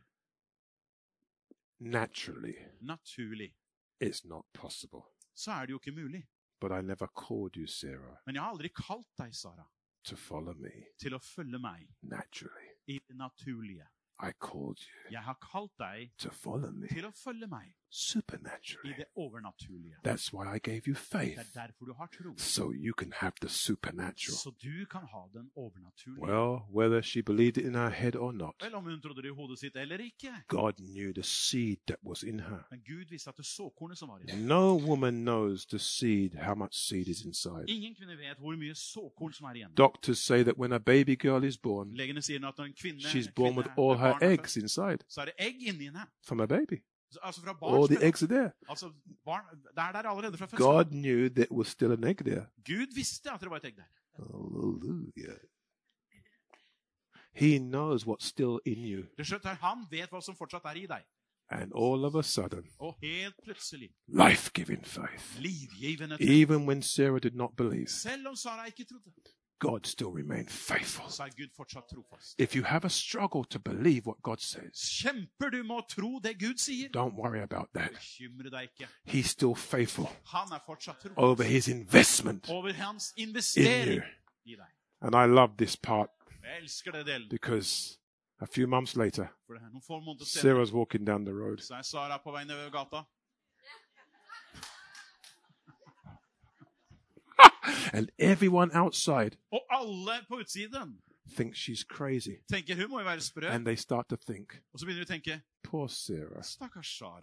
Speaker 1: Naturally,
Speaker 2: Naturlig.
Speaker 1: it's not possible.
Speaker 2: Så er det jo ikke mulig.
Speaker 1: But I never called you, Sarah,
Speaker 2: Men jeg har aldri kalt deg, Sara,
Speaker 1: to follow me.
Speaker 2: til å følge meg
Speaker 1: Naturally,
Speaker 2: i det naturlige.
Speaker 1: I called you
Speaker 2: Jeg har kalt deg
Speaker 1: to follow me.
Speaker 2: til å følge meg i
Speaker 1: Supernaturally.
Speaker 2: det overnaturlige.
Speaker 1: That's why I gave you
Speaker 2: Det er
Speaker 1: faith.
Speaker 2: derfor du har tro.
Speaker 1: So you can have the supernatural.
Speaker 2: Så du kan ha den overnaturlige.
Speaker 1: Well, whether she believed it in her head or not,
Speaker 2: Vel, om hun trodde det i hodet sitt eller ikke.
Speaker 1: God knew the seed that was in her.
Speaker 2: Men Gud visste at det såkornet som var i det.
Speaker 1: No woman knows the seed, how much seed is inside.
Speaker 2: Ingen kvinne vet hvor mye såkorn som er igjen.
Speaker 1: Doctors say that when a baby girl is born,
Speaker 2: Legene sier nå at når en kvinne,
Speaker 1: she's born
Speaker 2: kvinne
Speaker 1: with all her
Speaker 2: barn er
Speaker 1: eggs
Speaker 2: født,
Speaker 1: inside
Speaker 2: så er det egg inni henne.
Speaker 1: from a baby.
Speaker 2: Så- Altså fra
Speaker 1: All
Speaker 2: barns
Speaker 1: the
Speaker 2: fødsel.
Speaker 1: eggs are there.
Speaker 2: Altså barn, det er der allerede fra fødselen.
Speaker 1: God knew there was still an egg there.
Speaker 2: Gud visste at det var et egg der.
Speaker 1: Hallelujah. He knows what's still in you.
Speaker 2: Det skjønte jeg, Han vet hva som fortsatt er i deg.
Speaker 1: And all of a sudden,
Speaker 2: Og helt plutselig
Speaker 1: life giving faith.
Speaker 2: livgivende tro.
Speaker 1: Even when Sarah did not believe,
Speaker 2: Selv om Sara ikke trodde,
Speaker 1: God still remained faithful.
Speaker 2: så er Gud fortsatt trofast.
Speaker 1: If you have a struggle to believe what God says,
Speaker 2: Kjemper du med å tro det Gud sier?
Speaker 1: don't worry about that.
Speaker 2: Bekymre deg ikke.
Speaker 1: He's still faithful
Speaker 2: Han er fortsatt
Speaker 1: over
Speaker 2: trofast
Speaker 1: his investment
Speaker 2: over hans
Speaker 1: in you.
Speaker 2: investering i deg.
Speaker 1: And I love this part
Speaker 2: Jeg elsker det delen.
Speaker 1: because a few months later,
Speaker 2: For det er noen få måneder senere
Speaker 1: Sarah's walking down the road.
Speaker 2: så er Sara på vei nedover gata.
Speaker 1: And everyone outside
Speaker 2: Og alle på utsiden
Speaker 1: thinks she's crazy.
Speaker 2: tenker hun må jo være sprø.
Speaker 1: And they start to think,
Speaker 2: Og så begynner de å tenke
Speaker 1: poor Sarah,
Speaker 2: stakkars Sara.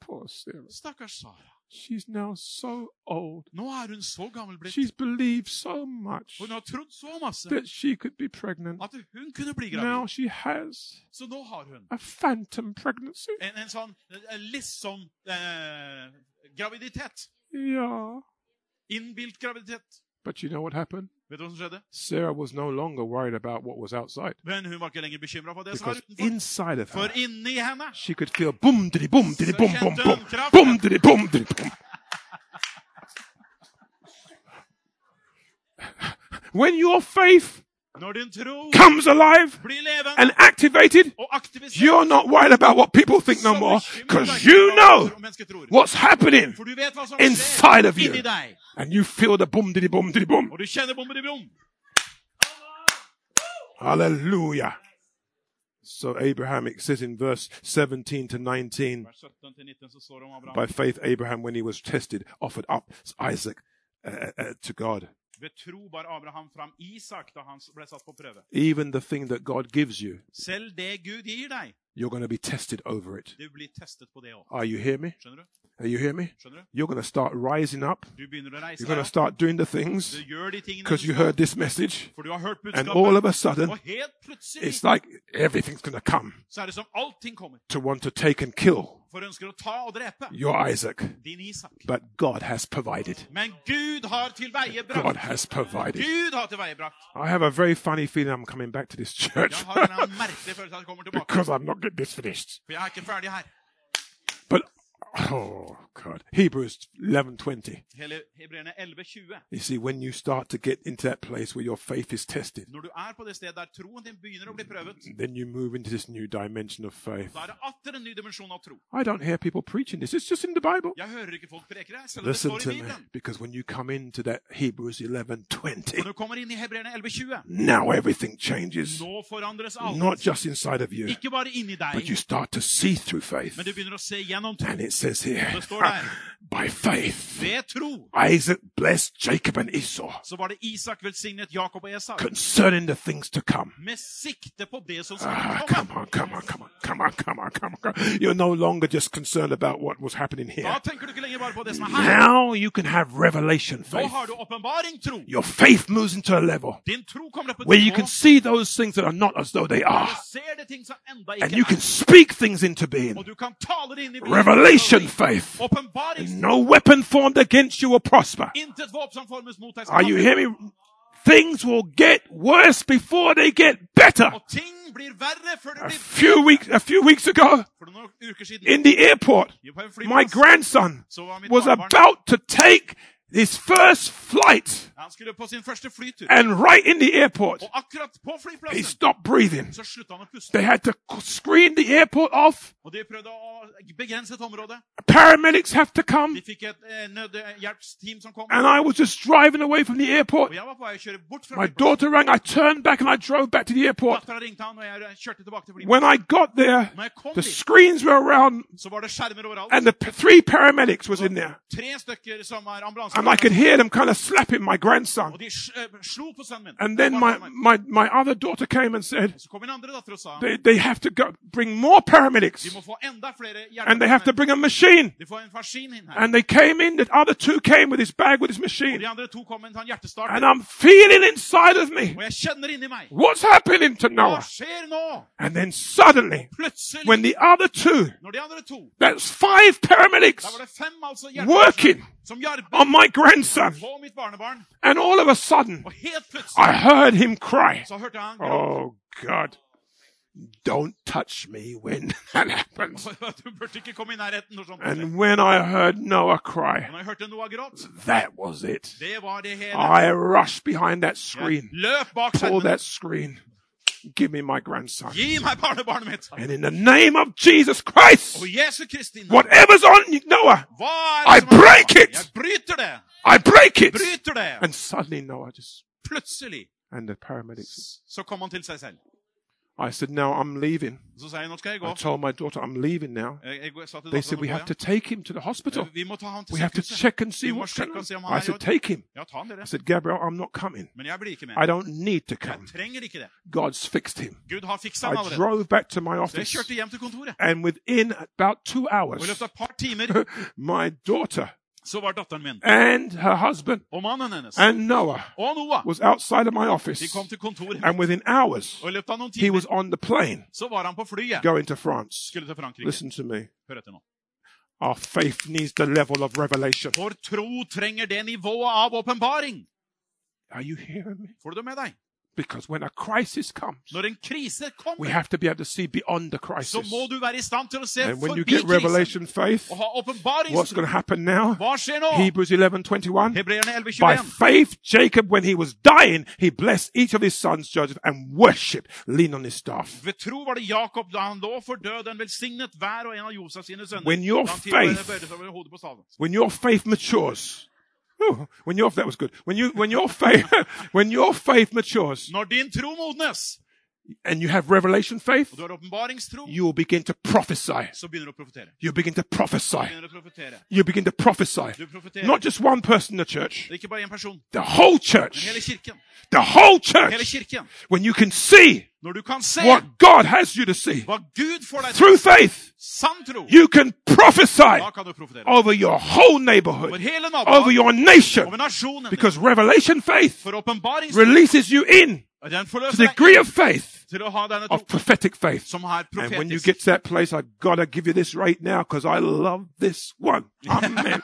Speaker 1: poor Sarah.
Speaker 2: Stakkars Sara.
Speaker 1: She's now so old.
Speaker 2: Nå er hun så gammel blitt.
Speaker 1: She's believed so much
Speaker 2: Hun har trodd så masse
Speaker 1: that she could be pregnant.
Speaker 2: at hun kunne bli
Speaker 1: Now
Speaker 2: gravid.
Speaker 1: she has
Speaker 2: Så nå har hun
Speaker 1: a phantom pregnancy.
Speaker 2: en, en sånn eh, litt sånn eh, graviditet.
Speaker 1: Yeah.
Speaker 2: Innbilt graviditet.
Speaker 1: But you know what happened?
Speaker 2: Vet du hva som skjedde?
Speaker 1: Sarah was no longer worried about what was outside
Speaker 2: Men hun var ikke lenger bekymra for det som var
Speaker 1: because
Speaker 2: utenfor.
Speaker 1: inside of her,
Speaker 2: For inni henne
Speaker 1: she could feel boom, diddy, boom, diddy,
Speaker 2: Så
Speaker 1: boom, boom,
Speaker 2: kjente
Speaker 1: boom,
Speaker 2: hun kraften.
Speaker 1: boom, diddy, boom, diddy, boom. When your faith
Speaker 2: Når din tro
Speaker 1: comes alive
Speaker 2: blir levende
Speaker 1: and activated,
Speaker 2: og aktivisert
Speaker 1: you're not worried about what people think no
Speaker 2: så
Speaker 1: more
Speaker 2: bekymrer deg
Speaker 1: because
Speaker 2: ikke
Speaker 1: you
Speaker 2: hva
Speaker 1: know
Speaker 2: andre mennesker tror.
Speaker 1: what's happening
Speaker 2: For du vet hva som
Speaker 1: inside of
Speaker 2: skjer
Speaker 1: you.
Speaker 2: inni deg.
Speaker 1: and you feel the boom, diddy, boom, diddy, boom.
Speaker 2: Og du kjenner bomber i brom.
Speaker 1: Hallelujah. So Abraham, it says in verse 17 to 19,
Speaker 2: Vers 17 til 19 så står det om Abraham.
Speaker 1: By faith, Abraham, when he was tested, offered up Isaac uh, uh, to God.
Speaker 2: Ved tro bar Abraham fram Isak da han ble satt på prøve.
Speaker 1: Even the thing that God gives you,
Speaker 2: Selv det Gud gir deg,
Speaker 1: you're going to be tested over it.
Speaker 2: du blir testet på det òg.
Speaker 1: Are you hear me?
Speaker 2: Skjønner du?
Speaker 1: Are you hear me?
Speaker 2: Skjønner du?
Speaker 1: You're going to start rising up.
Speaker 2: Du begynner å reise
Speaker 1: You're going
Speaker 2: deg
Speaker 1: to
Speaker 2: opp.
Speaker 1: start doing the
Speaker 2: Du
Speaker 1: things
Speaker 2: gjør de tingene
Speaker 1: because
Speaker 2: du
Speaker 1: you heard this message,
Speaker 2: For du har hørt
Speaker 1: and all of
Speaker 2: budskapet.
Speaker 1: a sudden,
Speaker 2: Og helt plutselig
Speaker 1: it's like everything's going to come
Speaker 2: så er det som allting kommer.
Speaker 1: to want to take and kill
Speaker 2: For ønsker å ta og drepe
Speaker 1: your Isaac.
Speaker 2: din Isak.
Speaker 1: But God has provided.
Speaker 2: Men Gud har
Speaker 1: God
Speaker 2: tilveiebrakt.
Speaker 1: has provided.
Speaker 2: Gud har tilveiebrakt.
Speaker 1: I have a very funny feeling I'm coming back to this church
Speaker 2: Jeg har en
Speaker 1: (laughs)
Speaker 2: eller annen merkelig følelse av at jeg kommer tilbake.
Speaker 1: because I'm not getting this finished.
Speaker 2: For jeg er ikke ferdig her.
Speaker 1: But oh God, Hebrews eleven twenty.
Speaker 2: Hele Hebreerne 11,20.
Speaker 1: You see, when you start to get into that place where your faith is tested,
Speaker 2: Når du er på det stedet der troen din begynner å bli prøvet,
Speaker 1: then you move into this new dimension of faith.
Speaker 2: da er det atter en ny dimensjon av tro.
Speaker 1: I don't hear people preaching this; it's just in the Bible.
Speaker 2: Jeg hører ikke folk preke det, selv om det
Speaker 1: Listen
Speaker 2: står
Speaker 1: to
Speaker 2: i
Speaker 1: me,
Speaker 2: Bibelen.
Speaker 1: because when you come into that Hebrews eleven twenty,
Speaker 2: Når du kommer inn i Hebreerne 11,20,
Speaker 1: now everything changes.
Speaker 2: nå forandres
Speaker 1: Not
Speaker 2: alt.
Speaker 1: just inside of you,
Speaker 2: Ikke bare inni
Speaker 1: but
Speaker 2: deg,
Speaker 1: you start to see through faith.
Speaker 2: men du begynner å se gjennom tro.
Speaker 1: And it says here, (laughs)
Speaker 2: Det står der.
Speaker 1: by faith,
Speaker 2: Ved tro
Speaker 1: Isaac blessed Jacob and Esau
Speaker 2: så var det Isak velsignet Jakob og Esak.
Speaker 1: concerning the things to come.
Speaker 2: Med sikte på det som
Speaker 1: Ah,
Speaker 2: skulle
Speaker 1: come
Speaker 2: komme.
Speaker 1: on, come on, come on, come on, come on, come on. come on. You're no longer just concerned about what was happening
Speaker 2: Da
Speaker 1: here.
Speaker 2: tenker du ikke lenger bare på det som er her.
Speaker 1: Uh-huh. Now you can have revelation
Speaker 2: Nå
Speaker 1: faith.
Speaker 2: har du åpenbaring, tro.
Speaker 1: Your faith moves into a level
Speaker 2: Din tro kommer opp på
Speaker 1: where
Speaker 2: et
Speaker 1: you can
Speaker 2: nivå.
Speaker 1: see those things that are not as though they
Speaker 2: der
Speaker 1: are.
Speaker 2: Du ser det ting som enda
Speaker 1: And
Speaker 2: ikke
Speaker 1: you can
Speaker 2: er.
Speaker 1: speak things into
Speaker 2: Og
Speaker 1: being.
Speaker 2: du kan tale det inn i bildet.
Speaker 1: Revelation faith.
Speaker 2: Åpenbaring.
Speaker 1: No weapon formed against you will prosper.
Speaker 2: Intet våpen som formes mot deg. skal
Speaker 1: Are you
Speaker 2: komme.
Speaker 1: hearing me? Things will get worse before they get better.
Speaker 2: Og ting blir verre før det
Speaker 1: A
Speaker 2: blir
Speaker 1: few weeks, a few weeks ago
Speaker 2: For noen uker siden
Speaker 1: in the airport,
Speaker 2: på en
Speaker 1: my
Speaker 2: flyplass,
Speaker 1: grandson
Speaker 2: så var mitt
Speaker 1: was
Speaker 2: barnebarn
Speaker 1: about to take his first flight
Speaker 2: Han skulle på sin første flytur.
Speaker 1: and right in the airport,
Speaker 2: Og akkurat på
Speaker 1: he
Speaker 2: flyplassen
Speaker 1: stopped breathing.
Speaker 2: så slutta han å puste.
Speaker 1: They had to screen the airport off.
Speaker 2: Og de prøvde å begrense et område.
Speaker 1: Paramedics have to come.
Speaker 2: De fikk et eh, nødhjelpsteam som kom.
Speaker 1: And I was just driving away from the
Speaker 2: Og
Speaker 1: airport.
Speaker 2: jeg var på vei å kjøre bort fra
Speaker 1: My
Speaker 2: flyplassen.
Speaker 1: daughter rang. I turned back and I drove back to the airport.
Speaker 2: Dattera ringte han, og jeg kjørte tilbake til flyplassen.
Speaker 1: When I got there,
Speaker 2: Når jeg kom
Speaker 1: the
Speaker 2: dit,
Speaker 1: screens were around
Speaker 2: så var det skjermer overalt.
Speaker 1: and the p- three paramedics was in there.
Speaker 2: Tre stykker som var
Speaker 1: And I could
Speaker 2: ambulansefolk.
Speaker 1: hear them kind of slapping my
Speaker 2: Og
Speaker 1: grandson.
Speaker 2: de sj- eh, slo på sønnen min.
Speaker 1: And then my, my, my other daughter came and said,
Speaker 2: Så kom min andre datter og sa
Speaker 1: they, they have to go, bring more
Speaker 2: vi
Speaker 1: paramedics
Speaker 2: må få enda flere
Speaker 1: and they have to
Speaker 2: hjelpere.
Speaker 1: bring a machine.
Speaker 2: De får en maskin inn her.
Speaker 1: And they came in, the other two came with his bag with his
Speaker 2: Og
Speaker 1: machine.
Speaker 2: de andre to kom med en sånn hjertestart.
Speaker 1: And I'm feeling inside of me,
Speaker 2: Og jeg kjenner inni meg
Speaker 1: what's happening to
Speaker 2: Hva
Speaker 1: Noah?
Speaker 2: skjer nå?
Speaker 1: And then suddenly,
Speaker 2: Plutselig,
Speaker 1: when the other two
Speaker 2: når de andre to
Speaker 1: That's five paramedics
Speaker 2: Da var det fem altså
Speaker 1: working
Speaker 2: som hjelper
Speaker 1: on my grandson.
Speaker 2: på mitt barnebarn.
Speaker 1: And all of a sudden,
Speaker 2: Og helt plutselig
Speaker 1: I heard him cry.
Speaker 2: så hørte jeg han gråte.
Speaker 1: Oh, God. Don't touch me when (laughs) that happens.
Speaker 2: (laughs) Du burde ikke komme i nærheten når sånt skjer.
Speaker 1: And when I heard Noah
Speaker 2: Og
Speaker 1: cry,
Speaker 2: Når jeg hørte Noah gråt,
Speaker 1: that was it.
Speaker 2: det var det hele.
Speaker 1: I rushed behind that
Speaker 2: Jeg
Speaker 1: screen,
Speaker 2: løp bak
Speaker 1: pulled
Speaker 2: skjermen.
Speaker 1: that screen. Give me my grandson.
Speaker 2: Gi meg barnebarnet mitt!
Speaker 1: And in the name of Jesus Christ,
Speaker 2: Og Jesu Kristi navn,
Speaker 1: whatever's on Noah,
Speaker 2: hva er det
Speaker 1: I
Speaker 2: som er
Speaker 1: break
Speaker 2: barnebarnet?
Speaker 1: it!
Speaker 2: Jeg bryter det!
Speaker 1: I break it.
Speaker 2: Bryter det!
Speaker 1: And suddenly Noah just,
Speaker 2: Plutselig
Speaker 1: and the paramedics.
Speaker 2: så kom han til seg selv.
Speaker 1: I said, No, I'm leaving.
Speaker 2: Så sa jeg nå skal jeg gå.
Speaker 1: I told my daughter, I'm leaving now.
Speaker 2: Jeg, jeg sa til
Speaker 1: They said, We have to
Speaker 2: datteren
Speaker 1: take him to the hospital.
Speaker 2: Vi må ta han til
Speaker 1: We have to
Speaker 2: sykehuset.
Speaker 1: check and see
Speaker 2: We
Speaker 1: what's
Speaker 2: must check
Speaker 1: going
Speaker 2: and see
Speaker 1: on.
Speaker 2: om han
Speaker 1: I
Speaker 2: er i
Speaker 1: said,
Speaker 2: orden.
Speaker 1: Take him.
Speaker 2: Ja, ta han dere.
Speaker 1: I said, Gabriel, I'm not coming.
Speaker 2: Men jeg blir ikke med.
Speaker 1: I don't need to
Speaker 2: Jeg
Speaker 1: come.
Speaker 2: trenger ikke det.
Speaker 1: God's fixed him.
Speaker 2: Gud har fiksa
Speaker 1: I
Speaker 2: han allerede.
Speaker 1: drove back to my
Speaker 2: Så jeg
Speaker 1: office,
Speaker 2: kjørte hjem til kontoret.
Speaker 1: and within about two
Speaker 2: Og i
Speaker 1: hours,
Speaker 2: løpet av et par
Speaker 1: (laughs)
Speaker 2: timer
Speaker 1: my daughter
Speaker 2: så var datteren min
Speaker 1: and her husband
Speaker 2: og mannen hennes
Speaker 1: and Noah
Speaker 2: og Noah
Speaker 1: was outside of my
Speaker 2: De
Speaker 1: office,
Speaker 2: kom til kontoret.
Speaker 1: and within hours,
Speaker 2: Og i løpet av noen
Speaker 1: he
Speaker 2: timer
Speaker 1: was on the plane
Speaker 2: så var han på flyet.
Speaker 1: going to France.
Speaker 2: Skulle til Frankrike.
Speaker 1: Listen to me.
Speaker 2: Hør etter nå.
Speaker 1: Our faith needs the level of revelation.
Speaker 2: Vår tro trenger det nivået av åpenbaring.
Speaker 1: Are you hearing me?
Speaker 2: Får du det med deg?
Speaker 1: Because when a crisis comes,
Speaker 2: Når en krise
Speaker 1: we
Speaker 2: kommer,
Speaker 1: have to be able to see beyond the
Speaker 2: så
Speaker 1: crisis.
Speaker 2: må du være i stand til å se
Speaker 1: And when you
Speaker 2: forbi
Speaker 1: get
Speaker 2: krisen
Speaker 1: revelation faith,
Speaker 2: og ha
Speaker 1: what's going
Speaker 2: åpenbaringstro.
Speaker 1: to happen now?
Speaker 2: Hva skjer nå?
Speaker 1: Hebrews 11:21.
Speaker 2: Hebreerne
Speaker 1: By
Speaker 2: 11,21.
Speaker 1: faith, Jacob, when he was dying, he blessed each of his sons, Joseph, and worshipped, lean on his staff.
Speaker 2: Ved tro var det Jakob da han lå for døden, velsignet hver og en av Josefs sine sønner.
Speaker 1: When your
Speaker 2: Da han tilbød-
Speaker 1: faith-
Speaker 2: bøyde seg over hodet på staven.
Speaker 1: When your faith matures, Whew, when your that was good. When you when your faith (laughs) when your faith matures
Speaker 2: Når din tro modnes,
Speaker 1: and you have revelation faith,
Speaker 2: og du har åpenbaringstro,
Speaker 1: you will begin to prophesy.
Speaker 2: så begynner du å profetere.
Speaker 1: You begin to prophesy.
Speaker 2: Begynner du å profetere.
Speaker 1: You begin to prophesy.
Speaker 2: Du profeterer.
Speaker 1: Not just one person in the church,
Speaker 2: Det er ikke bare én person,
Speaker 1: the whole
Speaker 2: men hele
Speaker 1: church.
Speaker 2: kirken.
Speaker 1: The whole
Speaker 2: Hele
Speaker 1: church.
Speaker 2: kirken.
Speaker 1: When you can see
Speaker 2: Når du kan se
Speaker 1: what God has you to see
Speaker 2: hva Gud får deg til,
Speaker 1: through faith,
Speaker 2: sann tro,
Speaker 1: you can prophesy
Speaker 2: da kan du profetere.
Speaker 1: over your whole
Speaker 2: Over
Speaker 1: neighborhood,
Speaker 2: hele
Speaker 1: over
Speaker 2: naboen,
Speaker 1: your nation,
Speaker 2: over nasjonen. din.
Speaker 1: because revelation faith
Speaker 2: For åpenbaringstro,
Speaker 1: releases you in
Speaker 2: den
Speaker 1: to
Speaker 2: forløser
Speaker 1: the
Speaker 2: deg
Speaker 1: degree of faith
Speaker 2: til å ha denne tro
Speaker 1: of prophetic faith.
Speaker 2: som er
Speaker 1: And when you
Speaker 2: profetisk.
Speaker 1: get to that place, I gotta give you this right now because I love this one. Amen.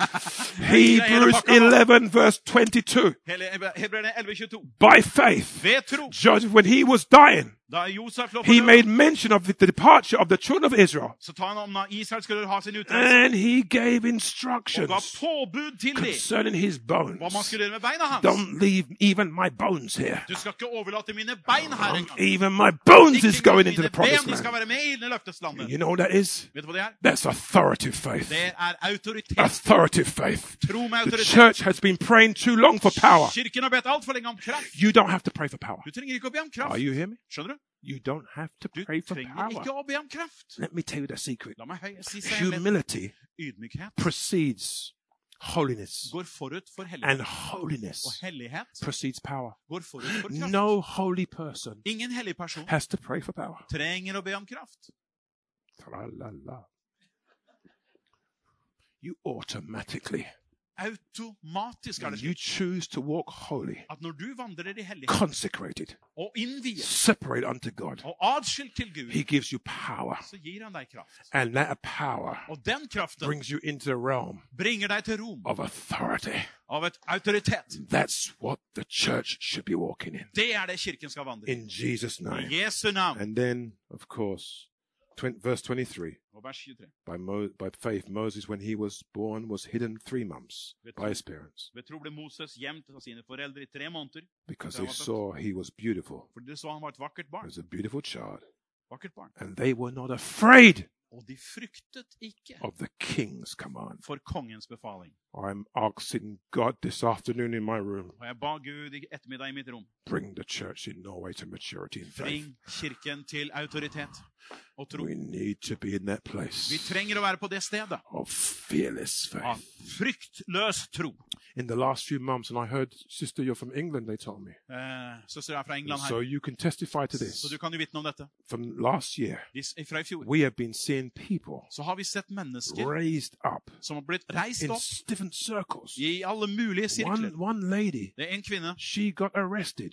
Speaker 1: Hebrews 11 verse 22.
Speaker 2: Hele Hebreerne 11,22.
Speaker 1: By faith,
Speaker 2: Ved tro,
Speaker 1: Joseph, when he was dying,
Speaker 2: da Josef lå for
Speaker 1: he
Speaker 2: døden,
Speaker 1: made mention of the, the departure of the children of Israel.
Speaker 2: Så tar han om når Israel skulle ha sin utreise,
Speaker 1: And he gave
Speaker 2: og ga
Speaker 1: instructions
Speaker 2: påbud til dem
Speaker 1: concerning his
Speaker 2: hva man
Speaker 1: bones.
Speaker 2: skulle gjøre med beina hans.
Speaker 1: Don't leave even my bones here.
Speaker 2: Du skal ikke overlate mine bein her
Speaker 1: Um,
Speaker 2: engang.
Speaker 1: even my bones
Speaker 2: Ikke
Speaker 1: is going
Speaker 2: engang
Speaker 1: into
Speaker 2: mine
Speaker 1: the
Speaker 2: ben
Speaker 1: promised
Speaker 2: de skal
Speaker 1: land.
Speaker 2: være med i det løftes landet.
Speaker 1: You know what that is?
Speaker 2: Vet du hva det er?
Speaker 1: That's authoritative faith.
Speaker 2: Det er
Speaker 1: Ah,
Speaker 2: autoritet.
Speaker 1: Authoritative faith.
Speaker 2: Tro med
Speaker 1: The
Speaker 2: autoritet.
Speaker 1: church has been praying too long for power.
Speaker 2: Kirken har bedt altfor lenge om kraft.
Speaker 1: You don't have to pray for power.
Speaker 2: Du trenger ikke å be om
Speaker 1: Are
Speaker 2: kraft.
Speaker 1: Ah, you hearing me?
Speaker 2: Skjønner du?
Speaker 1: You don't have to
Speaker 2: Du
Speaker 1: pray for
Speaker 2: trenger
Speaker 1: power.
Speaker 2: ikke å be om kraft.
Speaker 1: Let me tell you the secret.
Speaker 2: La meg høy- si seg litt.
Speaker 1: Humility
Speaker 2: Ydmykhet
Speaker 1: precedes holiness,
Speaker 2: går forut for hellighet.
Speaker 1: and
Speaker 2: Og
Speaker 1: holiness
Speaker 2: hellighet
Speaker 1: precedes power.
Speaker 2: går forut for kraft.
Speaker 1: No holy person
Speaker 2: Ingen hellig person
Speaker 1: has to pray for power.
Speaker 2: trenger å be om kraft.
Speaker 1: Tra-la-la. You automatically
Speaker 2: Automatisk er det
Speaker 1: You
Speaker 2: slik
Speaker 1: choose to walk holy,
Speaker 2: at når du vandrer i hellighet
Speaker 1: consecrated,
Speaker 2: og innviet
Speaker 1: separate unto God.
Speaker 2: og adskilt til Gud,
Speaker 1: He gives you power,
Speaker 2: så gir han deg kraft.
Speaker 1: and that power
Speaker 2: Og den kraften
Speaker 1: brings you into the realm
Speaker 2: bringer deg til Rom
Speaker 1: of authority.
Speaker 2: av et autoritet.
Speaker 1: That's what the church should be walking in.
Speaker 2: Det er det kirken skal vandre i.
Speaker 1: In Jesus' name.
Speaker 2: I Jesu navn.
Speaker 1: And then, of course, twen- verse 23.
Speaker 2: Og vers 23.
Speaker 1: By, Mo- by faith, Moses, when he was born, was hidden three months by his parents
Speaker 2: Ved tro ble Moses gjemt av sine foreldre i tre måneder
Speaker 1: because they saw he was beautiful.
Speaker 2: fordi de så han var et vakkert
Speaker 1: He
Speaker 2: barn.
Speaker 1: was a beautiful child.
Speaker 2: Vakkert barn.
Speaker 1: And they were not afraid
Speaker 2: Og de fryktet ikke
Speaker 1: of the king's command.
Speaker 2: for kongens befaling.
Speaker 1: I'm asking God this afternoon in my room
Speaker 2: Og jeg ba Gud i ettermiddag i mitt rom
Speaker 1: bring the church in Norway to maturity in faith.
Speaker 2: Bring kirken til autoritet og tro.
Speaker 1: We need to be in that
Speaker 2: Vi
Speaker 1: place
Speaker 2: trenger å være på det stedet
Speaker 1: of fearless
Speaker 2: av
Speaker 1: faith.
Speaker 2: fryktløs tro.
Speaker 1: In the last few months, and I heard, Sister, you're from England, they told me.
Speaker 2: Eh, Søster er fra England
Speaker 1: So
Speaker 2: her,
Speaker 1: you can testify to this.
Speaker 2: så du kan jo vitne om dette.
Speaker 1: From last year,
Speaker 2: Hvis- Fra i fjor
Speaker 1: we have been seeing people
Speaker 2: så har vi sett mennesker
Speaker 1: raised up
Speaker 2: som har blitt reist
Speaker 1: in
Speaker 2: opp
Speaker 1: s- different circles.
Speaker 2: i alle mulige sirkler.
Speaker 1: One, one lady,
Speaker 2: Det er en kvinne.
Speaker 1: she got arrested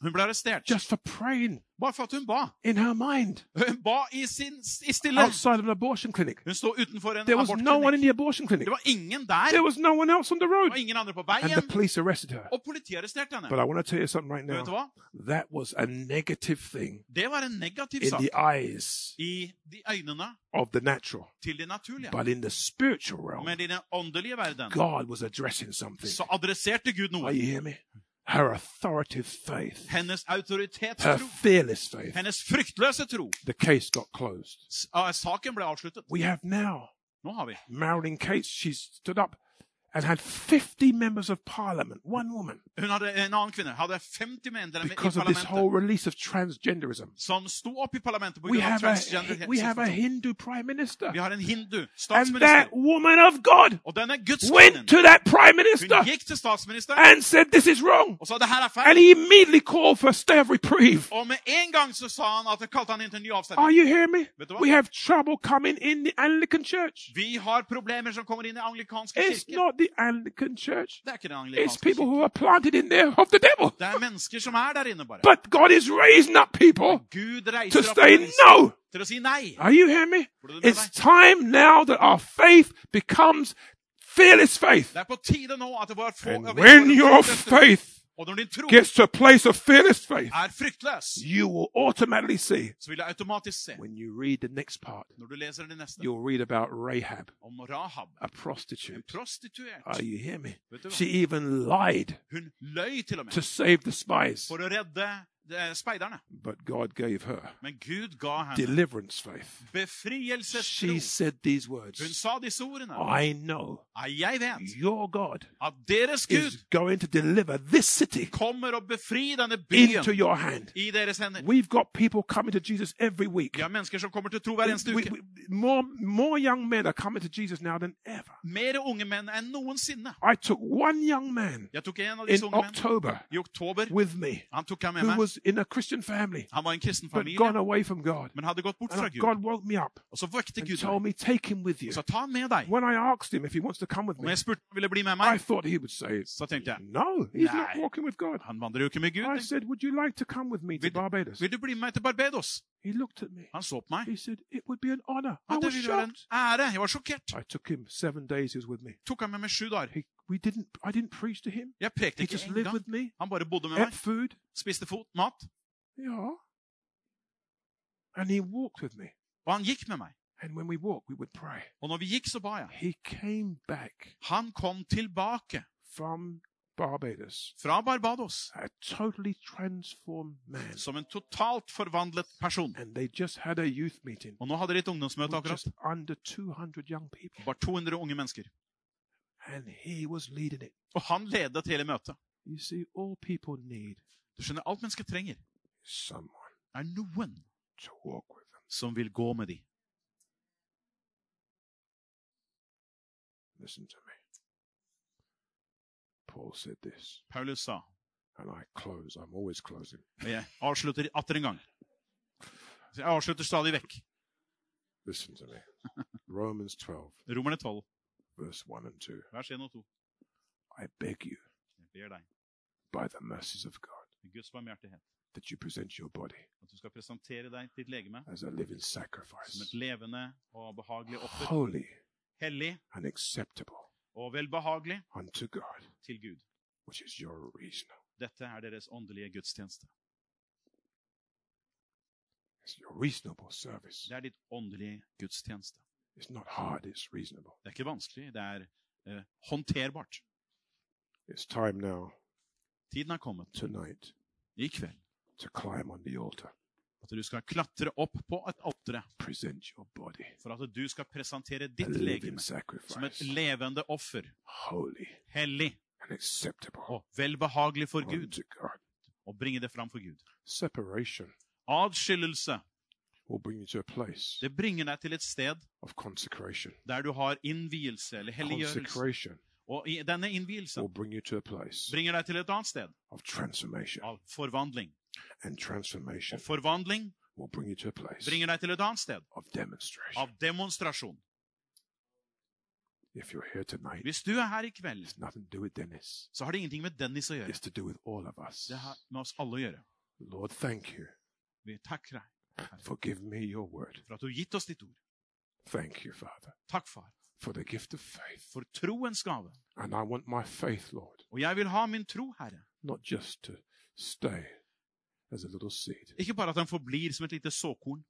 Speaker 2: Hun ble arrestert
Speaker 1: just for praying
Speaker 2: bare for at hun ba.
Speaker 1: in her mind
Speaker 2: Hun ba i, sin, i stille.
Speaker 1: outside of an abortion clinic.
Speaker 2: Hun sto utenfor en
Speaker 1: Altså, There was no one in
Speaker 2: abortklinikk.
Speaker 1: the abortion clinic.
Speaker 2: Det var ingen der.
Speaker 1: There was no one else on the
Speaker 2: Det var
Speaker 1: road.
Speaker 2: ingen andre på
Speaker 1: And the
Speaker 2: veien.
Speaker 1: police arrested her.
Speaker 2: Og politiet arresterte henne.
Speaker 1: But I want to tell you something right
Speaker 2: Men Vet du
Speaker 1: now.
Speaker 2: hva?
Speaker 1: That was a negative thing
Speaker 2: Det var en negativ
Speaker 1: in
Speaker 2: sak
Speaker 1: the eyes
Speaker 2: i de øynene
Speaker 1: of the natural.
Speaker 2: til de naturlige.
Speaker 1: But in the spiritual realm,
Speaker 2: Men i den åndelige verden
Speaker 1: God was addressing something.
Speaker 2: så adresserte Gud
Speaker 1: Are
Speaker 2: noe.
Speaker 1: you hear me? Her authoritative faith,
Speaker 2: Hennes
Speaker 1: her
Speaker 2: autoritetstro.
Speaker 1: fearless faith.
Speaker 2: Hennes fryktløse tro.
Speaker 1: The case got closed.
Speaker 2: S- ah, Saken ble avsluttet.
Speaker 1: We have now
Speaker 2: Nå har vi.
Speaker 1: Marilyn Cates. She stood up and had 50 members of parliament, one woman,
Speaker 2: Hun hadde en annen kvinne. Hadde 50 medlemmer i
Speaker 1: because of this whole
Speaker 2: parlamentet
Speaker 1: release of transgenderism.
Speaker 2: som sto opp i parlamentet på
Speaker 1: We
Speaker 2: grunn av
Speaker 1: have a,
Speaker 2: transgender.
Speaker 1: we have a Hindu prime minister.
Speaker 2: Vi har en hindu
Speaker 1: And that
Speaker 2: statsminister.
Speaker 1: woman of God
Speaker 2: Og denne gudskvinnen
Speaker 1: went to that prime minister
Speaker 2: Hun gikk til statsministeren
Speaker 1: and said, This is wrong.
Speaker 2: og sa det her er
Speaker 1: And
Speaker 2: feil.
Speaker 1: he immediately called for a stay of reprieve.
Speaker 2: Og med en gang så sa han at kalte han inn til en ny
Speaker 1: Are
Speaker 2: avstemning.
Speaker 1: you hearing me?
Speaker 2: Vet du hva?
Speaker 1: We have trouble coming in the Anglican church.
Speaker 2: Vi har problemer som kommer inn i anglikanske
Speaker 1: It's
Speaker 2: kirker.
Speaker 1: not the Anglican church.
Speaker 2: Det er ikke den
Speaker 1: It's
Speaker 2: anglikanske
Speaker 1: people
Speaker 2: kirken.
Speaker 1: who are planted in there of the devil.
Speaker 2: Det er mennesker som er der inne, bare.
Speaker 1: But God is raising up people
Speaker 2: Gud
Speaker 1: to
Speaker 2: reiser opp
Speaker 1: say
Speaker 2: mennesker
Speaker 1: no.
Speaker 2: til å si nei.
Speaker 1: Are you hearing me?
Speaker 2: Får du det med
Speaker 1: It's
Speaker 2: deg?
Speaker 1: time now that our faith becomes fearless faith.
Speaker 2: Det er på tide nå at det var få
Speaker 1: And when your faith
Speaker 2: Og når din tro
Speaker 1: gets to a place of fearless faith,
Speaker 2: er fryktløs,
Speaker 1: you will automatically see
Speaker 2: så vil du automatisk se,
Speaker 1: when you read the next part,
Speaker 2: når du leser det neste,
Speaker 1: you'll read about Rahab,
Speaker 2: om Rahab,
Speaker 1: a
Speaker 2: en
Speaker 1: prostitute. Are
Speaker 2: prostituert.
Speaker 1: you hearing me?
Speaker 2: Vet du
Speaker 1: She
Speaker 2: hva?
Speaker 1: even lied
Speaker 2: Hun løy til og
Speaker 1: to
Speaker 2: med
Speaker 1: save the spies,
Speaker 2: for å redde eh, speiderne.
Speaker 1: but God gave her
Speaker 2: Men Gud ga henne
Speaker 1: deliverance faith.
Speaker 2: befrielsestro.
Speaker 1: She said these
Speaker 2: Hun
Speaker 1: words
Speaker 2: sa disse ordene.
Speaker 1: I know
Speaker 2: «Nei, Jeg vet
Speaker 1: your God
Speaker 2: at deres Gud
Speaker 1: is going to deliver this city
Speaker 2: kommer og befri denne byen
Speaker 1: into your hand.
Speaker 2: i deres hender.
Speaker 1: We've got people coming to Jesus every week.
Speaker 2: Vi har mennesker som kommer til tro hver eneste
Speaker 1: We-
Speaker 2: uke.
Speaker 1: we- more, more young men are coming to Jesus now than ever.
Speaker 2: Mer unge menn enn noensinne.
Speaker 1: I took one young man
Speaker 2: Jeg tok en av
Speaker 1: in
Speaker 2: disse unge menn
Speaker 1: October
Speaker 2: i oktober.
Speaker 1: with me
Speaker 2: Han tok jeg med
Speaker 1: who
Speaker 2: meg.
Speaker 1: was in a Christian family
Speaker 2: Han var i en kristen
Speaker 1: but
Speaker 2: familie,
Speaker 1: gone away from God.
Speaker 2: men hadde gått bort fra
Speaker 1: And
Speaker 2: Gud.
Speaker 1: God woke me up
Speaker 2: Og så vekte
Speaker 1: and
Speaker 2: Gud
Speaker 1: told
Speaker 2: meg.
Speaker 1: me, Take him with you.
Speaker 2: Så ta han med deg.
Speaker 1: When I asked him if he wants to come with
Speaker 2: Og når
Speaker 1: me,
Speaker 2: jeg spurte om han ville bli med
Speaker 1: I
Speaker 2: meg,
Speaker 1: thought he would say,
Speaker 2: så tenkte jeg
Speaker 1: No, he's not
Speaker 2: Nah.
Speaker 1: walking with God.
Speaker 2: han vandrer jo ikke med
Speaker 1: I
Speaker 2: Gud.
Speaker 1: said, Would you like to come with me to
Speaker 2: Vil-
Speaker 1: Barbados?
Speaker 2: Vil du bli med meg til Barbados?
Speaker 1: He looked at me.
Speaker 2: Han så på meg.
Speaker 1: He said, It would be an honor. I
Speaker 2: Ja, det
Speaker 1: was
Speaker 2: ville være en
Speaker 1: shocked.
Speaker 2: ære. Jeg var sjokkert.
Speaker 1: I took him seven days. He was with me.
Speaker 2: Tok han med meg sju dager.
Speaker 1: He, we didn't. I didn't preach to him.
Speaker 2: Jeg prekte
Speaker 1: He
Speaker 2: ikke
Speaker 1: just lived
Speaker 2: engang.
Speaker 1: with me.
Speaker 2: Han bare bodde med
Speaker 1: Ate
Speaker 2: meg,
Speaker 1: food.
Speaker 2: spiste fot, mat,
Speaker 1: Yeah. And he walked with me.
Speaker 2: og han gikk med meg.
Speaker 1: And when we walked, we would pray.
Speaker 2: Og når vi gikk, så ba jeg.
Speaker 1: He came back
Speaker 2: Han kom tilbake
Speaker 1: from Barbados
Speaker 2: fra Barbados
Speaker 1: a totally transformed man.
Speaker 2: som en totalt forvandlet person.
Speaker 1: And they just had a youth meeting
Speaker 2: Og nå hadde de et ungdomsmøte
Speaker 1: with
Speaker 2: akkurat.
Speaker 1: just under 200 young people.
Speaker 2: Bare 200 unge mennesker.
Speaker 1: And he was leading it.
Speaker 2: Og han ledet hele møtet.
Speaker 1: You see, all people need
Speaker 2: Du skjønner, alt mennesket trenger,
Speaker 1: is someone
Speaker 2: er noen
Speaker 1: to walk with them.
Speaker 2: som vil gå med de.
Speaker 1: Listen to me. Paul said this,
Speaker 2: Paulus sa,
Speaker 1: and I close. I'm always closing.
Speaker 2: og jeg avslutter atter en gang. Så Jeg avslutter stadig vekk.
Speaker 1: Listen to me. Romans 12,
Speaker 2: Romerne 12,
Speaker 1: verse 1 and 2.
Speaker 2: vers 1 og 2.
Speaker 1: I beg you,
Speaker 2: Jeg ber deg,
Speaker 1: by the mercies of God,
Speaker 2: ved Guds barmhjertighet,
Speaker 1: that you present your body
Speaker 2: at du skal presentere deg ditt legeme
Speaker 1: as a living
Speaker 2: som et
Speaker 1: sacrifice,
Speaker 2: levende og behagelig offer,
Speaker 1: holy
Speaker 2: hellig
Speaker 1: and acceptable
Speaker 2: og velbehagelig
Speaker 1: unto God,
Speaker 2: til Gud.
Speaker 1: which is your reason.
Speaker 2: Dette er deres åndelige gudstjeneste.
Speaker 1: It's your reasonable service.
Speaker 2: Det er ditt åndelige gudstjeneste.
Speaker 1: It's not hard, it's reasonable.
Speaker 2: Det er ikke vanskelig, det er eh, håndterbart.
Speaker 1: It's time now,
Speaker 2: Tiden er kommet
Speaker 1: tonight,
Speaker 2: i kveld
Speaker 1: to climb on the altar,
Speaker 2: at du skal klatre opp på et altere
Speaker 1: present your body,
Speaker 2: for at du skal presentere
Speaker 1: a
Speaker 2: ditt
Speaker 1: living
Speaker 2: legeme som et
Speaker 1: sacrifice,
Speaker 2: levende offer,
Speaker 1: holy
Speaker 2: hellig
Speaker 1: and acceptable
Speaker 2: og velbehagelig for Gud,
Speaker 1: unto God.
Speaker 2: og bringe det fram for Gud.
Speaker 1: Separation
Speaker 2: Adskillelse,
Speaker 1: will bring you to a place
Speaker 2: det bringer deg til et sted
Speaker 1: of consecration.
Speaker 2: der du har innvielse eller helliggjørelse.
Speaker 1: Consecration
Speaker 2: Og i denne innvielsen
Speaker 1: will bring you to a place
Speaker 2: bringer deg til et annet sted
Speaker 1: of transformation,
Speaker 2: av forvandling.
Speaker 1: and transformation
Speaker 2: Og forvandling
Speaker 1: will bring you to a place
Speaker 2: bringer deg til et annet sted
Speaker 1: of demonstration.
Speaker 2: av demonstrasjon.
Speaker 1: If you're here tonight,
Speaker 2: Hvis du er her i kveld,
Speaker 1: it's nothing to do with Dennis.
Speaker 2: så har det ingenting med Dennis å gjøre.
Speaker 1: It's to do with all of us.
Speaker 2: Det har med oss alle å gjøre.
Speaker 1: Lord, thank you.
Speaker 2: Vi takker deg
Speaker 1: Forgive me your word.
Speaker 2: for at du har gitt oss ditt ord.
Speaker 1: Thank you, Father,
Speaker 2: Takk, far,
Speaker 1: for the gift of faith.
Speaker 2: for troens gave.
Speaker 1: And I want my faith, Lord,
Speaker 2: Og jeg vil ha min tro, Herre.
Speaker 1: not just to stay as a little seed.
Speaker 2: Ikke bare at den forblir som et lite såkorn.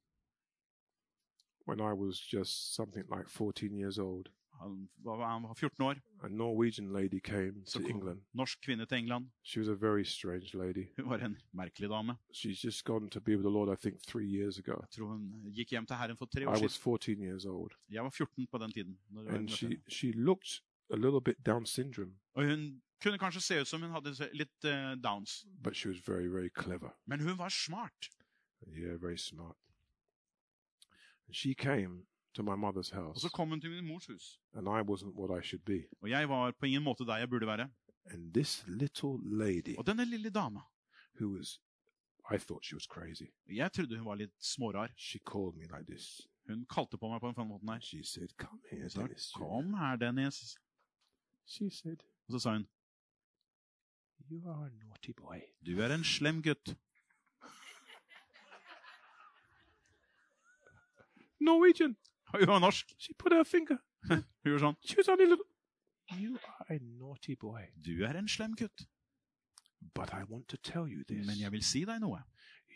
Speaker 1: When I was just something like 14 years old,
Speaker 2: Han var, han var 14 år,
Speaker 1: a Norwegian lady came to
Speaker 2: Så kom-
Speaker 1: England.
Speaker 2: norsk kvinne til England.
Speaker 1: She was a very strange lady.
Speaker 2: Hun var en merkelig dame.
Speaker 1: She's just gone to be with the Lord, I think, three years ago.
Speaker 2: Jeg tror hun gikk hjem til Herren for tre
Speaker 1: I
Speaker 2: år
Speaker 1: was
Speaker 2: siden.
Speaker 1: 14 years old.
Speaker 2: Jeg var 14 på den tiden. Når jeg
Speaker 1: And
Speaker 2: møtte
Speaker 1: she,
Speaker 2: henne.
Speaker 1: she looked a little bit Down syndrome,
Speaker 2: Og hun kunne kanskje se ut som hun hadde se- litt eh, downs,
Speaker 1: but she was very, very clever.
Speaker 2: men hun var smart.
Speaker 1: Yeah, very smart. And she came to my mother's
Speaker 2: Og
Speaker 1: house,
Speaker 2: så kom hun til min mors hus.
Speaker 1: and I wasn't what I should be.
Speaker 2: Og jeg var på ingen måte der jeg burde være.
Speaker 1: And this little lady,
Speaker 2: Og denne lille dama,
Speaker 1: who was, I thought she was crazy,
Speaker 2: jeg trodde hun var litt smårar.
Speaker 1: she called me like this.
Speaker 2: Hun kalte på meg på den sånn måten
Speaker 1: And
Speaker 2: her.
Speaker 1: she said, Come here,
Speaker 2: Hun sa,
Speaker 1: Dennis.
Speaker 2: Kom her, Dennis.
Speaker 1: She said,
Speaker 2: Og så sa hun,
Speaker 1: You are a naughty boy.
Speaker 2: du er en slem gutt. (laughs)
Speaker 1: Norwegian.
Speaker 2: Og Hun var norsk.
Speaker 1: She put her finger.
Speaker 2: Hun gjorde sånn,
Speaker 1: She was only little. You are a naughty boy.
Speaker 2: du er en slem gutt.
Speaker 1: But I want to tell you this.
Speaker 2: Men jeg vil si deg noe.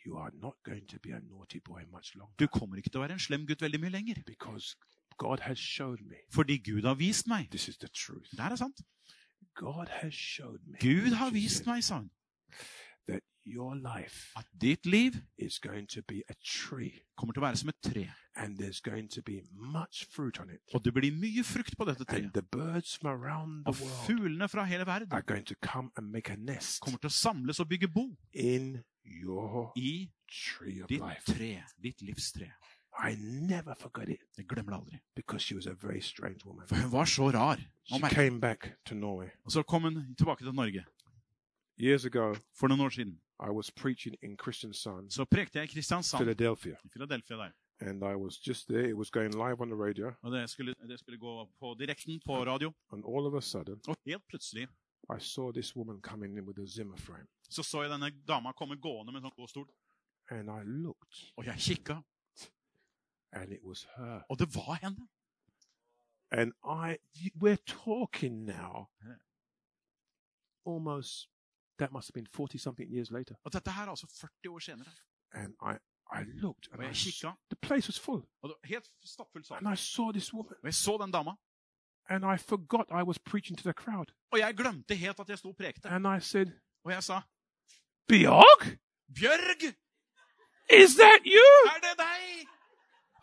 Speaker 1: You are not going to be a naughty boy much longer.
Speaker 2: Du kommer ikke til å være en slem gutt veldig mye lenger.
Speaker 1: Because God has shown me.
Speaker 2: Fordi Gud har vist meg.
Speaker 1: This is the truth.
Speaker 2: Det her er sant.
Speaker 1: God has showed me.
Speaker 2: Gud har
Speaker 1: she
Speaker 2: vist
Speaker 1: said,
Speaker 2: meg, sa hun,
Speaker 1: That your life
Speaker 2: at ditt liv
Speaker 1: is going to be a tree.
Speaker 2: kommer til å være som et tre.
Speaker 1: and there's going to be much fruit on it.
Speaker 2: Og det blir mye frukt på dette
Speaker 1: And
Speaker 2: treet.
Speaker 1: the birds from around the
Speaker 2: Og
Speaker 1: world
Speaker 2: fuglene fra hele verden
Speaker 1: are going to come and make a nest
Speaker 2: kommer til å samles og bygge bo
Speaker 1: in your
Speaker 2: i
Speaker 1: tree of
Speaker 2: ditt
Speaker 1: life.
Speaker 2: tre, ditt livstre.
Speaker 1: I never forgot it
Speaker 2: Jeg glemmer det aldri.
Speaker 1: because she was a very strange woman.
Speaker 2: For hun var så rar.
Speaker 1: She
Speaker 2: Og merkelig.
Speaker 1: came back to Norway.
Speaker 2: Og så kom hun tilbake til Norge
Speaker 1: Years ago,
Speaker 2: for noen år siden.
Speaker 1: I was preaching in Christian Sun,
Speaker 2: Så prekte jeg i Kristiansand,
Speaker 1: Philadelphia,
Speaker 2: i Philadelphia der.
Speaker 1: and I was just there. It was going live on the radio,
Speaker 2: Og det skulle, det skulle gå på direkten på radio.
Speaker 1: and all of a sudden,
Speaker 2: Og helt plutselig
Speaker 1: I saw this woman coming in with a Zimmer frame,
Speaker 2: så så jeg denne dama komme gående med en sånn gåstol.
Speaker 1: and I looked,
Speaker 2: Og jeg kikka,
Speaker 1: and it was her.
Speaker 2: og det var henne.
Speaker 1: And I, y- we're talking now.
Speaker 2: Yeah.
Speaker 1: Almost, that must have been 40 something years later.
Speaker 2: Og dette her er altså 40 år senere.
Speaker 1: And I, I looked
Speaker 2: Og
Speaker 1: and I,
Speaker 2: jeg
Speaker 1: s-
Speaker 2: kikka,
Speaker 1: the place was full.
Speaker 2: og det var helt stappfull sal.
Speaker 1: And I saw this woman
Speaker 2: Og jeg så den dama,
Speaker 1: and I forgot I was preaching to the crowd.
Speaker 2: og jeg glemte helt at jeg sto og prekte.
Speaker 1: And I said,
Speaker 2: Og jeg sa
Speaker 1: Bjorg,
Speaker 2: Bjørg,
Speaker 1: is that you?
Speaker 2: er det deg?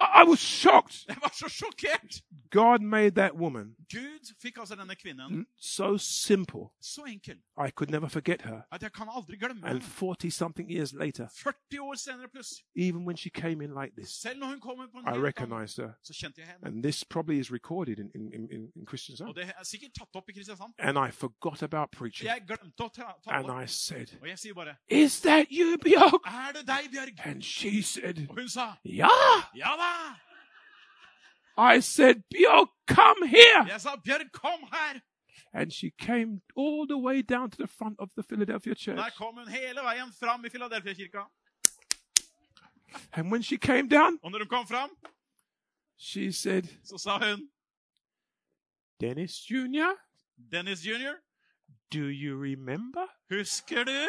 Speaker 1: I, I was shocked.
Speaker 2: Jeg var så sjokkert!
Speaker 1: God made that woman
Speaker 2: Gud fikk altså denne kvinnen
Speaker 1: l- so simple.
Speaker 2: så enkel
Speaker 1: I could never forget her.
Speaker 2: at jeg kan aldri glemme
Speaker 1: And
Speaker 2: henne.
Speaker 1: 40 something years later,
Speaker 2: 40 år senere pluss.
Speaker 1: even when she came in like this,
Speaker 2: Selv når hun kommer på
Speaker 1: I
Speaker 2: en helt annen,
Speaker 1: recognized her.
Speaker 2: så kjente jeg henne.
Speaker 1: And this probably is recorded in, in, in- in, in Christian Zone.
Speaker 2: Og det er sikkert tatt opp i Kristiansand.
Speaker 1: And I forgot about preaching.
Speaker 2: Jeg glemte å ta, ta
Speaker 1: And I
Speaker 2: opp.
Speaker 1: said,
Speaker 2: Og jeg sier bare
Speaker 1: Is that you, Bjork?
Speaker 2: Er det deg, Bjørg?
Speaker 1: And she said,
Speaker 2: Og hun sa
Speaker 1: Yeah.
Speaker 2: Ja da!
Speaker 1: I said, Bjork, come here.
Speaker 2: Jeg sa Bjørg, kom her!
Speaker 1: and she came all the way down to the front of the Philadelphia
Speaker 2: Der
Speaker 1: church.
Speaker 2: kom hun hele veien fram i Filadelfia-kirka.
Speaker 1: And when she came down,
Speaker 2: Og når hun kom fram,
Speaker 1: she said,
Speaker 2: så sa hun
Speaker 1: Dennis Jr.,
Speaker 2: Dennis jr.,
Speaker 1: do you remember
Speaker 2: husker du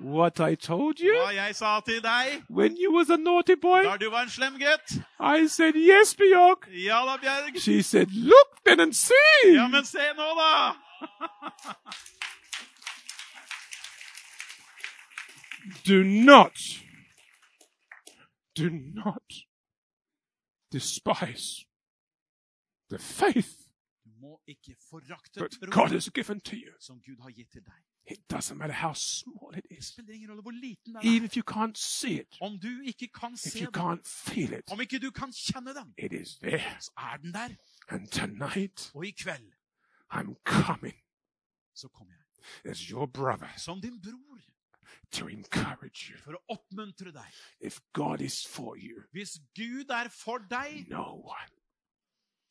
Speaker 1: what I told you
Speaker 2: hva jeg sa til deg
Speaker 1: when you was a naughty boy?
Speaker 2: da du var en slem gutt?
Speaker 1: I said, yes, Bjork.
Speaker 2: Ja da, Bjerg.
Speaker 1: She said, look then and see.
Speaker 2: Ja, men se nå, da!
Speaker 1: Do not, do not despise the faith
Speaker 2: Du må ikke forakte
Speaker 1: that God
Speaker 2: troen
Speaker 1: has given to you.
Speaker 2: som Gud har gitt til deg.
Speaker 1: It doesn't matter how small it
Speaker 2: Det
Speaker 1: is.
Speaker 2: spiller ingen rolle hvor liten den er.
Speaker 1: Even if you can't see it,
Speaker 2: Om du ikke kan
Speaker 1: if
Speaker 2: se
Speaker 1: you
Speaker 2: den,
Speaker 1: can't feel it,
Speaker 2: om ikke du kan kjenne den,
Speaker 1: it is there.
Speaker 2: så er den der.
Speaker 1: And tonight,
Speaker 2: Og i kveld
Speaker 1: I'm coming
Speaker 2: så kommer jeg
Speaker 1: as your brother
Speaker 2: som din bror
Speaker 1: to encourage you.
Speaker 2: for å oppmuntre deg.
Speaker 1: If God is for you,
Speaker 2: Hvis Gud er for deg,
Speaker 1: no one.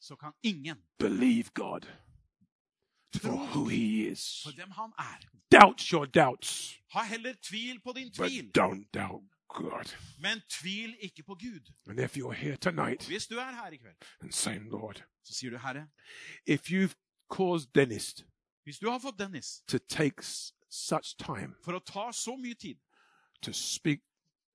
Speaker 2: så kan ingen
Speaker 1: Believe God for who He is.
Speaker 2: for dem han er.
Speaker 1: Doubt your doubts,
Speaker 2: Ha heller tvil på din
Speaker 1: but
Speaker 2: tvil,
Speaker 1: don't doubt God.
Speaker 2: men tvil ikke på Gud.
Speaker 1: And if you're here tonight
Speaker 2: Hvis du er her i kveld,
Speaker 1: and saying, Lord,
Speaker 2: så sier du, Herre,
Speaker 1: if you've caused Dennis
Speaker 2: hvis du har fått Dennis
Speaker 1: to take s- such time
Speaker 2: for å ta så mye tid
Speaker 1: to speak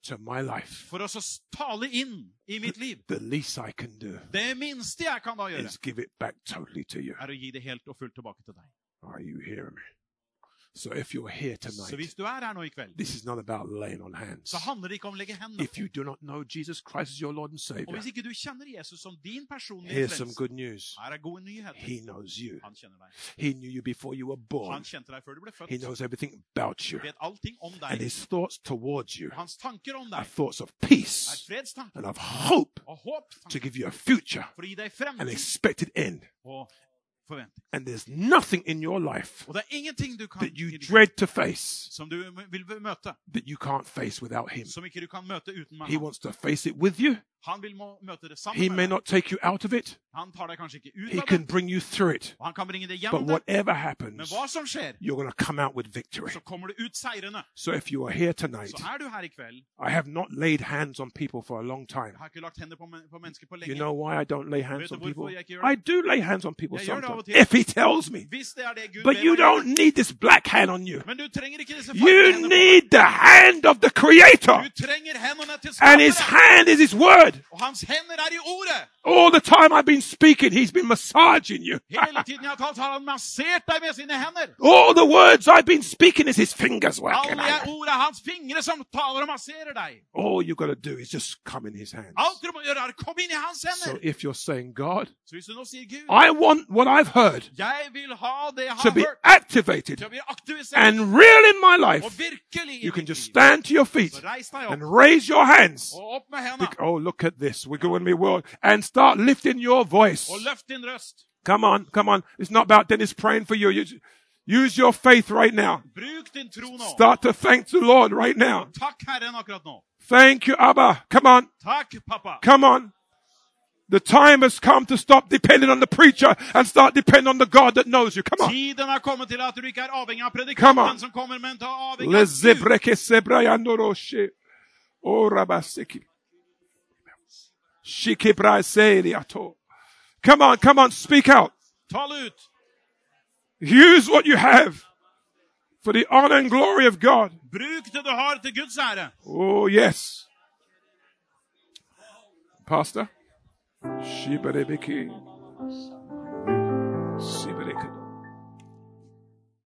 Speaker 1: to my life,
Speaker 2: for å så tale inn i mitt liv,
Speaker 1: the least I can do
Speaker 2: det minste jeg kan da gjøre,
Speaker 1: is give it back totally to you.
Speaker 2: er å gi det helt og fullt tilbake til deg.
Speaker 1: Are you hearing me? So if you're here
Speaker 2: Så hvis
Speaker 1: tonight,
Speaker 2: du er her nå i kveld,
Speaker 1: this is not about laying on hands.
Speaker 2: så handler det ikke om å legge hendene
Speaker 1: If you do not know Jesus Christ as your Lord and
Speaker 2: Og
Speaker 1: Savior,
Speaker 2: hvis ikke du kjenner Jesus som din personlige
Speaker 1: here's some
Speaker 2: frelser,
Speaker 1: good news.
Speaker 2: her er gode nyheter.
Speaker 1: He knows you.
Speaker 2: Han kjenner deg.
Speaker 1: He knew you before you were born.
Speaker 2: Han kjente deg før du ble
Speaker 1: He
Speaker 2: født.
Speaker 1: knows everything about you.
Speaker 2: Vet allting om
Speaker 1: And
Speaker 2: deg.
Speaker 1: his thoughts towards you
Speaker 2: Og hans tanker om
Speaker 1: are
Speaker 2: deg
Speaker 1: thoughts of
Speaker 2: er
Speaker 1: peace
Speaker 2: fredstanker
Speaker 1: and of hope
Speaker 2: og håp
Speaker 1: to give you a future,
Speaker 2: for å gi deg
Speaker 1: an
Speaker 2: fremtid
Speaker 1: expected end.
Speaker 2: og forventning.
Speaker 1: And there's nothing in your life
Speaker 2: Og det er ingenting du kan
Speaker 1: that you
Speaker 2: i ditt
Speaker 1: dread to face
Speaker 2: som du vil møte,
Speaker 1: that you can't face without him.
Speaker 2: som ikke du kan møte uten meg.
Speaker 1: He wants to face it with you.
Speaker 2: Han vil må møte det
Speaker 1: He
Speaker 2: sammen
Speaker 1: may
Speaker 2: med deg.
Speaker 1: not take you out of it.
Speaker 2: Han tar deg kanskje ikke ut
Speaker 1: He
Speaker 2: av
Speaker 1: can
Speaker 2: det,
Speaker 1: bring you through it.
Speaker 2: og han kan bringe det
Speaker 1: But
Speaker 2: hjem. til deg.
Speaker 1: whatever
Speaker 2: Men
Speaker 1: happens,
Speaker 2: hva som skjer,
Speaker 1: you're going to come out with victory.
Speaker 2: så kommer du ut seirende.
Speaker 1: So if you are here tonight,
Speaker 2: Så er du her i kveld.
Speaker 1: I have not laid hands on people for a long time.
Speaker 2: Jeg har ikke lagt hender på, men- på mennesker på
Speaker 1: You
Speaker 2: lenge.
Speaker 1: know why I don't lay hands
Speaker 2: Vet du
Speaker 1: on people?
Speaker 2: hvorfor jeg ikke gjør det?
Speaker 1: I do lay hands on people
Speaker 2: Jeg gjør det av
Speaker 1: sometimes.
Speaker 2: og til.
Speaker 1: If he tells me.
Speaker 2: Hvis det er det Gud
Speaker 1: But
Speaker 2: ber
Speaker 1: you
Speaker 2: deg gjøre.
Speaker 1: don't need this black hand on you.
Speaker 2: Men du trenger ikke disse
Speaker 1: You
Speaker 2: hendene på deg.
Speaker 1: need the hand of the Creator.
Speaker 2: Du trenger hendene til
Speaker 1: And his
Speaker 2: skaperen.
Speaker 1: hand is his word.
Speaker 2: Og hans hender er i ordet.
Speaker 1: All the time I've been speaking, he's been massaging you. (laughs)
Speaker 2: Hele tiden jeg har talt, har han massert deg med sine hender.
Speaker 1: All the words I've been speaking is his fingers working.
Speaker 2: Alle
Speaker 1: on
Speaker 2: er
Speaker 1: you.
Speaker 2: ordet er hans fingre som taler og masserer deg.
Speaker 1: All you got to do is just come in his hands.
Speaker 2: Alt du må gjøre, er å komme inn i hans
Speaker 1: So
Speaker 2: hender.
Speaker 1: if you're saying, God,
Speaker 2: Så hvis du nå sier Gud,
Speaker 1: I want what I've heard
Speaker 2: jeg vil ha det jeg
Speaker 1: to
Speaker 2: har
Speaker 1: be
Speaker 2: hørt,
Speaker 1: activated
Speaker 2: til å bli aktivisert
Speaker 1: and real in my
Speaker 2: og
Speaker 1: life,
Speaker 2: virkelig i
Speaker 1: you can
Speaker 2: ditt
Speaker 1: just
Speaker 2: liv.
Speaker 1: stand to your feet
Speaker 2: Så reis deg opp
Speaker 1: and raise your hands.
Speaker 2: og opp med
Speaker 1: Bec-
Speaker 2: hendene
Speaker 1: oh, look at this. We're going to be world. And start lifting your voice.
Speaker 2: og løft din røst.
Speaker 1: Come on, come on. It's not about Dennis praying for you. You- Use your faith right now.
Speaker 2: Bruk din tro nå.
Speaker 1: Start to thank the Lord right now.
Speaker 2: Takk Herren akkurat nå.
Speaker 1: Thank you, Abba. Come on,
Speaker 2: Takk, pappa.
Speaker 1: come on. The time has come to stop depending on the preacher and start depending on the God that knows you. Come on.
Speaker 2: Tiden er kommet til at du ikke er avhengig av
Speaker 1: Come on.
Speaker 2: predikanten som kommer, men ta avhengig av Gud.
Speaker 1: Lezebreke-sebrayandoroshe. O rabaseki. Shikibraseriato. Come on, come on, speak out.
Speaker 2: Tal ut.
Speaker 1: Use what you have for the honor and glory of God.
Speaker 2: Bruk det du har til Guds ære.
Speaker 1: Oh, yes. Pastor. Shibarebeki. Sibereke.